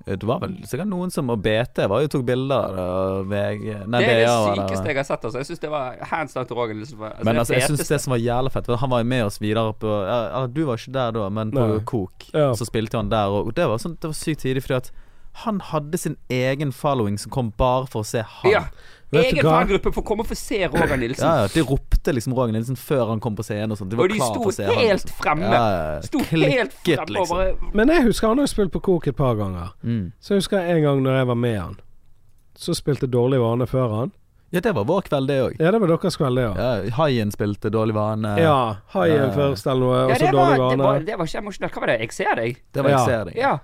Speaker 2: Det var vel sikkert noen som Og BT var jo tok bilder av det, og VG Nei,
Speaker 3: Det er det
Speaker 2: BA var
Speaker 3: sykeste jeg har sett. Altså. Jeg syns det var hands down til Roger Nilsen. var- Altså,
Speaker 2: Men
Speaker 3: det
Speaker 2: altså, jeg syns
Speaker 3: feteste.
Speaker 2: det som var jævlig fett for Han var jo med oss videre på ja, ja, Du var ikke der da, men på
Speaker 1: Nei.
Speaker 2: Kok.
Speaker 1: Ja.
Speaker 2: Så spilte han der, og det var, sånn, det var sykt tidlig, fordi at han hadde sin egen following som kom bare for å se han.
Speaker 3: ja.
Speaker 1: Vet du
Speaker 3: Egen
Speaker 1: hva?
Speaker 3: fangruppe for å komme og få se Roger Nilsen.
Speaker 2: Ja, ja, de ropte liksom Roger Nilsen før han kom på scenen og sånt. De var
Speaker 3: Og de
Speaker 2: klar for å
Speaker 3: sto
Speaker 2: se han, liksom.
Speaker 3: helt fremme.
Speaker 2: Ja, ja, ja.
Speaker 3: Sto helt
Speaker 2: Klikket, liksom.
Speaker 3: fremme og bare
Speaker 1: Men jeg husker han har spilt på Kok et par ganger.
Speaker 2: Mm.
Speaker 1: Så jeg husker en gang når jeg var med han. Så spilte Dårlig vane før han.
Speaker 2: Ja, det var vår kveld, det òg.
Speaker 1: Ja, det var deres kveld, det òg.
Speaker 2: Ja, Haien spilte Dårlig vane.
Speaker 1: Ja. Haien
Speaker 2: Ja.
Speaker 1: først eller noe, og
Speaker 3: Ja,
Speaker 1: så
Speaker 3: det var,
Speaker 1: Dårlig
Speaker 3: det, var,
Speaker 1: vane.
Speaker 3: det var ikke emosjonelt. Hva var det? Jeg ser deg.
Speaker 2: Det var
Speaker 1: Ja.
Speaker 2: jeg ser deg.
Speaker 3: Ja.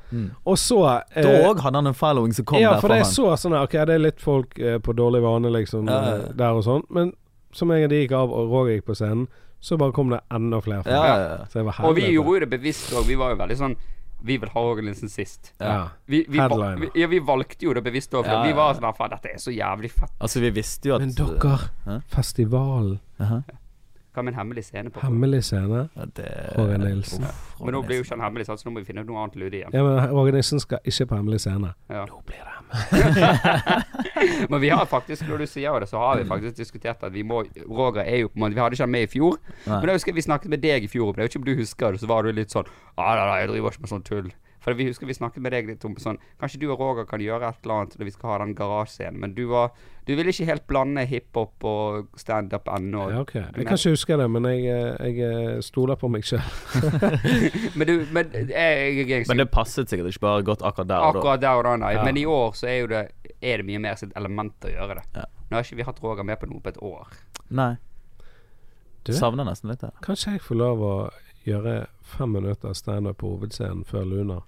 Speaker 1: Og så eh,
Speaker 2: Da òg hadde han en following som kom
Speaker 1: Ja, for
Speaker 2: der for
Speaker 1: det
Speaker 2: han.
Speaker 1: er så sånn her, Ok, det er litt folk eh, på dårlig vane, liksom,
Speaker 2: Ja, ja,
Speaker 1: eh,
Speaker 2: ja.
Speaker 1: der og sånn. Men som en gang de gikk av, og Roger gikk på scenen, så bare kom det enda flere folk.
Speaker 2: Ja, ja, ja.
Speaker 1: Så jeg var
Speaker 3: Og vi
Speaker 1: helvete.
Speaker 3: gjorde jo det bevisst òg. Vi var jo veldig sånn Vi vil ha Roger Nilsen sist.
Speaker 1: ja.
Speaker 3: Vi, vi, val-
Speaker 1: Headliner.
Speaker 3: vi, ja, vi valgte jo det bevisst òg, for
Speaker 2: Ja,
Speaker 3: vi
Speaker 2: ja,
Speaker 3: var
Speaker 2: ja.
Speaker 3: sånn Faen, dette er så jævlig fett.
Speaker 2: Altså, vi visste jo at
Speaker 1: Men dere,
Speaker 2: Hæ?
Speaker 1: festivalen,
Speaker 2: Aha.
Speaker 3: Hva med en hemmelig scene på?
Speaker 1: hemmelig scene,
Speaker 2: Ja, det,
Speaker 1: Roger Nilsen.
Speaker 2: Uff,
Speaker 3: Men nå
Speaker 2: Roger
Speaker 3: blir jo
Speaker 2: Nilsen.
Speaker 3: ikke han hemmelig, sant, så nå må vi finne noe annet lude igjen.
Speaker 1: Ja, men Roger Nissen skal ikke på hemmelig scene.
Speaker 3: Ja.
Speaker 1: Nå blir det hemmelig.
Speaker 3: Men vi har faktisk, når du sier det, så har vi faktisk diskutert at vi må Roger er jo på en måte Vi hadde ikke han med i fjor,
Speaker 2: Nei.
Speaker 3: men jeg husker vi snakket med deg i fjor om det. Jeg vet ikke om du husker det, så var du litt sånn Ja, nei, nei, jeg driver ikke med sånn tull. For vi husker vi snakket med deg litt om sånn Kanskje du og Roger kan gjøre et eller annet når vi skal ha den garasjescenen, men du var Du ville ikke helt blande hiphop og standup ennå.
Speaker 1: Ja, ok. Jeg kan ikke huske det, men jeg, eh, jeg eh, stoler på meg sjøl.
Speaker 3: Men du Men jeg, jeg, jeg,
Speaker 2: Men det passet sikkert ikke bare godt akkurat der. og da.
Speaker 3: Akkurat der og da, nei. Men i år så er jo det Er det mye mer sitt element å gjøre det.
Speaker 2: Ja.
Speaker 3: Nå har ikke vi hatt Roger med på noe på et år.
Speaker 2: Nei.
Speaker 1: Du?
Speaker 2: Savner nesten litt det.
Speaker 1: Kanskje jeg får lov å gjøre fem minutter standup på hovedscenen før Luna?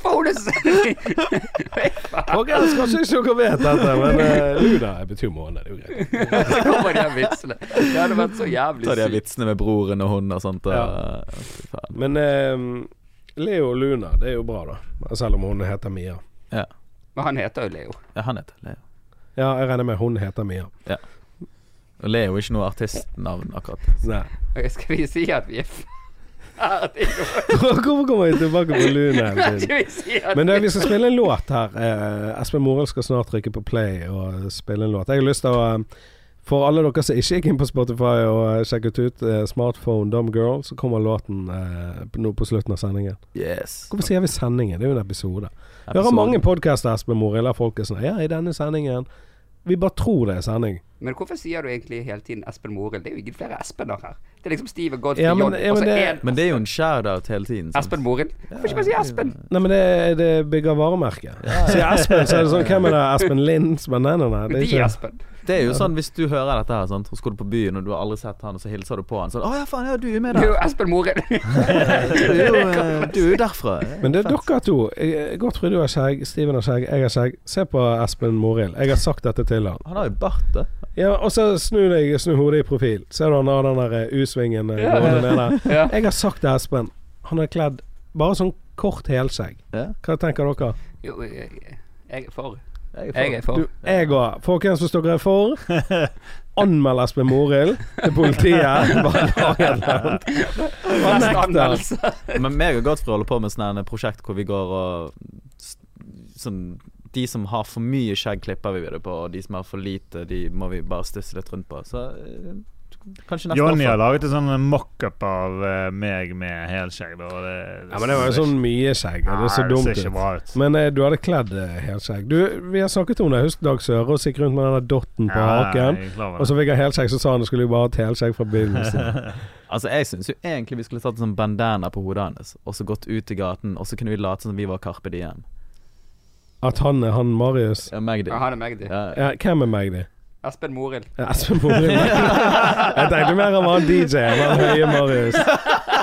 Speaker 3: For hun er så-
Speaker 1: Ok, jeg skal ikke dere vet dette, men eh, Luna betyr måne. Det er jo greit.
Speaker 3: Så kommer de her vitsene. Det hadde vært så jævlig
Speaker 2: Ta de
Speaker 3: sykt.
Speaker 2: vitsene med broren og hun og sånt. Og,
Speaker 1: Ja.
Speaker 2: Fy faen.
Speaker 1: Men eh, Leo og Luna, det er jo bra, da. Selv om hun heter Mia.
Speaker 2: Ja.
Speaker 3: Men han heter jo Leo.
Speaker 2: ja, han heter Leo.
Speaker 1: Ja, jeg regner med hun heter Mia.
Speaker 2: Og Leo er ikke noe artistnavn, akkurat.
Speaker 1: Nei.
Speaker 3: Ok, Skal vi si at vi er ferdige?
Speaker 1: Hvorfor kommer vi tilbake på Luna? hele tiden?
Speaker 3: Skal vi si at
Speaker 1: Men du, vi skal spille en låt her. Eh, Espen Morild skal snart trykke på play og spille en låt. Jeg har lyst til å eh, For alle dere som ikke gikk inn på Spotify og eh, sjekket ut eh, Smartphone Dumb Girl, så kommer låten eh, på- nå på slutten av sendingen.
Speaker 2: Yes.
Speaker 1: Hvorfor sier vi sendingen? Det er jo en episode. Jeg hører mange podkaster Espen Morild der folk er sånn Ja, i denne sendingen Vi bare tror det er sending.
Speaker 3: Men hvorfor sier du egentlig hele tiden Espen Morild? Det er jo ingen flere Espener her. Det er liksom Steve og
Speaker 1: Ja,
Speaker 3: Godfrey
Speaker 1: men-
Speaker 3: John,
Speaker 1: ja,
Speaker 3: og så
Speaker 1: men det-
Speaker 3: én
Speaker 2: Men det er jo en shout-out hele tiden. sant?
Speaker 3: Espen Morild. Hvorfor ikke bare si Espen?
Speaker 1: Nei, men det, det bygger varemerke. Sier Espen, så er det sånn Hvem er det? Espen Lind? Men nei, nei, nei. Det
Speaker 3: Men
Speaker 1: er
Speaker 3: de er
Speaker 1: ikke
Speaker 3: Espen.
Speaker 2: Det er jo sånn hvis du hører dette her, sant? og så går du på byen og du har aldri sett han, og så hilser du på han sånn 'Å ja, faen, ja, du er med
Speaker 3: Det er
Speaker 2: der.'
Speaker 3: jo Espen Morild.
Speaker 2: Du er jo, eh, du er jo derfra.
Speaker 1: Men det er
Speaker 2: Fett.
Speaker 1: dere to. Jeg- Godfrey, du har skjegg. Steven har skjegg. Jeg har skjegg. Se på Espen Morild. Jeg har sagt dette til han.
Speaker 2: Han har jo bart, da.
Speaker 1: Ja, og så snu deg, snu hodet i profil. Ser du han har den der eh, U-svingen eh,
Speaker 3: Ja.
Speaker 1: gående ned der?
Speaker 3: Ja.
Speaker 1: Jeg har sagt til Espen, han er kledd bare sånn kort helskjegg.
Speaker 2: Ja,
Speaker 1: Hva tenker dere?
Speaker 3: Jo, jeg, jeg er for.
Speaker 2: jeg er for.
Speaker 3: Jeg er for.
Speaker 1: Du, jeg òg. Folkens, hvis dere er for, anmeld Espen Morild til politiet. Bare lag et eller annet. Han
Speaker 3: Neste
Speaker 1: nekter.
Speaker 3: anmeldelse.
Speaker 2: Men meg og Godfrey holder på med sånne her prosjekt hvor vi går og s- Sånn De som har for mye skjegg, klipper vi det på, og de som har for lite, de må vi bare stusse litt rundt på. Så eh, kanskje neste
Speaker 5: Jonny har
Speaker 2: år.
Speaker 5: laget en sånn mockup av eh, meg med helskjegg. da, og det-
Speaker 1: Ja, men det var jo sånn mye skjegg, og det så dumt
Speaker 5: Nei, det ser ikke
Speaker 1: ut.
Speaker 5: bra ut.
Speaker 1: Men eh, du hadde kledd eh, helskjegg. Du, vi har snakket om det. Husk Dag Sørås gikk rundt med den der dotten på
Speaker 5: Ja, ja,
Speaker 1: haken.
Speaker 5: jeg er klar
Speaker 1: Og
Speaker 5: over
Speaker 1: så fikk han helskjegg, så sa han at skulle jo bare ha et helskjegg fra begynnelsen.
Speaker 2: Altså, jeg syns jo egentlig vi skulle tatt en sånn bandana på hodet hans, og så gått ut i gaten, og så kunne vi late som vi var Carpe Diem.
Speaker 1: At han er han Marius.
Speaker 2: Ja, meg, de.
Speaker 3: Ja, han er meg, de.
Speaker 2: Ja, ja.
Speaker 1: Ja, hvem er meg, de?
Speaker 3: Espen Morild.
Speaker 1: Ja, Espen Morild. Jeg tenkte mer om han DJ-en, han høye Marius.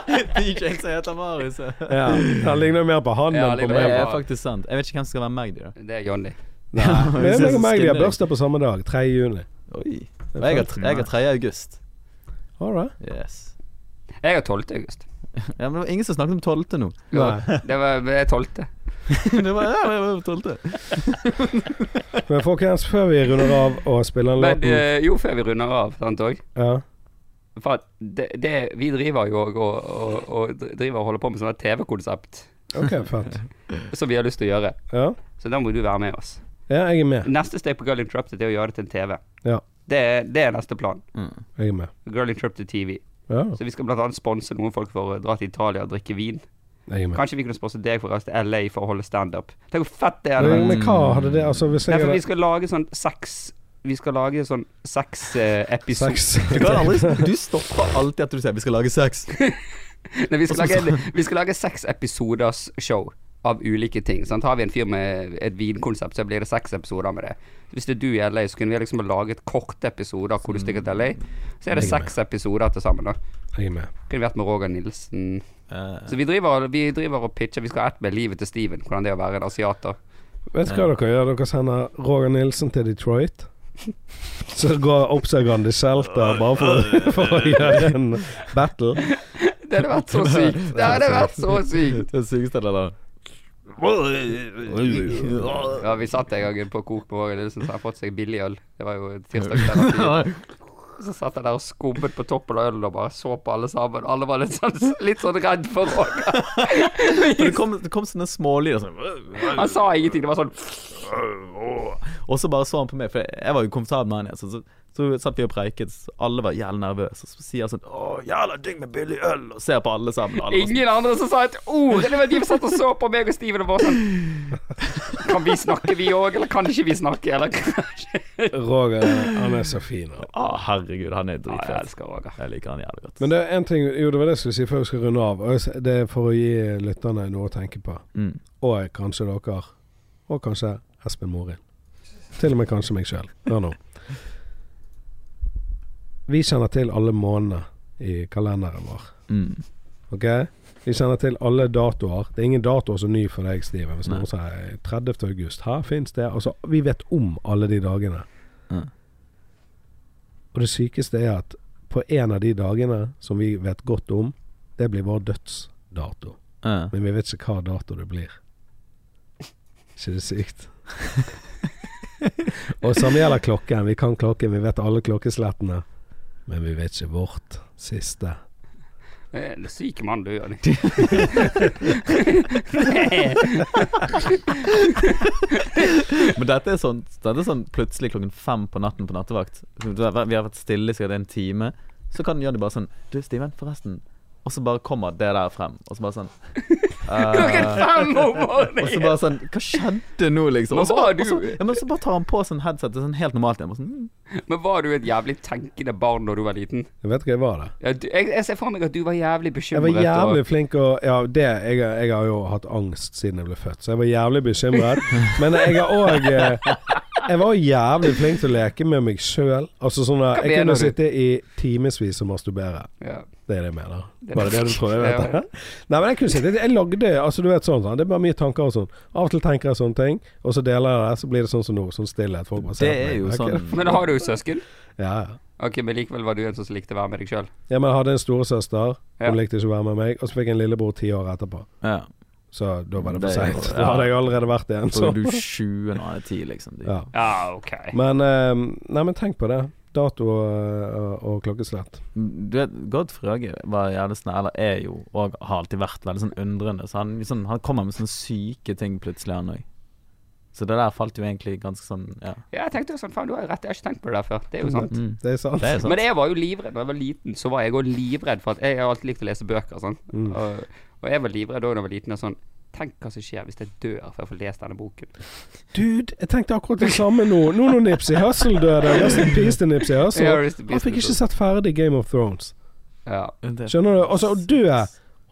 Speaker 2: DJ-en som heter Marius.
Speaker 1: Ja, han ligner mer på han
Speaker 3: Ja,
Speaker 1: enn på
Speaker 3: ligner
Speaker 2: Det
Speaker 1: meg.
Speaker 3: mer
Speaker 2: er faktisk sant. Jeg vet ikke hvem som skal være Magdi, da.
Speaker 3: Det er Johnny.
Speaker 1: Men det er meg og meg, de har bursdag på samme dag. 3. juni.
Speaker 2: Oi. Og jeg har tre- jeg har 3. august.
Speaker 1: All right.
Speaker 2: Yes.
Speaker 3: Jeg har 12. august.
Speaker 2: Ja, men det var ingen som snakket om 12. nå.
Speaker 3: Jo,
Speaker 1: Nei.
Speaker 3: Det var det er 12.
Speaker 2: det var, ja, det var 12.
Speaker 1: Men folkens, før vi runder av og spiller en
Speaker 3: Men
Speaker 1: låt
Speaker 3: eh, jo, før vi runder av, sant òg
Speaker 1: ja.
Speaker 3: For at det, det, vi driver jo og, og, og, og driver og holder på med sånne TV-konsept
Speaker 1: OK, fett.
Speaker 3: som vi har lyst til å gjøre.
Speaker 1: Ja.
Speaker 3: Så da må du være med oss.
Speaker 1: ja, jeg er med.
Speaker 3: Neste steg på Girl Interrupted er å gjøre det til en TV.
Speaker 1: Ja.
Speaker 3: Det, er- det er neste plan.
Speaker 1: Jeg er med.
Speaker 3: Girl Interrupted TV.
Speaker 1: Ja,
Speaker 3: Så vi skal bl.a. sponse noen folk for å dra til Italia og drikke vin.
Speaker 1: jeg er med.
Speaker 3: Kanskje vi kunne sponse deg for å reise til LA for å holde standup. Tenk hvor fett det hadde
Speaker 1: Men,
Speaker 3: vært.
Speaker 1: men hva hadde det Altså, hvis
Speaker 3: Nei,
Speaker 1: jeg
Speaker 3: for vi
Speaker 1: hadde
Speaker 3: skal lage sånn seks Vi skal lage sånn seks eh, episoder.
Speaker 1: sex
Speaker 2: Du, kan aldri, du stopper alltid at du sier 'vi skal lage sex'.
Speaker 3: Nei, vi, skal lage, vi skal lage seks episoders show av ulike ting. Sant? Har vi en fyr med et vinkonsept, så blir det seks episoder med det. Hvis det er du i LA, så kunne vi liksom laget korte episoder hvor du stikker til LA. Så er det seks episoder til sammen. da
Speaker 1: Jeg er med.
Speaker 3: Kunne vært med Roger Nilsen.
Speaker 2: Eh,
Speaker 3: Så vi driver, vi driver og pitcher. Vi skal ha ett med livet til Steven, hvordan det er å være en asiater.
Speaker 1: Vet du hva dere gjør? Dere sender Roger Nilsen til Detroit. Så går oppsøker han The Shelter bare for, for å gjøre en battle.
Speaker 3: Det hadde vært så sykt! Det hadde vært så sykt!
Speaker 2: det sykeste eller da?
Speaker 3: Ja, vi satt en gang på Coop med Roger Nilsen, så han fått seg billig øl. Det var jo tirsdag kveld. Så satt jeg der og skubbet på toppen av ølen og bare så på alle sammen. Alle var litt sånn, litt sånn redd for Roger.
Speaker 2: Men det kom, det kom sånne smålyder sånn
Speaker 3: Han sa ingenting. Det var sånn
Speaker 2: Og så bare så han på meg, for jeg var jo komfortabel med han. Så, så, så satt vi og preiket, så alle var jævlig nervøse. Og så sier han sånn 'Å, jævla digg med billig øl', og ser på alle sammen. Alle var sånn,
Speaker 3: Ingen andre som sa et ord! Det var De som satt og så på meg og Steven og bare sånn Kan vi snakke, vi òg? Eller kan ikke vi snakke? Eller kanskje
Speaker 1: Roger, han er så fin. han.
Speaker 2: Å, herregud, han er
Speaker 3: Ja, jeg
Speaker 2: dritfet.
Speaker 3: elsker Roger.
Speaker 2: Jeg liker han jævlig godt.
Speaker 1: Men det er en ting Jo, det var det jeg skulle si før vi skal runde av. og jeg s- Det er for å gi lytterne noe å tenke på.
Speaker 2: Mm.
Speaker 1: Og kanskje dere. Og kanskje Espen Morild. Til og med kanskje meg sjøl. Hør nå. Vi kjenner til alle månedene i kalenderen vår.
Speaker 2: Mm.
Speaker 1: Ok? Vi kjenner til alle datoer. Det er ingen datoer som er ny for deg, Steven. Hvis
Speaker 2: Nei.
Speaker 1: noen sier 30. august, her fins det. Altså, vi vet om alle de dagene.
Speaker 2: Mm.
Speaker 1: Og det sykeste er at på en av de dagene som vi vet godt om, det blir vår dødsdato.
Speaker 2: Eh.
Speaker 1: Men vi vet ikke hva dato det blir. Ikke det sykt? Og samme gjelder klokken. Vi kan klokken, vi vet alle klokkeslettene. Men vi vet ikke vårt siste.
Speaker 3: Det er en syk mann du, Jonny.
Speaker 2: Men dette er, sånn, dette er sånn plutselig klokken fem på natten på nattevakt. Vi har vært- vi har vært stille i sikkert en time. Så kan Johnny bare sånn Du, Steven, forresten. Og så bare kommer det der frem. Og så bare sånn
Speaker 3: Klokken
Speaker 2: Eh,
Speaker 3: fem om
Speaker 2: og så
Speaker 3: morgenen!
Speaker 2: bare sånn Hva skjedde nå, liksom?
Speaker 3: Men
Speaker 2: Og så,
Speaker 3: var
Speaker 2: og så,
Speaker 3: du-
Speaker 2: ja, men så bare tar han på sånn headset, det er sånn helt normalt igjen. og Sånn, mm.
Speaker 3: Men var du et jævlig tenkende barn da du var liten?
Speaker 1: Jeg vet ikke hva jeg var da.
Speaker 3: Ja, du, jeg, jeg ser for meg at du var jævlig
Speaker 1: Jeg
Speaker 3: bekymret.
Speaker 1: var jævlig
Speaker 3: og,
Speaker 1: flink og Ja, det jeg, jeg har jo hatt angst siden jeg ble født, så jeg var jævlig bekymret. Men jeg har òg eh, Jeg var jævlig flink til å leke med meg sjøl. Altså sånn at Jeg
Speaker 3: mener
Speaker 1: kunne
Speaker 3: du?
Speaker 1: sitte i timevis og masturbere.
Speaker 3: ja.
Speaker 1: Det er det jeg mener.
Speaker 3: Det er
Speaker 1: Var det det du tror jeg vet?
Speaker 3: Ja.
Speaker 1: Nei, men jeg kunne sitte Jeg lagde Altså, du vet sånn, sånn. Det er bare mye tanker og sånn. Av og til tenker jeg sånne ting, og så deler jeg det, så blir det sånn som nå. Sånn stillhet. Folk bare
Speaker 2: Det
Speaker 1: ser på
Speaker 2: er
Speaker 1: meg.
Speaker 2: jo
Speaker 1: Ok.
Speaker 2: sånn
Speaker 3: Men har du søsken?
Speaker 1: Ja, ja.
Speaker 3: Ok, Men likevel var du en som likte å være med deg sjøl.
Speaker 1: ja, men jeg hadde en storesøster. Hun
Speaker 3: Ja.
Speaker 1: likte ikke å være med meg. Og så fikk jeg en lillebror ti år etterpå.
Speaker 2: ja.
Speaker 1: Så da var det for
Speaker 2: Det er jo-
Speaker 1: seint.
Speaker 2: ja.
Speaker 1: Da hadde jeg allerede vært i en
Speaker 2: Så
Speaker 1: sånn.
Speaker 2: er du 20 når han er 10, liksom. De.
Speaker 1: Ja.
Speaker 3: Ja, ok.
Speaker 1: Men eh, Nei, men tenk på det. Dato og, og- og klokkeslett.
Speaker 2: Du vet, Godfrey Åge var jævlig sånn Eller er jo, og har alltid vært veldig sånn undrende. Så han, sånn, han kommer med sånne syke ting plutselig, han òg. Så det der falt jo egentlig ganske sånn Ja.
Speaker 3: Ja, jeg tenkte jo sånn, faen, du har jo rett, jeg har ikke tenkt på det der før. Det er jo sant.
Speaker 2: Mm.
Speaker 1: Det er sant.
Speaker 2: Det er jo sant.
Speaker 3: Men jeg var jo livredd da jeg var liten. Så var jeg òg livredd for at Jeg har alltid likt å lese bøker. Sånn.
Speaker 2: Mm.
Speaker 3: Og, og jeg var livredd da jeg var liten. Og sånn Tenk hva som skjer hvis jeg dør før jeg får lest denne boken.
Speaker 1: Dude, jeg tenkte akkurat det samme nå. Nå når Nipsey Hussle døde. Rest in peace til Nipsey
Speaker 3: Ja,
Speaker 1: Hussle.
Speaker 3: rest in peace,
Speaker 1: Han fikk
Speaker 3: Nipsey
Speaker 1: ikke sett ferdig Game of Thrones.
Speaker 3: Ja.
Speaker 2: Det-
Speaker 1: Skjønner du? Altså, å dø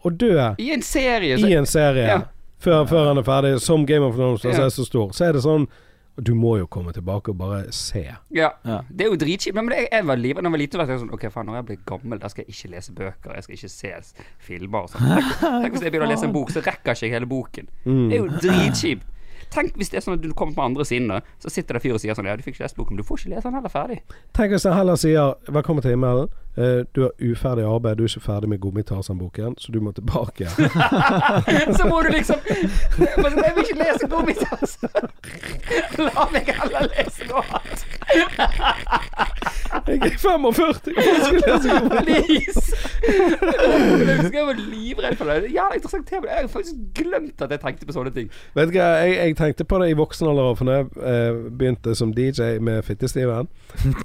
Speaker 1: Å dø
Speaker 3: I en serie, så
Speaker 1: i en serie
Speaker 3: Ja.
Speaker 1: før, før han er ferdig, som Game of Thrones, altså
Speaker 3: Ja.
Speaker 1: er så stor, så er det sånn Du må jo komme tilbake og bare se.
Speaker 3: Ja.
Speaker 2: Ja.
Speaker 3: Det er jo dritkjipt. Men jeg, jeg var livredd da jeg var liten. Da tenkte jeg sånn OK, faen, når jeg blir gammel, da skal jeg ikke lese bøker. Jeg skal ikke se s- filmer og sånn. Tenk, tenk hvis jeg begynner å lese en bok, så rekker ikke jeg hele boken.
Speaker 2: Mm.
Speaker 3: Det er jo dritkjipt. Tenk hvis det er sånn at du kommer på andre siden, da. Så sitter det fyr og sier sånn Ja, du fikk ikke lest boken, men du får ikke lese den heller ferdig.
Speaker 1: Tenk hvis han heller sier 'Velkommen til himmelen'. Eh, du har uferdig arbeid, du er ikke ferdig med Gummitarsan-boken, så du må tilbake.
Speaker 3: Så må du liksom Men Jeg vil ikke lese Gummitas. La meg heller lese noe annet.
Speaker 1: jeg er 45! Jeg skal lese Gummi-
Speaker 3: Please! Jeg husker jeg var livredd for det. Det er Jævla interessant tema. Jeg har faktisk glemt at jeg tenkte på sånne ting.
Speaker 1: Vet du hva, jeg, jeg tenkte på det i voksen alder, for når jeg eh, begynte som DJ med Fittestiven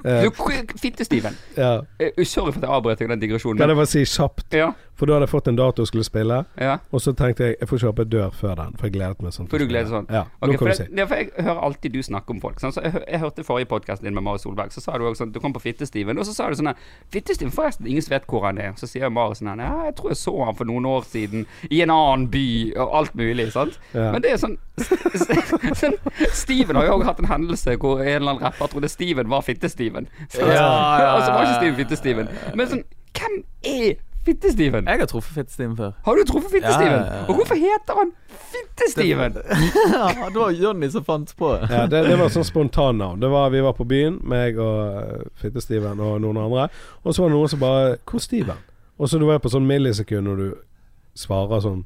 Speaker 1: eh,
Speaker 3: Du, k- Fitte-Steven.
Speaker 1: ja,
Speaker 3: Eh, Sorry for at jeg avbrøt deg i den digresjonen.
Speaker 1: Kan
Speaker 3: men-
Speaker 1: jeg bare si kjapt,
Speaker 3: Ja,
Speaker 1: for da hadde jeg fått en dato jeg skulle spille,
Speaker 3: ja.
Speaker 1: og så tenkte jeg jeg får kjøpe dør før den, for jeg gledet meg sånn. til
Speaker 3: For du
Speaker 1: å
Speaker 3: gleder
Speaker 1: spille.
Speaker 3: sånn.
Speaker 1: Ja,
Speaker 3: Ok,
Speaker 1: nå kan
Speaker 3: for,
Speaker 1: du si.
Speaker 3: jeg, ja, for jeg hører alltid du snakke om folk. sant? Så jeg, hø- jeg hørte forrige podkasten din med Mari Solberg. Så sa du også sånn Du kom på Fittestiven, og så sa du sånn her, Fittestiven, forresten, ingen vet hvor han er. Så sier Mari sånn her Ja, jeg tror jeg så han for noen år siden i en annen by, og alt mulig, sant?
Speaker 1: Ja.
Speaker 3: Men det er sånn, sånn Steven har jo også hatt en hendelse hvor en eller annen rapper trodde Steven var Fittestiven. Så,
Speaker 2: Ja, ja,
Speaker 3: Og så var ikke
Speaker 2: ja,
Speaker 3: Steven Fittestiven. Men sånn Hvem er Fittestiven?
Speaker 2: Jeg har truffet Fittestimen før.
Speaker 3: Har du truffet Fitte-Steven?
Speaker 2: Ja, ja, ja.
Speaker 3: Og hvorfor heter han Fitte-Steven?
Speaker 2: ja, det var Jonny som fant på det.
Speaker 1: Ja, det, det var sånn spontannavn. Det var- Vi var på byen, meg og eh, Fitte-Steven og noen andre. Og så var det noen som bare 'Hvor er Steven?' Og så du var på sånn millisekund når du svarer sånn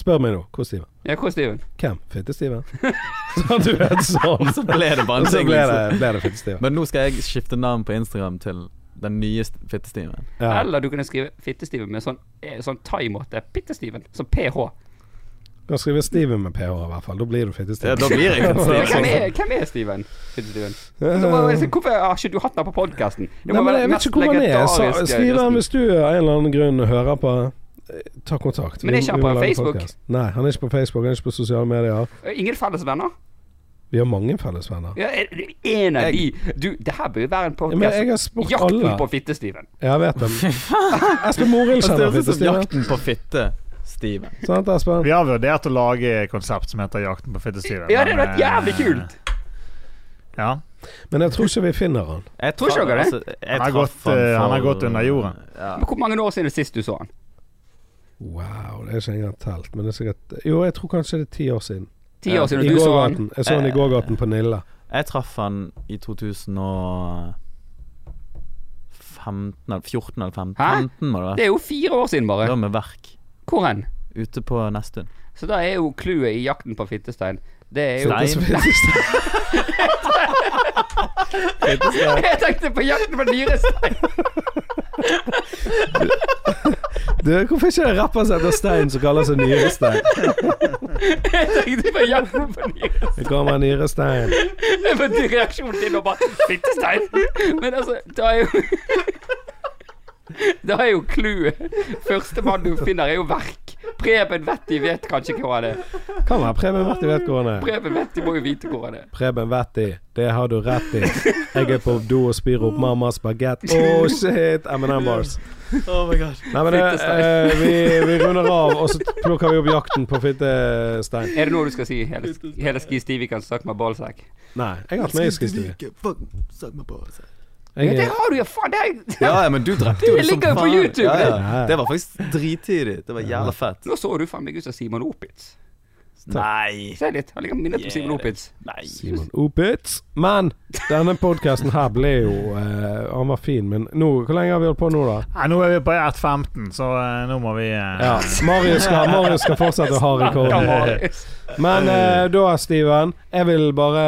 Speaker 1: 'Spør meg nå. Hvor er Steven?'
Speaker 3: Ja, hvor er Steven?
Speaker 1: 'Hvem? Fitte-Steven?' Så du vet sånn.
Speaker 2: Så ble
Speaker 1: Og så
Speaker 2: det banting.
Speaker 1: ble det,
Speaker 2: Liksom.
Speaker 1: ble det Fitte-Steven.
Speaker 2: Men nå skal jeg skifte navn på Instagram til den nye Fittestimen.
Speaker 1: Ja.
Speaker 3: Eller du kunne skrive Fitte-Steven med sånn, eh, sånn thai-måte. sånn Pitte-Steven. Som ph.
Speaker 1: Kan skrive Steven med ph i hvert fall. Da blir du Fitte-Steven. sånn-
Speaker 2: da blir jeg
Speaker 3: Men Hvem
Speaker 2: Fittestimen.
Speaker 3: er, hvem er Steven? Fitte-Steven. Så bare- så altså, Hvorfor har ikke du hatt han på podkasten?
Speaker 1: Eh. Nei, men jeg vet ikke hvor han er. Så Skriv han hvis du eh, av en eller annen grunn hører på. eh, Ta kontakt.
Speaker 3: Men
Speaker 1: Vi-
Speaker 3: er ikke han
Speaker 1: vi må
Speaker 3: på
Speaker 1: lage
Speaker 3: Facebook?
Speaker 1: podcast. Nei, han er ikke på Facebook. Han er ikke på sosiale medier.
Speaker 3: Ingen Eh, felles venner?
Speaker 1: Vi har mange fellesvenner.
Speaker 3: Ja, er du en av
Speaker 2: Jeg-
Speaker 3: de Du, det her bør jo være en
Speaker 1: Ja, men jeg
Speaker 3: podkast.
Speaker 1: har spurt
Speaker 3: Jakten
Speaker 1: alle.
Speaker 3: på Fitte-Steven.
Speaker 1: Jeg vet det. Espen Morild
Speaker 2: Altså, Det
Speaker 1: kjenner
Speaker 2: høres ut
Speaker 1: Fitte
Speaker 2: som
Speaker 1: Steven.
Speaker 2: Jakten på Fitte-Steven.
Speaker 1: Sant, Espen?
Speaker 5: Vi har vurdert å lage et konsept som heter 'Jakten på fittestiven'.
Speaker 3: Ja, det hadde
Speaker 5: men,
Speaker 3: vært jævlig
Speaker 5: eh,
Speaker 3: kult!
Speaker 5: Ja.
Speaker 1: Men jeg tror ikke vi finner han.
Speaker 2: Jeg
Speaker 3: Tror ikke
Speaker 2: traff-
Speaker 3: dere det?
Speaker 2: altså, jeg
Speaker 5: Han har
Speaker 2: traff
Speaker 5: gått, eh, han har
Speaker 2: for-
Speaker 5: gått under jorda.
Speaker 2: Ja.
Speaker 3: Men Hvor mange år siden er det sist du så han?
Speaker 1: Wow, det er ikke engang telt. Men det er sikkert Jo, jeg tror kanskje det er ti år siden.
Speaker 3: Ti år
Speaker 1: I
Speaker 3: siden du så han?
Speaker 1: gågaten. Jeg så han i gågaten på Nilla.
Speaker 2: Jeg traff han i 2015 eller 14 eller 15,
Speaker 3: Hæ?
Speaker 2: 15 må
Speaker 3: Det
Speaker 2: det være.
Speaker 3: er jo fire år siden,
Speaker 2: Det
Speaker 3: bare.
Speaker 2: var med verk.
Speaker 3: Hvor hen?
Speaker 2: Ute på Nesttun.
Speaker 3: Så da er jo clouet i jakten på fittestein. Det er jo
Speaker 2: Nei.
Speaker 1: Fitte Steven.
Speaker 3: Jeg tenkte på jakten på dyrestein!
Speaker 1: Du, hvorfor ikke det rapper som heter Stein, som kaller seg Nyrestein?
Speaker 3: Jeg tenkte på jakten på dyrestein.
Speaker 1: Det kommer Nyrestein.
Speaker 3: Jeg fikk reaksjonen din og bare Fittestein! Men altså, da er jo Da er jo clouet Førstemann du finner, er jo verk. Preben Vetti vet kanskje ikke hva det er.
Speaker 1: Kan være Preben Vetti vet hvor han er.
Speaker 3: Preben Vetti må jo vite hvor han er.
Speaker 1: Preben Vetti, det har du rett i. Jeg er på do og spyr opp mammas bagett. Oh shit! M&M bars.
Speaker 2: Oh my god.
Speaker 1: Nei, men det, eh, vi, vi runder av, og så plukker vi opp jakten på fittestein.
Speaker 3: Er det noe du skal si? Hele, hele Ski Stivikan snakk med ballsekk?
Speaker 1: Nei, jeg har hatt med i skristue.
Speaker 2: Fuck, suck my balls.
Speaker 3: Ja,
Speaker 1: Jeg
Speaker 3: det
Speaker 1: er-
Speaker 3: har du jo, faen! Det er,
Speaker 2: Ja, ja, men du drepte jo
Speaker 3: Det ligger jo på YouTube.
Speaker 2: Ja, ja. Det var faktisk drittidig. Det var jævla fett.
Speaker 3: nå så du faen meg ut som Simon Opitz.
Speaker 2: Nei.
Speaker 3: Se litt, han ligger minnet på Simon Opitz.
Speaker 2: Nei.
Speaker 1: Simon Opitz. Men denne podkasten her ble jo eh, Han var fin, men nå Hvor lenge har vi holdt på nå, da?
Speaker 5: Nei, nå er vi på 1.15, så eh, nå må vi eh,
Speaker 1: Ja, Marius skal, Marius skal fortsette å ha rekorden. Men eh, da, Steven, jeg vil bare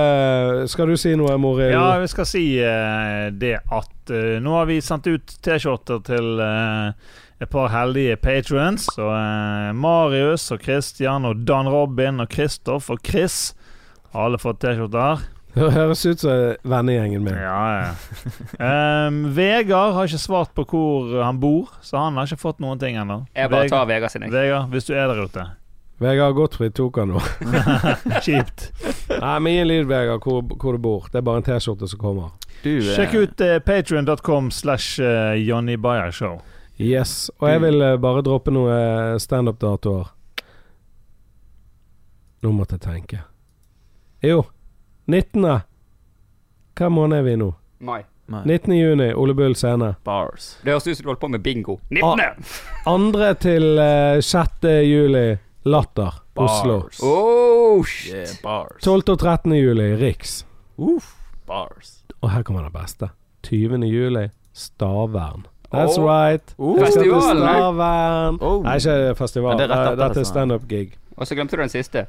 Speaker 1: Skal du si noe, Morild?
Speaker 5: Ja, vi skal si eh, det at eh, nå har vi sendt ut T-skjorter til eh, et par heldige patrons. Så eh, Marius og Christian og Dan Robin og Kristoff og Chris har alle fått T-skjorter.
Speaker 1: Det høres ut som vennegjengen min.
Speaker 5: Ja, ja. Em, Vegard har ikke svart på hvor han bor, så han har ikke fått noen ting ennå.
Speaker 3: Jeg bare
Speaker 5: Veg-
Speaker 3: tar Vegard sin, jeg.
Speaker 5: Vegard, hvis du er der ute.
Speaker 1: Vegard Gottfried tok han nå.
Speaker 5: Kjipt.
Speaker 1: Nei, men gi en lyd, Vegard, hvor, hvor du bor. Det er bare en T-skjorte som kommer.
Speaker 2: Du eh,
Speaker 5: Sjekk ut eh, patreon.com slash eh, Johnny Bayer Show.
Speaker 1: Yes. Og jeg vil eh, bare droppe noen standup-datoer. Nå måtte jeg tenke. Jo, 19. Hva måned er vi i nå?
Speaker 3: Mai.
Speaker 1: 19. juni, Ole Bull scene.
Speaker 2: Bars.
Speaker 3: Det høres ut som du holdt på med bingo. 19.
Speaker 1: 2. til eh, 6. juli, Latter, Oslo.
Speaker 2: Bars.
Speaker 3: Oh,
Speaker 2: Yeah,
Speaker 3: shit.
Speaker 2: bars.
Speaker 1: 12. og 13. juli, Riks.
Speaker 2: Uff. Bars.
Speaker 1: Og her kommer det beste. 20. juli, Stavern. That's
Speaker 3: Oh.
Speaker 1: right.
Speaker 2: Oh.
Speaker 1: Jeg skal til
Speaker 3: Festivalen, nei?
Speaker 1: Stavern.
Speaker 2: Oh.
Speaker 1: Nei, ikke festival.
Speaker 2: Men det er rett
Speaker 1: Eh,
Speaker 2: etter,
Speaker 1: Dette
Speaker 2: altså.
Speaker 1: er standup-gig.
Speaker 3: Og så glemte du den siste.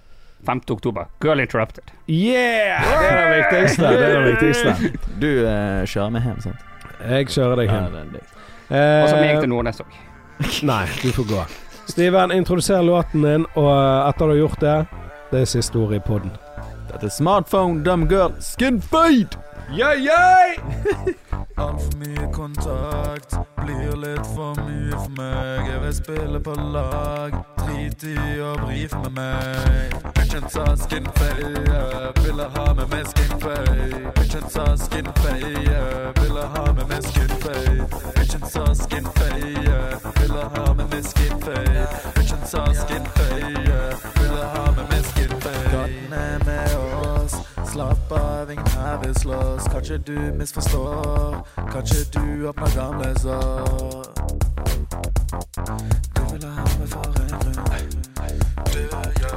Speaker 3: 5. oktober. Girl interrupted.
Speaker 1: Yeah! Det er det viktigste. Det er det viktigste.
Speaker 2: Du eh, kjører meg hjem, sant?
Speaker 1: Jeg kjører deg hjem.
Speaker 2: det er deg.
Speaker 3: Og så meg
Speaker 1: Eh,
Speaker 3: til Nordnes òg.
Speaker 1: nei, du får gå. Steven, introduser låten din, og eh, etter du har gjort det Det er siste ordet i poden.
Speaker 2: Dette er smartphone, dumb girl, skin fade!
Speaker 1: Yeah, yeah!
Speaker 6: Altfor mye kontakt blir litt for mye for meg. Jeg vil spille på lag, drit i å brife med meg. Bitchen sa skinfay, jeg ville ha med meg skinfay. Bitchen sa skinfay, jeg ville ha med meg skinfay. Bitchen sa skinfay, jeg ville ha med meg skinfay. Bitchen sa skinfay, jeg ville ha med meg skinfay. Gatene med oss, slapp av, ingen her vil slåss. Kanskje du misforstår, kanskje du åpner gamle sår. Du ville ha meg for en runde. Du, ja.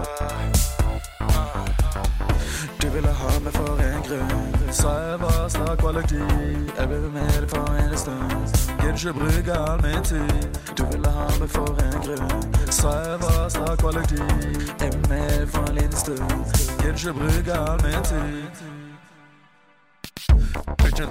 Speaker 6: Du ville ha meg for en grunn Sa jeg var snakk kvalitet Jeg ble med deg for en stund Gidder ikke bruke all min tid Du ville ha meg for en grunn Sa jeg var snakk kvalitet Jeg ble med deg for en liten stund Gidder ikke bruke all min tid Bitchen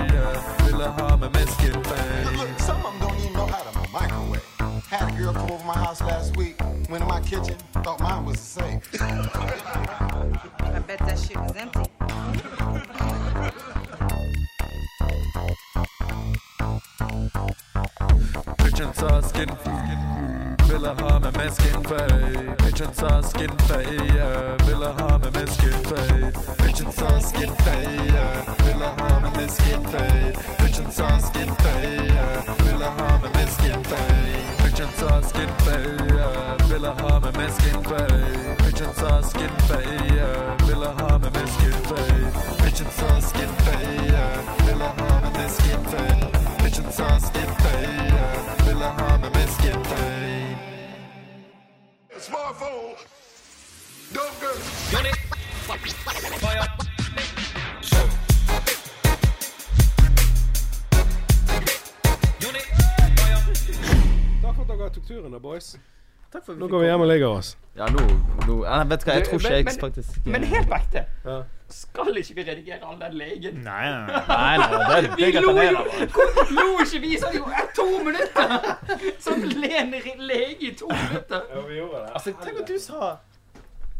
Speaker 6: jeg ville ha meg med skinfay
Speaker 7: Look, some of them don't even know how to microwave. Had a girl come over my house last week, went in my kitchen, thought mine was the same.
Speaker 8: I bet that shit was empty.
Speaker 6: Bitchen sa skinfay, ville ha meg med skinfay Bitchen sa skinfay, jeg ville ha meg med skinfay Bitchen sa skinfay, jeg ville ha meg med skinfay Bitchen sa skinfay, jeg ville ha meg med skinfay Bitchen sa skinfay, jeg ville ha meg med skinfay Bitchen sa skinfay, jeg ville ha meg med skinfay Bitchen sa skinfay, jeg ville ha meg med skinfay Bitchen sa skinfay, jeg ville ha meg med skinfay
Speaker 7: Smartphone. Don't go.
Speaker 1: Takk for at dere tok turen, da, boys.
Speaker 2: Takk for at
Speaker 1: Nå går vi hjem og legger oss.
Speaker 2: Ja, nå, nå Nei, vet du hva, jeg tror ikke
Speaker 3: Men-
Speaker 2: jeg
Speaker 3: men-
Speaker 2: faktisk
Speaker 3: Men helt på ekte,
Speaker 1: Ja.
Speaker 3: skal ikke vi redigere all den legen?
Speaker 5: Nei, nei, nei.
Speaker 2: Nei, nei, det, det
Speaker 3: Vi lo
Speaker 2: er
Speaker 3: jo!
Speaker 2: gratulerer.
Speaker 3: Hvor lo ikke vi sånn jo eh, to minutter? Som len lege i to minutter.
Speaker 2: Altså, tenk at du sa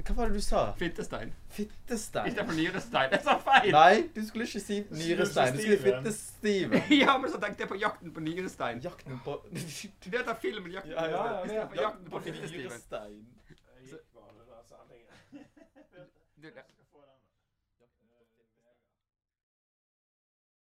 Speaker 2: Hva var det du sa?
Speaker 3: Fittestein.
Speaker 2: Fittestein?
Speaker 3: Istedenfor nyrestein. Jeg sa feil.
Speaker 2: Nei, du skulle ikke si nyrestein. Du skulle si fittestiven.
Speaker 3: Ja, men så tenkte jeg på Jakten på nyrestein.
Speaker 2: Jakten på
Speaker 3: Det heter filmen Jakten på nyrestein. Istedenfor Jakten på fittestiven. Du, det-